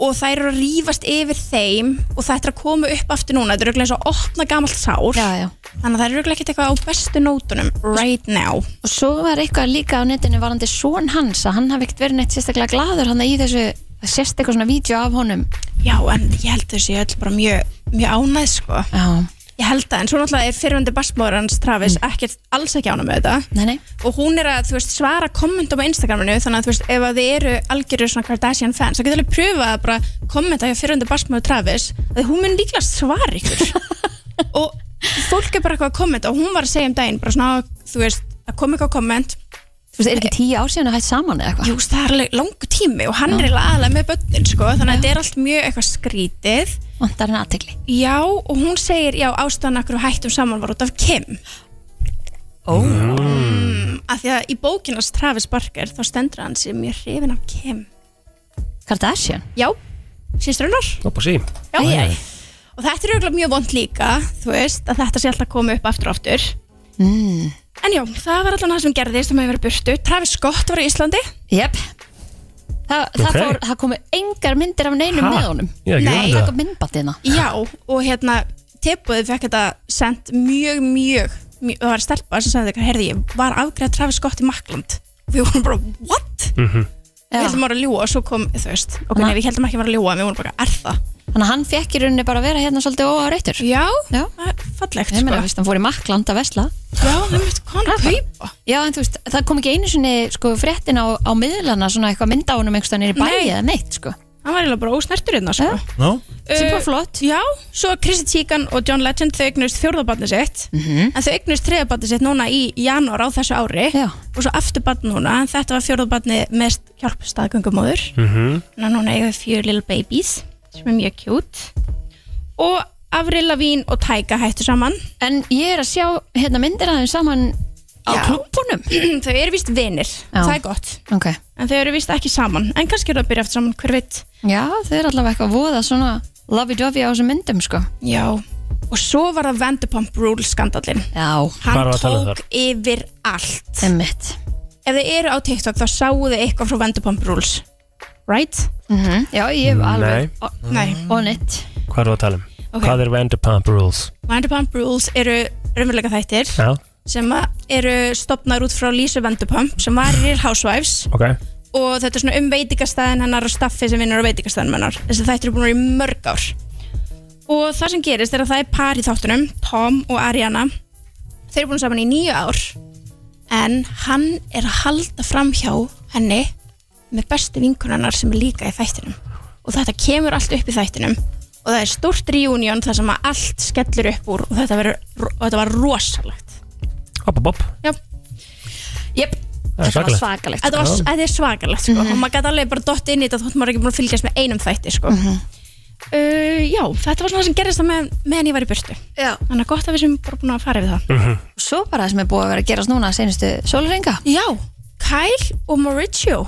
Speaker 19: og þær eru að rífast yfir þeim og það er að koma upp aftur núna, þetta er auðvitað eins og að opna gamalt sár já,
Speaker 3: já.
Speaker 19: þannig að það eru auðvitað ekkert eitthvað á bestu nótunum right now
Speaker 3: Og svo var eitthvað líka á netinu varandi són hans að hann hafði ekkert verið neitt sérstaklega gladur hann í þessu, það sést eitthvað svona vídeo af honum
Speaker 19: Já, en ég held þessi öll bara mjög, mjög ánæð sko
Speaker 3: Já.
Speaker 19: Ég held það, en svo náttúrulega er fyrirvendu basmóður hans Travis ekkert alls ekki ána með þetta
Speaker 3: nei, nei.
Speaker 19: og hún er að þú veist, svara kommentum á Instagraminu þannig að þú veist, ef að þið eru algjörður svona Kardashian fans, þá getur alveg pröfað að bara kommenta hjá fyrirvendu basmóður Travis að hún mun líklega svara ykkur og fólk er bara eitthvað að kommenta og hún var að segja um daginn, bara svona þú veist, að koma eitthvað komment
Speaker 3: Þú veist, er ekki tíu ár síðan að hætt saman eða eitthvað?
Speaker 19: Jú, það er alveg langu tími og hann
Speaker 3: Já.
Speaker 19: er eiginlega aðalega með börnin, sko, þannig að þetta er allt mjög eitthvað skrítið.
Speaker 3: Vantar henni aðtegli.
Speaker 19: Já, og hún segir, já, ástæðan akkur hættum saman var út af Kim.
Speaker 3: Ó.
Speaker 19: Mm, af því að í bókinast Travis Barker, þá stendur hann sem mjög hrifin af Kim.
Speaker 3: Kardashian?
Speaker 19: Já, sínstur hennar.
Speaker 4: Upp á sí
Speaker 19: Já, já. Og þetta er auðvitað mjög vond líka, þú veist, að þetta sé alltaf að koma upp aftur og aftur.
Speaker 3: Mm.
Speaker 19: En já, það var allan það sem gerðist, það maður verið burtu. Travis Scott var í Íslandi.
Speaker 3: Jep. Það, það,
Speaker 19: Ok.
Speaker 3: fór, það komu engar myndir af neinum
Speaker 19: Ha?
Speaker 3: með honum.
Speaker 19: Ég er ekki
Speaker 3: Nei,
Speaker 19: vanað
Speaker 3: það
Speaker 19: það.
Speaker 3: kom myndbandina.
Speaker 19: Já, og hérna teppuðið fekk þetta sendt mjög, mjög, mjög það var stelpa sem sagði þetta, herði ég var afgreða Travis Scott í Makland og við vorum bara, what? Við heldum bara að ljúa og svo kom, þú veist ok,
Speaker 3: Þannig-
Speaker 19: nei, við heldum ekki að vera að ljúa, við vorum bara, er það?
Speaker 3: Þannig að hann fekk í rauninni bara að vera hérna svolítið óáreittur.
Speaker 19: Já,
Speaker 3: Já.
Speaker 19: fallegt.
Speaker 3: Ég meina, þú veist, hann fór í Makkland að vesla.
Speaker 19: Já, hann veit, hvað hann kaupa?
Speaker 3: Já, en þú veist, það kom ekki einu sinni sko, fréttin á, á miðlana, svona eitthvað mynd á honum einhverstaðan er í bæi
Speaker 19: Nei.
Speaker 3: eða neitt, sko.
Speaker 19: Hann var eiginlega bara ósnertur hérna, sko. Eh,
Speaker 1: no?
Speaker 3: Sem bara flott.
Speaker 19: Já, svo Chrissy Teigen og John Legend þau eignust fjórðabarnið sitt en
Speaker 3: Mhm.
Speaker 19: þau eignust þriðabarnið sitt núna í janúar á þessu ári Já. og svo afturbarn núna en þetta var fjórðabarnið með hjálpstaðgöngumóður Núna núna eigum við fjör little babies sem er mjög cute og Avril Lavín og Tæka hættu saman
Speaker 3: En ég er að sjá hérna myndir aðeins saman á klúmpunum
Speaker 19: Þau eru víst vinir,
Speaker 3: Já.
Speaker 19: það er gott
Speaker 3: Ok.
Speaker 19: en þau eru víst ekki saman, en kannski eru að byrja eftir saman hver veit
Speaker 3: Já, þau eru allavega eitthvað að voða svona lovey-dovey á þessum myndum, sko.
Speaker 19: Já, og svo var það Vanderpump Rules skandallin
Speaker 3: Já,
Speaker 19: Hann
Speaker 3: Bara að tala um
Speaker 19: tók yfir allt
Speaker 3: Einmitt.
Speaker 19: Ef þið eru á TikTok þá sáu þið eitthvað frá Vanderpump Rules Right?
Speaker 3: Mm -hmm. Já, ég hef alveg
Speaker 4: Nei.
Speaker 3: o-
Speaker 19: Nei.
Speaker 3: on it.
Speaker 4: Hvað er það að tala um?
Speaker 19: Ok.
Speaker 4: Hvað er Vanderpump Rules?
Speaker 19: Vanderpump Rules eru raunveruleika þættir
Speaker 4: Já,
Speaker 19: sem að eru stopnar út frá Lisa Vanderpump sem var í Real Housewives
Speaker 4: ok
Speaker 19: og þetta er svona um veitingastæðin hennar og staffi sem vinnur á veitingastæðin hennar þessi þættir eru búin að vera í mörg ár og það sem gerist er að það er par í þáttunum Tom og Ariana þeir eru búin saman í nýju ár en hann er að halda fram hjá henni með bestu vinkunarnar sem er líka í þættinum og þetta kemur allt upp í þættinum og það er stórt reunion þar sem að allt skellur upp úr og þetta, verður, og þetta var rosalegt
Speaker 4: Hopp, hopp, hopp
Speaker 3: Jep,
Speaker 4: Það er svakalegt.
Speaker 19: Þetta var,
Speaker 4: Já.
Speaker 19: þetta er svakalegt sko.
Speaker 3: Mhm.
Speaker 19: og maður gæti alveg bara dott inn í þetta þótt maður er ekki búin að fylgjast með einum þætti sko. uh, Já, þetta var svona það sem gerðist það með, meðan ég var í burtu
Speaker 3: Já.
Speaker 19: Þannig að gott að við sem bara búin að fara yfir það
Speaker 4: Mm. Mhm.
Speaker 3: Og Svo bara það sem er búið að vera að gerast núna senustu sólrenga.
Speaker 19: Já, Kyle og Mauricio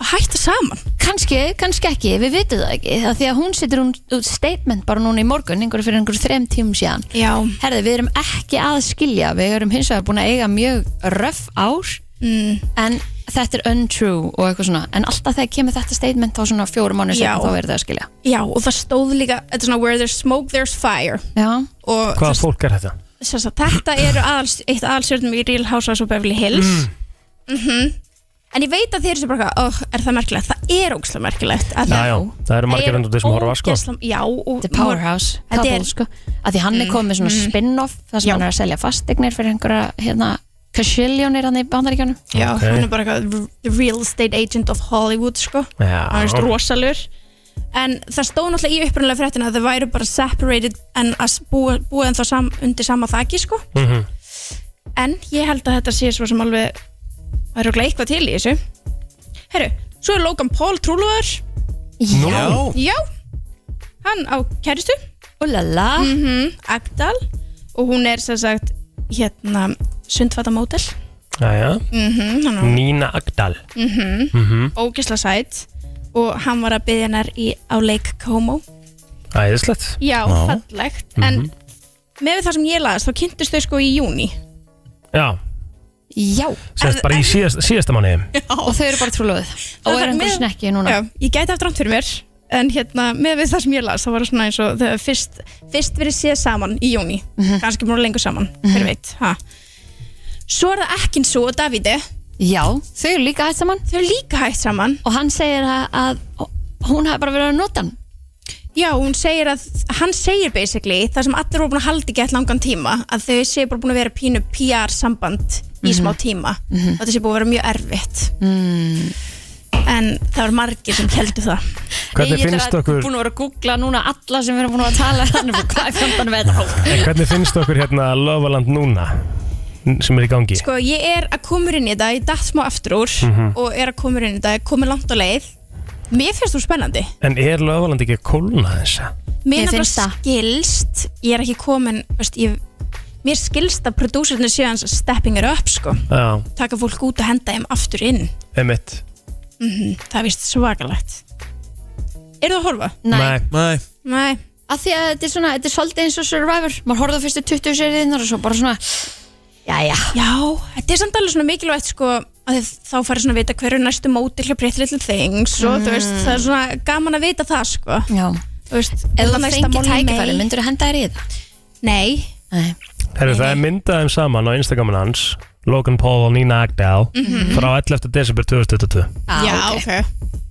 Speaker 19: hætta saman.
Speaker 3: Kanski, kannski ekki, við vitum það ekki. Það því að hún setur hún út statement bara núna í morgun, einhverju fyrir einhverju þrem tímum síðan.
Speaker 19: Já.
Speaker 3: Herði, við erum ekki að skilja, við erum hins vegar búin að eiga mjög röff ár,
Speaker 19: mm.
Speaker 3: en þetta er untrue og eitthvað svona. En alltaf þegar kemur þetta statement þá svona fjórum
Speaker 19: Já.
Speaker 3: mánu sem þá verður það að skilja.
Speaker 19: Já, og það stóð líka, þetta er svona where there's smoke there's fire
Speaker 3: Já.
Speaker 19: og
Speaker 4: Hvaða fólk er þetta?
Speaker 19: þess að þetta eru aðals, eitt aðalsjörnum í Real Housewives of Beverly Hills
Speaker 4: Mm.
Speaker 19: mm. En ég veit að þeir eru bara, eitthvað, oh, er það merkilegt? Það er ógslag merkilegt að
Speaker 4: Já, já, það eru margir
Speaker 19: er
Speaker 4: endur þessum horfa sko
Speaker 19: ógeðslega- Já, og
Speaker 3: Þetta er powerhouse,
Speaker 19: Þetta
Speaker 3: couple,
Speaker 19: er-
Speaker 3: sko. Að því hann er
Speaker 19: Mm,
Speaker 3: komið með svona
Speaker 19: mm.
Speaker 3: spin-off, það sem hann er að selja fastegnir fyrir einhverja, hérna, kassilljónir hann í bandaríkjónum.
Speaker 19: Já,
Speaker 3: Ok.
Speaker 19: hann er bara eitthvað the real estate agent of Hollywood sko.
Speaker 3: Já.
Speaker 19: hann er veist rosalur en það stóð náttúrulega í upprunalega fréttina að þau væru bara separated en að s- búa, búa en þá sam, undir sama þaki sko.
Speaker 4: Mhm.
Speaker 19: en ég held að þetta sé svo sem alveg væri okkur eitthvað til í þessu Herru, svo er Logan Paul trúluður
Speaker 3: Já.
Speaker 19: Já, hann á kæristu
Speaker 3: Úlala
Speaker 19: mm Agdal og hún er sem sagt hérna sundfata mótel
Speaker 4: Jæja
Speaker 19: mm hann á
Speaker 4: Nína Agdal
Speaker 19: mm
Speaker 4: Mhm.
Speaker 19: ógisla sætt og hann var að byggja hennar í, á Lake Como
Speaker 4: Æðislegt
Speaker 19: já, fallegt en
Speaker 4: Mhm.
Speaker 19: með það sem ég laðist þá kynntist þau sko í júni
Speaker 4: Já,
Speaker 3: Já
Speaker 4: Sérst bara í síðast, síðasta mánuði
Speaker 3: Og þau eru bara trúlóðið Og
Speaker 19: Það
Speaker 3: eru
Speaker 19: er
Speaker 3: einhver
Speaker 19: með-
Speaker 3: snekki núna
Speaker 19: Já, ég gæti eftir ánt fyrir mér En hérna, með við það sem ég las Það var svona eins og þau hafa fyrst, fyrst verið séð saman í júni
Speaker 3: Mhm.
Speaker 19: Kannski múin lengur saman, hver veit ha. Svo er það ekki eins og Davide
Speaker 3: Já, þau eru líka hægt saman
Speaker 19: Þau eru líka hægt saman
Speaker 3: Og hann segir að, að hún hafi bara verið að nota hann
Speaker 19: Já, hún segir að, hann segir basically Það sem allir voru búin að halda í gett langan tíma Að þau séu bara búin að vera pínu PR-samband Í
Speaker 3: Mhm.
Speaker 19: smá tíma mm
Speaker 3: Mhm.
Speaker 19: Þetta sé búin að vera mjög erfitt
Speaker 3: mm.
Speaker 19: En það var margir sem heldur það
Speaker 4: Hvernig
Speaker 3: Ég
Speaker 4: finnst okkur-
Speaker 3: Ég er búin að vera að googla núna alla sem við erum búin að vera að tala um, Þannig að hvað er fjöndan með þetta
Speaker 4: En hvernig finnst okkur hérna Lofaland núna n- sem er í gangi?
Speaker 19: Sko, ég er að koma inn í þetta, ég datt smá aftur úr
Speaker 3: Mm.
Speaker 4: Mhm.
Speaker 19: og er að koma inn í þetta, komið langt á leið. Mér finnst þú spennandi.
Speaker 4: En er Lofaland ekki að kólna þessa?
Speaker 19: Mér finnst það. skilst, ég er ekki komin, veist, ég, mér skilst að prodúsernir séu hans stepping it up, sko.
Speaker 4: Já,
Speaker 19: Taka fólk út og henda þeim aftur inn.
Speaker 4: emitt
Speaker 19: Mm Það er vist svakalegt. Er það að horfa?
Speaker 1: Nei.
Speaker 19: Nei.
Speaker 3: Að því að þetta er svona, þetta er svolítið eins og Survivor Maður horfði á fyrstu 20 seriðinnar og svo bara svona Jæja
Speaker 19: Já, þetta er samt alveg svona mikilvægt sko að þið- þá farið svona að vita hverju næstu móti til að breytta little things og þú veist,
Speaker 3: Mm.
Speaker 19: það er svona gaman að vita það sko
Speaker 3: Já
Speaker 19: Þú veist,
Speaker 3: Ef
Speaker 19: það
Speaker 3: þú
Speaker 19: næsta
Speaker 3: fengið
Speaker 19: mál í May-
Speaker 3: tækifæri, myndur þú henda þér í það?
Speaker 19: Nei
Speaker 4: Herru, það er myndað þeim saman á Instagramin hans Logan Paul og Nina Agdal
Speaker 19: Mhm.
Speaker 4: frá 11. desember 2022
Speaker 3: Ah,
Speaker 19: Já, ok,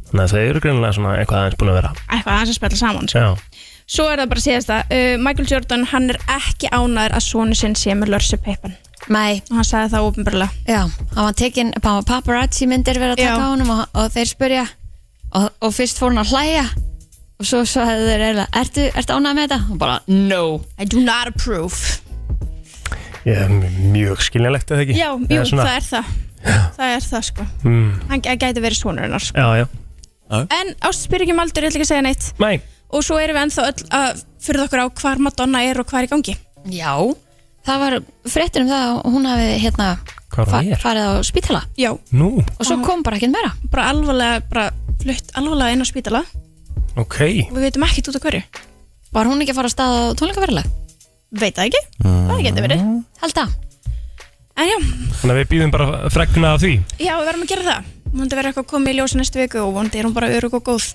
Speaker 4: Þannig að þau eru greinilega svona eitthvað aðeins búin að vera
Speaker 19: eitthvað aðeins að spila saman sko.
Speaker 4: Já,
Speaker 19: Svo er það bara að segja þetta uh, Michael Jordan, hann er ekki ánæður að sonu sinn sé með lörsi peipan
Speaker 3: Nei
Speaker 19: Og hann sagði það ofnbörlega
Speaker 3: Já, hann var tekin, hann var paparazzi myndir verið að taka á honum og, og þeir spurja og, og fyrst fór hann að hlæja og svo sagði þeir eiginlega Ertu, ertu ánægð með þetta? Og bara, no
Speaker 19: I do not approve
Speaker 4: ég er mjög skiljanlegt eða ekki
Speaker 19: Já,
Speaker 4: Eða
Speaker 19: jú,
Speaker 4: svona-
Speaker 19: það er það Það er það sko
Speaker 4: mm.
Speaker 19: Hann hann gæti verið sonur hennar sko.
Speaker 4: Já, já
Speaker 19: En ást spyr ekki um aldur, ég ætla ekki að segja neitt
Speaker 4: Nei
Speaker 19: Og svo erum við ennþá öll að fyrir okkur á hvar Madonna er og hvar í gangi
Speaker 3: Já, það var fréttir um það að hún hafi hérna
Speaker 4: Hvar hún er?
Speaker 3: farið á spítala
Speaker 19: Já
Speaker 4: Nú,
Speaker 3: og svo kom bara ekkert meira
Speaker 19: Bara alvarlega, bara flutt alvarlega inn á spítala
Speaker 4: ok
Speaker 19: Og við veitum ekkert út af hverju
Speaker 3: Var hún ekki að fara að staða á tónleikaferðileg?
Speaker 19: Veit það ekki, það getur verið
Speaker 3: Held að
Speaker 19: En já,
Speaker 4: Þannig að við býðum bara fregna af því
Speaker 19: já, við verðum að gera það Vondi verður eitthvað komið í ljós í næstu viku og vondi er hún bara örug og góð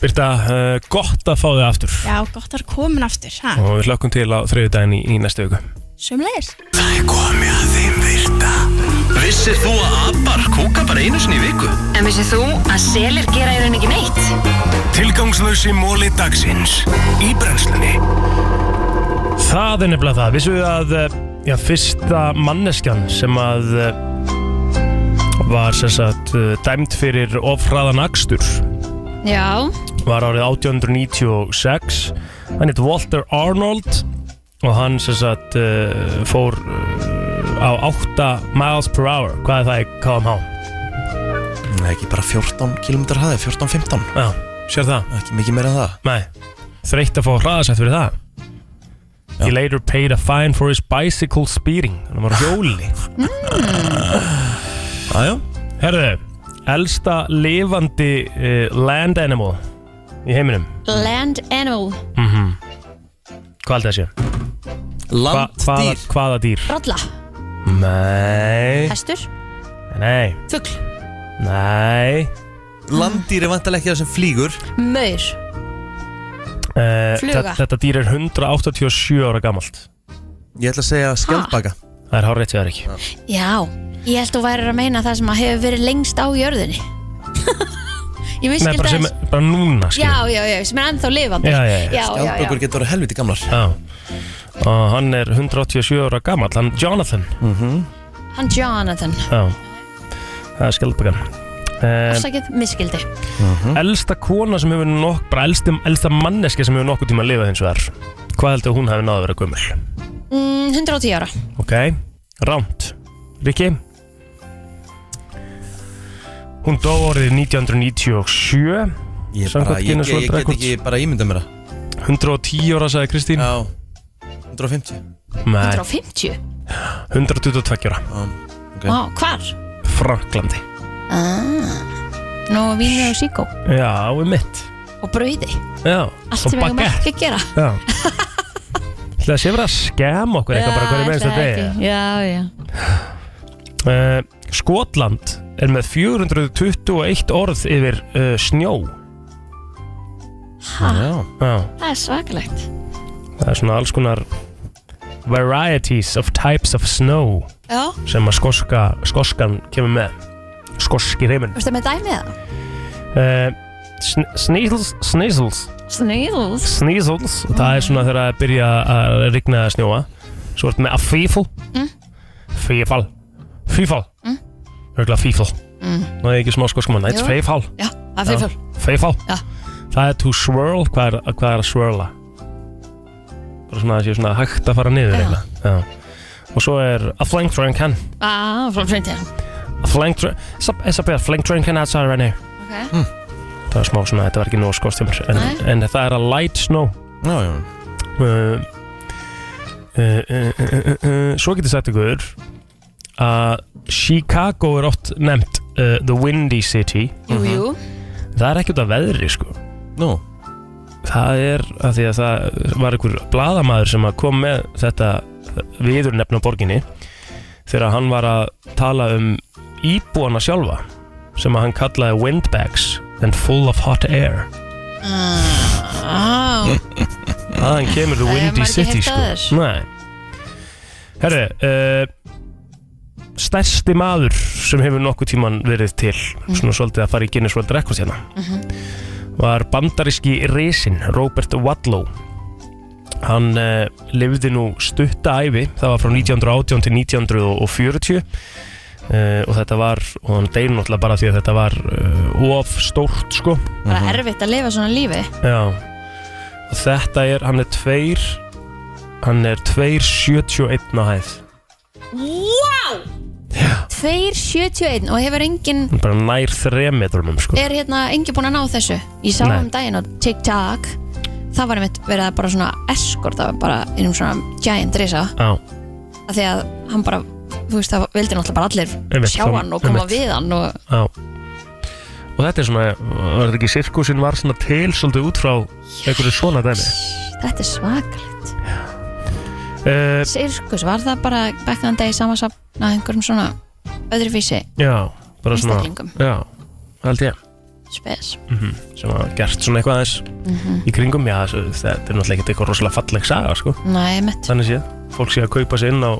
Speaker 4: Birta, uh, gott að fá þig aftur
Speaker 19: Já, gott að er komin aftur, ha?
Speaker 4: og við hlökkum til á þriðu daginn í, í næstu viku
Speaker 19: Sumleir
Speaker 2: Það er komið að þeim virta Vissir þú að abar kúka bara einu sinni í viku?
Speaker 17: En vissið þú að selir gera í rauninni ekki neitt?
Speaker 18: Tilgangslösi móli dagsins Í brennslunni
Speaker 4: Það er nefnilega það, vissum við að eh, já, fyrsta manneskjan sem að eh, var sem sagt eh, dæmd fyrir ofraðan akstur
Speaker 3: Já,
Speaker 4: var árið 1896 hann heit Walter Arnold og hann sem sagt uh, fór uh, á 8 miles per hour hvað er það í KMH?
Speaker 1: Nei, ekki bara 14 km hraði, 14-15
Speaker 4: Já, sér það
Speaker 1: Ekki mikið meira en það
Speaker 4: Nei, þreytt að fá hraðasett fyrir það He later paid a fine for his bicycle speeding Hann var á hjóli
Speaker 3: Mm.
Speaker 1: Ah,
Speaker 4: Aðjá Herðu, elsta lifandi uh, land animal í heiminum
Speaker 3: Land Animal
Speaker 4: mm Hvað held það sé?
Speaker 1: Landdýr.
Speaker 4: hvaða, hvaða dýr?
Speaker 3: Rolla,
Speaker 4: Nei
Speaker 3: hestur,
Speaker 4: Nei
Speaker 3: fugl,
Speaker 4: Nei
Speaker 1: Landdýr er vantilega ekki það sem flýgur
Speaker 3: maur
Speaker 4: uh,
Speaker 3: Fluga.
Speaker 4: Þetta dýr er 187 ára gamalt
Speaker 1: Ég ætla að segja skjaldbaka
Speaker 4: Það er hár rétt hjá þér ekki
Speaker 3: Já, ég held þú værir að meina það sem að hefur verið lengst á jörðinni Ég
Speaker 4: Nei,
Speaker 3: miskildi
Speaker 4: bara, sem,
Speaker 3: þess
Speaker 4: bara núna skilur
Speaker 3: Já, já, já, sem er ennþá lifandi
Speaker 4: Já, já, já.
Speaker 3: já, já, já.
Speaker 1: getur verið helviti gamlar
Speaker 4: Já Og hann er 187 ára gammal Hann Jonathan
Speaker 1: Mhm.
Speaker 4: -hmm.
Speaker 3: Hann Jonathan,
Speaker 4: Já Það er skjaldbökan um,
Speaker 3: afsakið, miskildi
Speaker 1: Mhm.
Speaker 4: Elsta kona sem hefur nokk Bara elsta, elsta manneski sem hefur nokkuð tíma að lifa hins vegar Hvað heldur hún hefur náða að vera gömul?
Speaker 3: mm, 110 ára
Speaker 4: Ok Rámt Rikki Hún dó árið 1997
Speaker 1: Ég, bara, ég, ég, ég get ekki bara ímyndað mér það
Speaker 4: 110 ára sagði Kristín
Speaker 1: Já 150
Speaker 4: Nei
Speaker 3: 150
Speaker 4: 122 ára
Speaker 3: Vá, hvar?
Speaker 4: Franklandi
Speaker 3: Ah. Nú, vínu og síkó
Speaker 4: Já, um mitt
Speaker 3: og brauði
Speaker 4: Já
Speaker 3: Allt sem við eigum
Speaker 4: baguette.
Speaker 3: ekki að gera
Speaker 4: Já Það sé verið að skema okkur eitthvað bara hverju
Speaker 3: ætli
Speaker 4: meðist að
Speaker 3: það ekki.
Speaker 4: degi
Speaker 3: Já, já
Speaker 4: uh, Skotland er með 421 orð yfir uh, snjó
Speaker 3: Ha?
Speaker 4: Já. Já,
Speaker 3: Það er svakalegt
Speaker 4: það er svona alls konar varieties of types of snow
Speaker 3: Já.
Speaker 4: sem að skoska, skoskan kemur með skoski reymin
Speaker 3: Þú veist það með dæmið það?
Speaker 4: uh, sn sneezels, sneezels
Speaker 3: Sneezels
Speaker 4: Sneezels, það er svona þegar að byrja að rigna að snjóa Svo ertu með að fífl
Speaker 3: Mm.
Speaker 4: Fífal Fífal
Speaker 3: Mm.
Speaker 4: Örgulega fífl
Speaker 3: Mm.
Speaker 4: Ná er ég ekki smá sko sko mann, þetta
Speaker 3: Jú.
Speaker 4: er feifal
Speaker 3: Já, það er feifal.
Speaker 4: Feifal
Speaker 3: Já.
Speaker 4: Það er to swirl, hvað er, hvað er að swirla? Bara svona að sé svona hægt að fara niður eiginlega Já. Og svo er a flank train can
Speaker 3: Ah, frá fröndin
Speaker 4: A flank train It's a bit of flank train can outside right now
Speaker 3: Ok
Speaker 1: Hm.
Speaker 4: Það var smá svona, þetta var ekki nóg skostumur en,
Speaker 3: Nei.
Speaker 4: en það er að light snow Já, já uh, uh, uh, uh, uh, uh, Svo getur sagt ykkur að Chicago er oft nefnt uh, The Windy City
Speaker 3: Jú, jú.
Speaker 4: Það er ekki út af veðri sko Nú Það er að því að það var einhver bladamaður sem að kom með þetta viður nefn á borginni þegar hann var að tala um íbúana sjálfa sem að hann kallaði windbags and full of hot air
Speaker 3: Ah,
Speaker 4: Aðan kemur The
Speaker 3: Það hefur
Speaker 4: Windy
Speaker 3: maður ekki
Speaker 4: City
Speaker 3: heyrt áður.
Speaker 4: sko Nei Herri uh, eh, Stærsti maður sem hefur nokkuð tíman verið til
Speaker 3: Mhm.
Speaker 4: Svona svolítið að fara í Guinness World Records hérna Var bandaríski resin Robert Wadlow Hann uh, lifði nú stutta ævi Það var frá 1918 til 1940 Uh, og þetta var, og hann deyr náttúrulega bara því að þetta var uh, of stórt sko
Speaker 3: bara erfitt að lifa svona lífi
Speaker 4: Já Og þetta er, hann er tveir Hann er 271 á hæð
Speaker 3: Wow 271 og hefur enginn
Speaker 4: Hann er Bara nær þremetrumum sko
Speaker 3: er hérna enginn búinn að ná þessu ég sá
Speaker 4: Nei.
Speaker 3: um daginn á TikTok það var einmitt verið að bara svona escort það var bara einum svona giant risa
Speaker 4: Já,
Speaker 3: af því að hann bara þú veist það vildi náttúrulega bara allir
Speaker 4: Einmitt,
Speaker 3: sjá
Speaker 4: kom-
Speaker 3: hann og koma
Speaker 4: einmitt.
Speaker 3: við hann og
Speaker 4: já Og þetta er svona, var þetta ekki sirkusin var svona til svolítið út frá einhverju svona dæmi
Speaker 3: þetta er svakalegt
Speaker 4: uh,
Speaker 3: sirkus sko, var það bara back in the day samansapna einhverjum svona öðruvísi
Speaker 4: Já, bara svona
Speaker 3: Einstaklingum.
Speaker 4: Já, held ég
Speaker 3: spes
Speaker 4: mm Sem að gert svona eitthvað aðeins
Speaker 3: Mhm.
Speaker 4: Í kringum, já, þessu- þetta er náttúrulega ekkert eitthvað rosalega falleg saga sko
Speaker 3: Nei, einmitt.
Speaker 4: þannig séð, fólk sé að kaupa sér inn á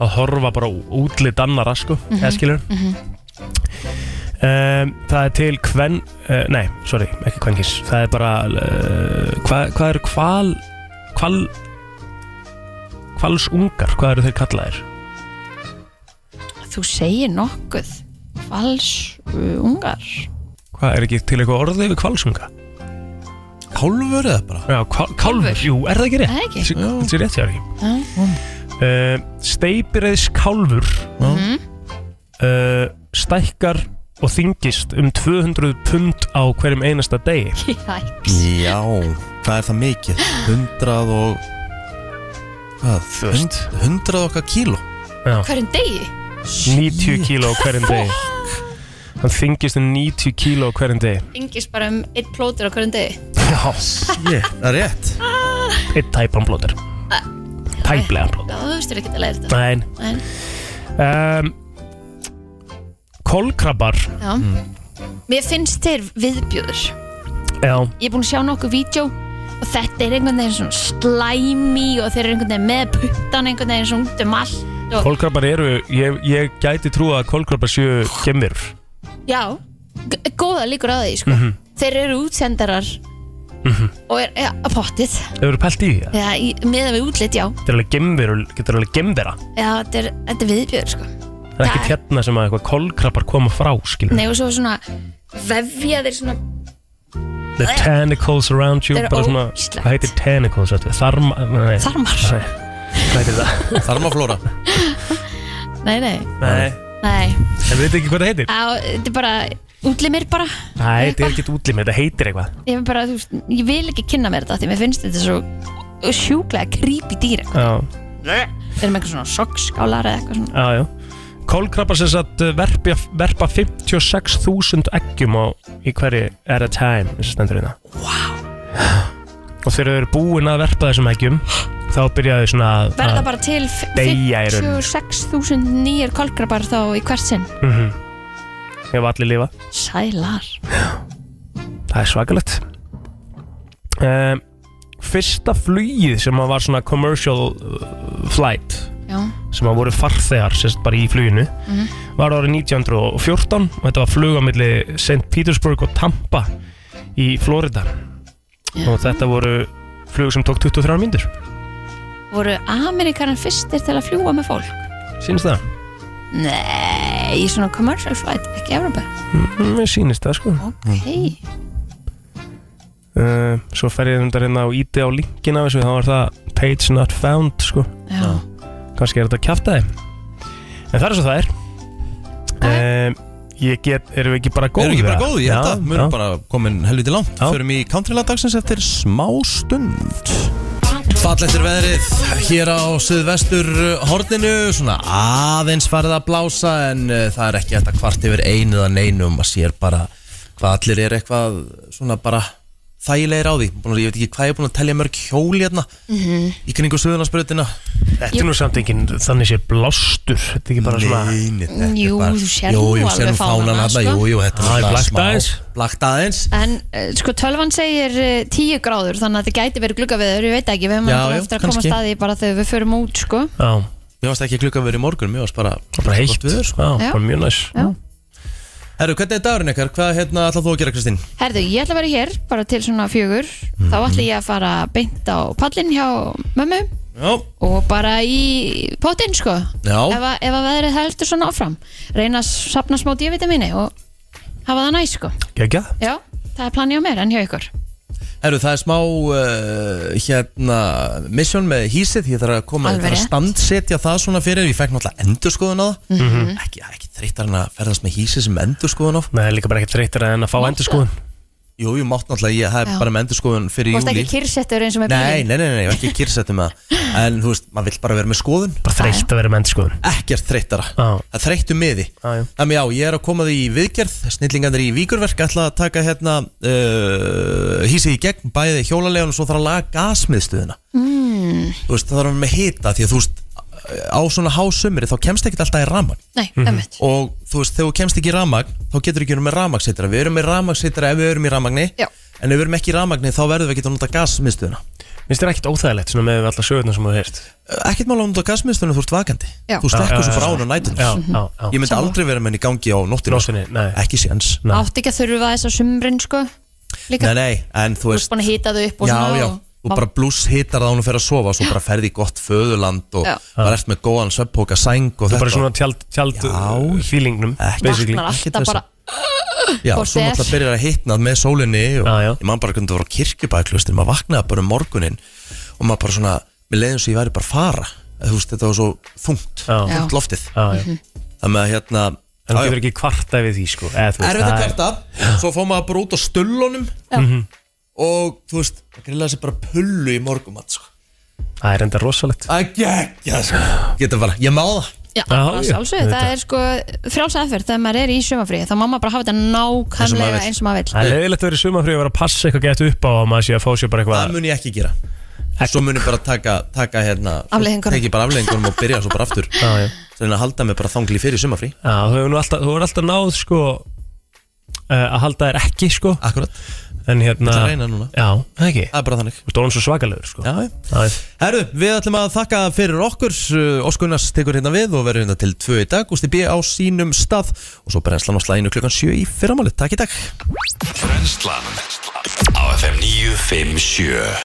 Speaker 4: að horfa bara á útlit annara sko, mm
Speaker 3: Mhm,
Speaker 4: eða skilur
Speaker 3: mhm.
Speaker 4: um, það er til kven, uh, nei, sorry, ekki kvenkins það er bara uh, hvað hva eru kval kval kvalsungar, hvað eru þeir kallaðir
Speaker 3: þú segir nokkuð vals uh, ungar
Speaker 4: hvað er ekki til eitthvað orðið yfir kvalsunga kálfur eða bara já, kál, kálfur, jú, er það ekki rétt
Speaker 3: Það er ekki.
Speaker 4: Sé- sé rétt hjá þér ekki
Speaker 3: mm.
Speaker 4: uh, Steipireðs kálfur
Speaker 3: Mhm.
Speaker 4: uh, stækkar og þingist um 200 pund á hverjum einasta degi
Speaker 3: Jæ.
Speaker 1: Já, hvað er það mikið? 100 og Hvað? Hund, 100 og okkar kíló
Speaker 4: Já.
Speaker 3: hverjum degi
Speaker 4: 90 kíló á hverjum degi hann þingist um 90 kíló á hverjum degi
Speaker 3: yngist bara um eitt plótur á hverjum degi
Speaker 4: Já, shit, það er rétt
Speaker 3: Ah.
Speaker 4: Eitt tæpan blóður Tæplegan blóður
Speaker 3: Já, þú veistur ekki að læra þetta
Speaker 4: Nein
Speaker 3: Nein.
Speaker 4: um, Kolkrabbar
Speaker 3: Já.
Speaker 4: Mm.
Speaker 3: Mér finnst þeir viðbjöður
Speaker 4: Já,
Speaker 3: Ég er búin að sjá nokkuð vídeo og þetta er einhvern veginn svona slæmi og þeir eru einhvern veginn með puttan einhvern veginn svona út um allt og,
Speaker 4: kolkrabbar eru ég, ég gæti trúa að kolkrabbar séu gemir
Speaker 3: Já, g- góða líkur á því sko.
Speaker 4: Mhm.
Speaker 3: Þeir eru útsendarar
Speaker 4: Mhm.
Speaker 3: og er ja, að pottið
Speaker 4: Þau eru pælt í því eða?
Speaker 3: Já, í- miðað við útlit, já
Speaker 4: Þetta er alveg gemveru, getur alveg gemvera
Speaker 3: Já, þetta er, þetta er viðbjöður sko.
Speaker 4: Það er ekkert hérna sem að eitthvað kolkrabbar koma frá, skilur
Speaker 3: Nei, og svo svona vefja þeir svona
Speaker 4: The tentacles around you
Speaker 3: Þetta er
Speaker 4: bara svona,
Speaker 3: ógeðslegt.
Speaker 4: Hvað heitir tentacles? ættu? Þarma, nei,
Speaker 3: Þarmar.
Speaker 4: nei, Hvað heitir það? Þarmaflóra
Speaker 3: Nei, nei,
Speaker 4: Nei,
Speaker 3: nei
Speaker 4: en við veit ekki hvað það heitir
Speaker 3: Á, Þetta er bara útlimir bara
Speaker 4: Nei, þetta er ekkert útlimi, þetta heitir eitthvað
Speaker 3: Ég, er bara, þú veist, ég vil ekki kynna mér þetta af því mér finnst þetta svo sjúklega creepy dýr
Speaker 4: Já,
Speaker 3: Þeir eru með eitthvað svona sokkskálar eða eitthvað svona
Speaker 4: já, já Kolkrabbar sem sagt uh, verpja, verpa 56.000 eggjum á, í hverju at a time eins og stendur hérna Wow og þegar þau eru búin að verpa þessum eggjum þá byrja þau svona að
Speaker 3: Verða bara til f-
Speaker 4: deyja í raun
Speaker 3: 56.000 nýjir kolkrabar þá í hvert sinn
Speaker 4: mm -hmm. ef allir lifa
Speaker 3: Sælar
Speaker 4: það er svakalegt um, fyrsta flugið sem að var svona commercial uh, flight
Speaker 3: Já.
Speaker 4: sem að voru farþegar sérst bara í fluginu
Speaker 3: Mhm.
Speaker 4: var árið 1914 og þetta var flug á milli St. Petersburg og Tampa í Florida og þetta voru flug sem tók 23 mínútur
Speaker 3: Voru Amerikanar fyrstir til að fljúa með fólk?
Speaker 4: sínist það?
Speaker 3: Nei, í svona commercial flight, ekki Európa
Speaker 4: Mm, Mér sýnist það sko
Speaker 3: Hei,
Speaker 4: uh, Svo fer ég um þetta hérna og íti á linkin af þessu þá var það page not found sko
Speaker 3: Já.
Speaker 4: Kannski er þetta að kjafta þeim En það er svo það er um, Ég get, erum við ekki bara góð
Speaker 1: Erum við ekki bara góð í þetta? Við erum bara komin helviti langt Förum í countrylandagsins eftir smá stund Fall eftir veðrið hér á suðvestur uh, horninu Svona aðeins farið að blása En uh, það er ekki þetta kvart yfir einu eða neinu Og maður sér bara hvað allir er eitthvað Svona bara þægilegir á því Búin, að- Ég veit ekki hvað ég er búin að telja mörg hjóli hérna
Speaker 3: Mhm.
Speaker 1: Í kringu suðunarsbröðina
Speaker 4: Þetta er nú samt enginn þannig sé blástur Þetta er ekki bara svona
Speaker 1: Nei,
Speaker 3: jú, þú sér
Speaker 1: Jú,
Speaker 3: nú
Speaker 1: jú,
Speaker 3: alveg
Speaker 1: sér nú fánan
Speaker 3: fánana
Speaker 1: hérna,
Speaker 3: sko.
Speaker 1: jú, jú, þetta
Speaker 4: Það er
Speaker 1: svona
Speaker 4: blakkt
Speaker 1: smá-
Speaker 4: aðeins.
Speaker 1: Blakkt aðeins
Speaker 3: En eh, sko, tölvan segir eh, 10 gráður þannig að þetta gæti verið glugga við ég veit ekki, við höfum
Speaker 1: Já,
Speaker 3: alltaf
Speaker 1: já,
Speaker 3: eftir að koma
Speaker 1: kannski.
Speaker 3: staði bara þegar við förum út sko.
Speaker 4: Já
Speaker 1: Mér varst ekki glugga verið í morgun, mér varst bara
Speaker 4: Bara heitt,
Speaker 1: viður,
Speaker 4: sko. já,
Speaker 3: Já. bara
Speaker 4: mjög næs
Speaker 3: Já.
Speaker 1: Herru, hvernig er dagurinn ykkar? Hvað hérna ætlað þú að gera, Kristín?
Speaker 3: Herðu, ég ætla að vera hér bara til svona fjögur þá
Speaker 1: Mhm.
Speaker 3: ætla ég að fara beint á pallin hjá mömmu
Speaker 1: Já.
Speaker 3: og bara í potinn sko
Speaker 1: Já.
Speaker 3: ef að, ef að veðrið heldur svona áfram reyna að sapna smá D-vitamini og hafa það næs sko
Speaker 4: Gekja
Speaker 3: Já, það er planið á mér en hjá ykkur
Speaker 1: Herru, það er smá uh, hérna mission með hísið, ég þarf að koma
Speaker 3: Alveg
Speaker 1: ég þarf að
Speaker 3: rétt.
Speaker 1: standsetja það svona fyrir, ég fekk náttúrulega endurskoðun á það
Speaker 4: Mhm.
Speaker 1: ekki, ekki þreytar en að ferðast með hísið sem endurskoðun á
Speaker 4: Nei, líka bara ekki þreytar en að fá endurskoðun
Speaker 1: Jú, jú, mátt náttúrulega, ég hef
Speaker 3: Já.
Speaker 1: bara með endurskoðun fyrir
Speaker 3: Mást
Speaker 1: júli
Speaker 3: ekki kyrsettur eins og með
Speaker 1: Nei,
Speaker 3: bílinn
Speaker 1: nei, nei, nei, ég var ekki kyrsettum með það En þú veist, maður vill bara vera með skoðun
Speaker 4: Bara þreytt að vera með endurskoðun
Speaker 1: Ekkert þreyttara Það þreyttu miði Þannig já, ég er að koma því í viðgerð Snillingarnir í víkurverk ætla að taka hérna uh, Hísið í gegn, bæði hjólalega Og svo þarf að laga gasmiðstöðuna
Speaker 3: mm,
Speaker 1: Þú veist, það þarf að vera með hita Því að þú veist, á svona hásumri Þá kemst ekkert alltaf í ramagn
Speaker 3: Nei,
Speaker 1: Mhm.
Speaker 3: emmitt
Speaker 1: Og þú veist, þegar þú kemst ekki í ramagn Þá getur ekki verið með ramagsitra Við erum með ramagsitra ef við erum í ramagni
Speaker 3: Já.
Speaker 1: En ef við erum ekki í ramagni þá verðum við ekki að nota gasmiðstöðuna
Speaker 4: Minnst þér ekkert óþægilegt svona með alla sögurnar sem þú heyrst
Speaker 1: Ekkert mál að nota gasmiðstöðuna, þú ert vakandi
Speaker 4: Já.
Speaker 1: Þú
Speaker 4: Já,
Speaker 1: slekkur
Speaker 4: já,
Speaker 1: svo
Speaker 4: já,
Speaker 1: frá
Speaker 4: já.
Speaker 1: hún á
Speaker 4: Já,
Speaker 3: Mhm.
Speaker 4: já, já.
Speaker 1: nætunar Ég myndi
Speaker 4: Sammála.
Speaker 1: aldrei um vera með henni í gangi á nóttina
Speaker 4: Nóttinni, nei
Speaker 1: Ekki séns
Speaker 3: Átti ekki að þurfa þess að sumrin sko Líka,
Speaker 1: Nei, nei, en þú
Speaker 3: þú
Speaker 1: veist
Speaker 3: ert búin að hýta þau upp og
Speaker 1: Já,
Speaker 3: svona
Speaker 1: já,
Speaker 3: og-
Speaker 1: þú bara blús hittar það og fer að sofa Svo bara ferði í gott föðuland og
Speaker 3: Já.
Speaker 1: bara ert með góðan svepphóka sæng og
Speaker 4: Þú er
Speaker 1: þetta
Speaker 4: bara svona tjald, tjald já, feelingnum basically.
Speaker 3: Vaknar alltaf bara
Speaker 1: Já,
Speaker 3: hvort
Speaker 1: svo
Speaker 3: er.
Speaker 1: náttúrulega byrjar að hitnað með sólinni og ég man bara hvernig það var á kirkjubæklustin maður vaknaði bara um morgunin og maður bara svona, mér leiðum svo ég væri bara að fara þú veist, þetta var svo þungt þungt loftið
Speaker 4: já, já.
Speaker 1: þannig að hérna
Speaker 4: En þú getur ekki kvarta við því sko eða þú veist,
Speaker 1: erfitt að
Speaker 4: það er-
Speaker 1: kvarta, svo fór maður bara út á stullunum
Speaker 4: Mhm.
Speaker 1: og þú veist, það grillaði sér bara pullu í morgumat sko.
Speaker 4: Það er enda rosalegt
Speaker 1: Það er geggjað sko. Geta bara, ég má það
Speaker 3: Já, bara sjálfsögðu, það er sko frjáls aðferð þegar maður er í sjömafríði þá má maður bara hafa þetta nákvæmlega eins og maður
Speaker 4: Það er
Speaker 3: vill
Speaker 4: leiðilegt að vera í sumafrið og vera að passa eitthvað gett upp á að maður sé að fá sér bara eitthvað Það
Speaker 1: mun ég ekki gera Svo mun ég bara taka, taka hérna svo
Speaker 3: Afleiðingunum.
Speaker 1: Teki bara afleggingunum og byrja svo bara aftur
Speaker 4: Já, já
Speaker 1: Svo reyna að halda mig bara þangli fyrir sumafrí
Speaker 4: Já, þú hefur nú alltaf, þú hefur alltaf náð sko eh, að halda þér ekki sko
Speaker 1: Akkurat
Speaker 4: En hérna
Speaker 1: Ætla að reyna núna.
Speaker 4: Já, það ekki Það
Speaker 1: er bara þannig
Speaker 4: Þú stóðum svo svakalegur sko
Speaker 1: Já, Herru, við ætlum að þakka fyrir okkur Óskunnars tekur hérna við og verður hérna til tvö í dag Gústi B á sínum stað Og svo brennslan á slæginu klukkan 7 í fyrramáli Takk í dag
Speaker 2: Brennslan á FM 957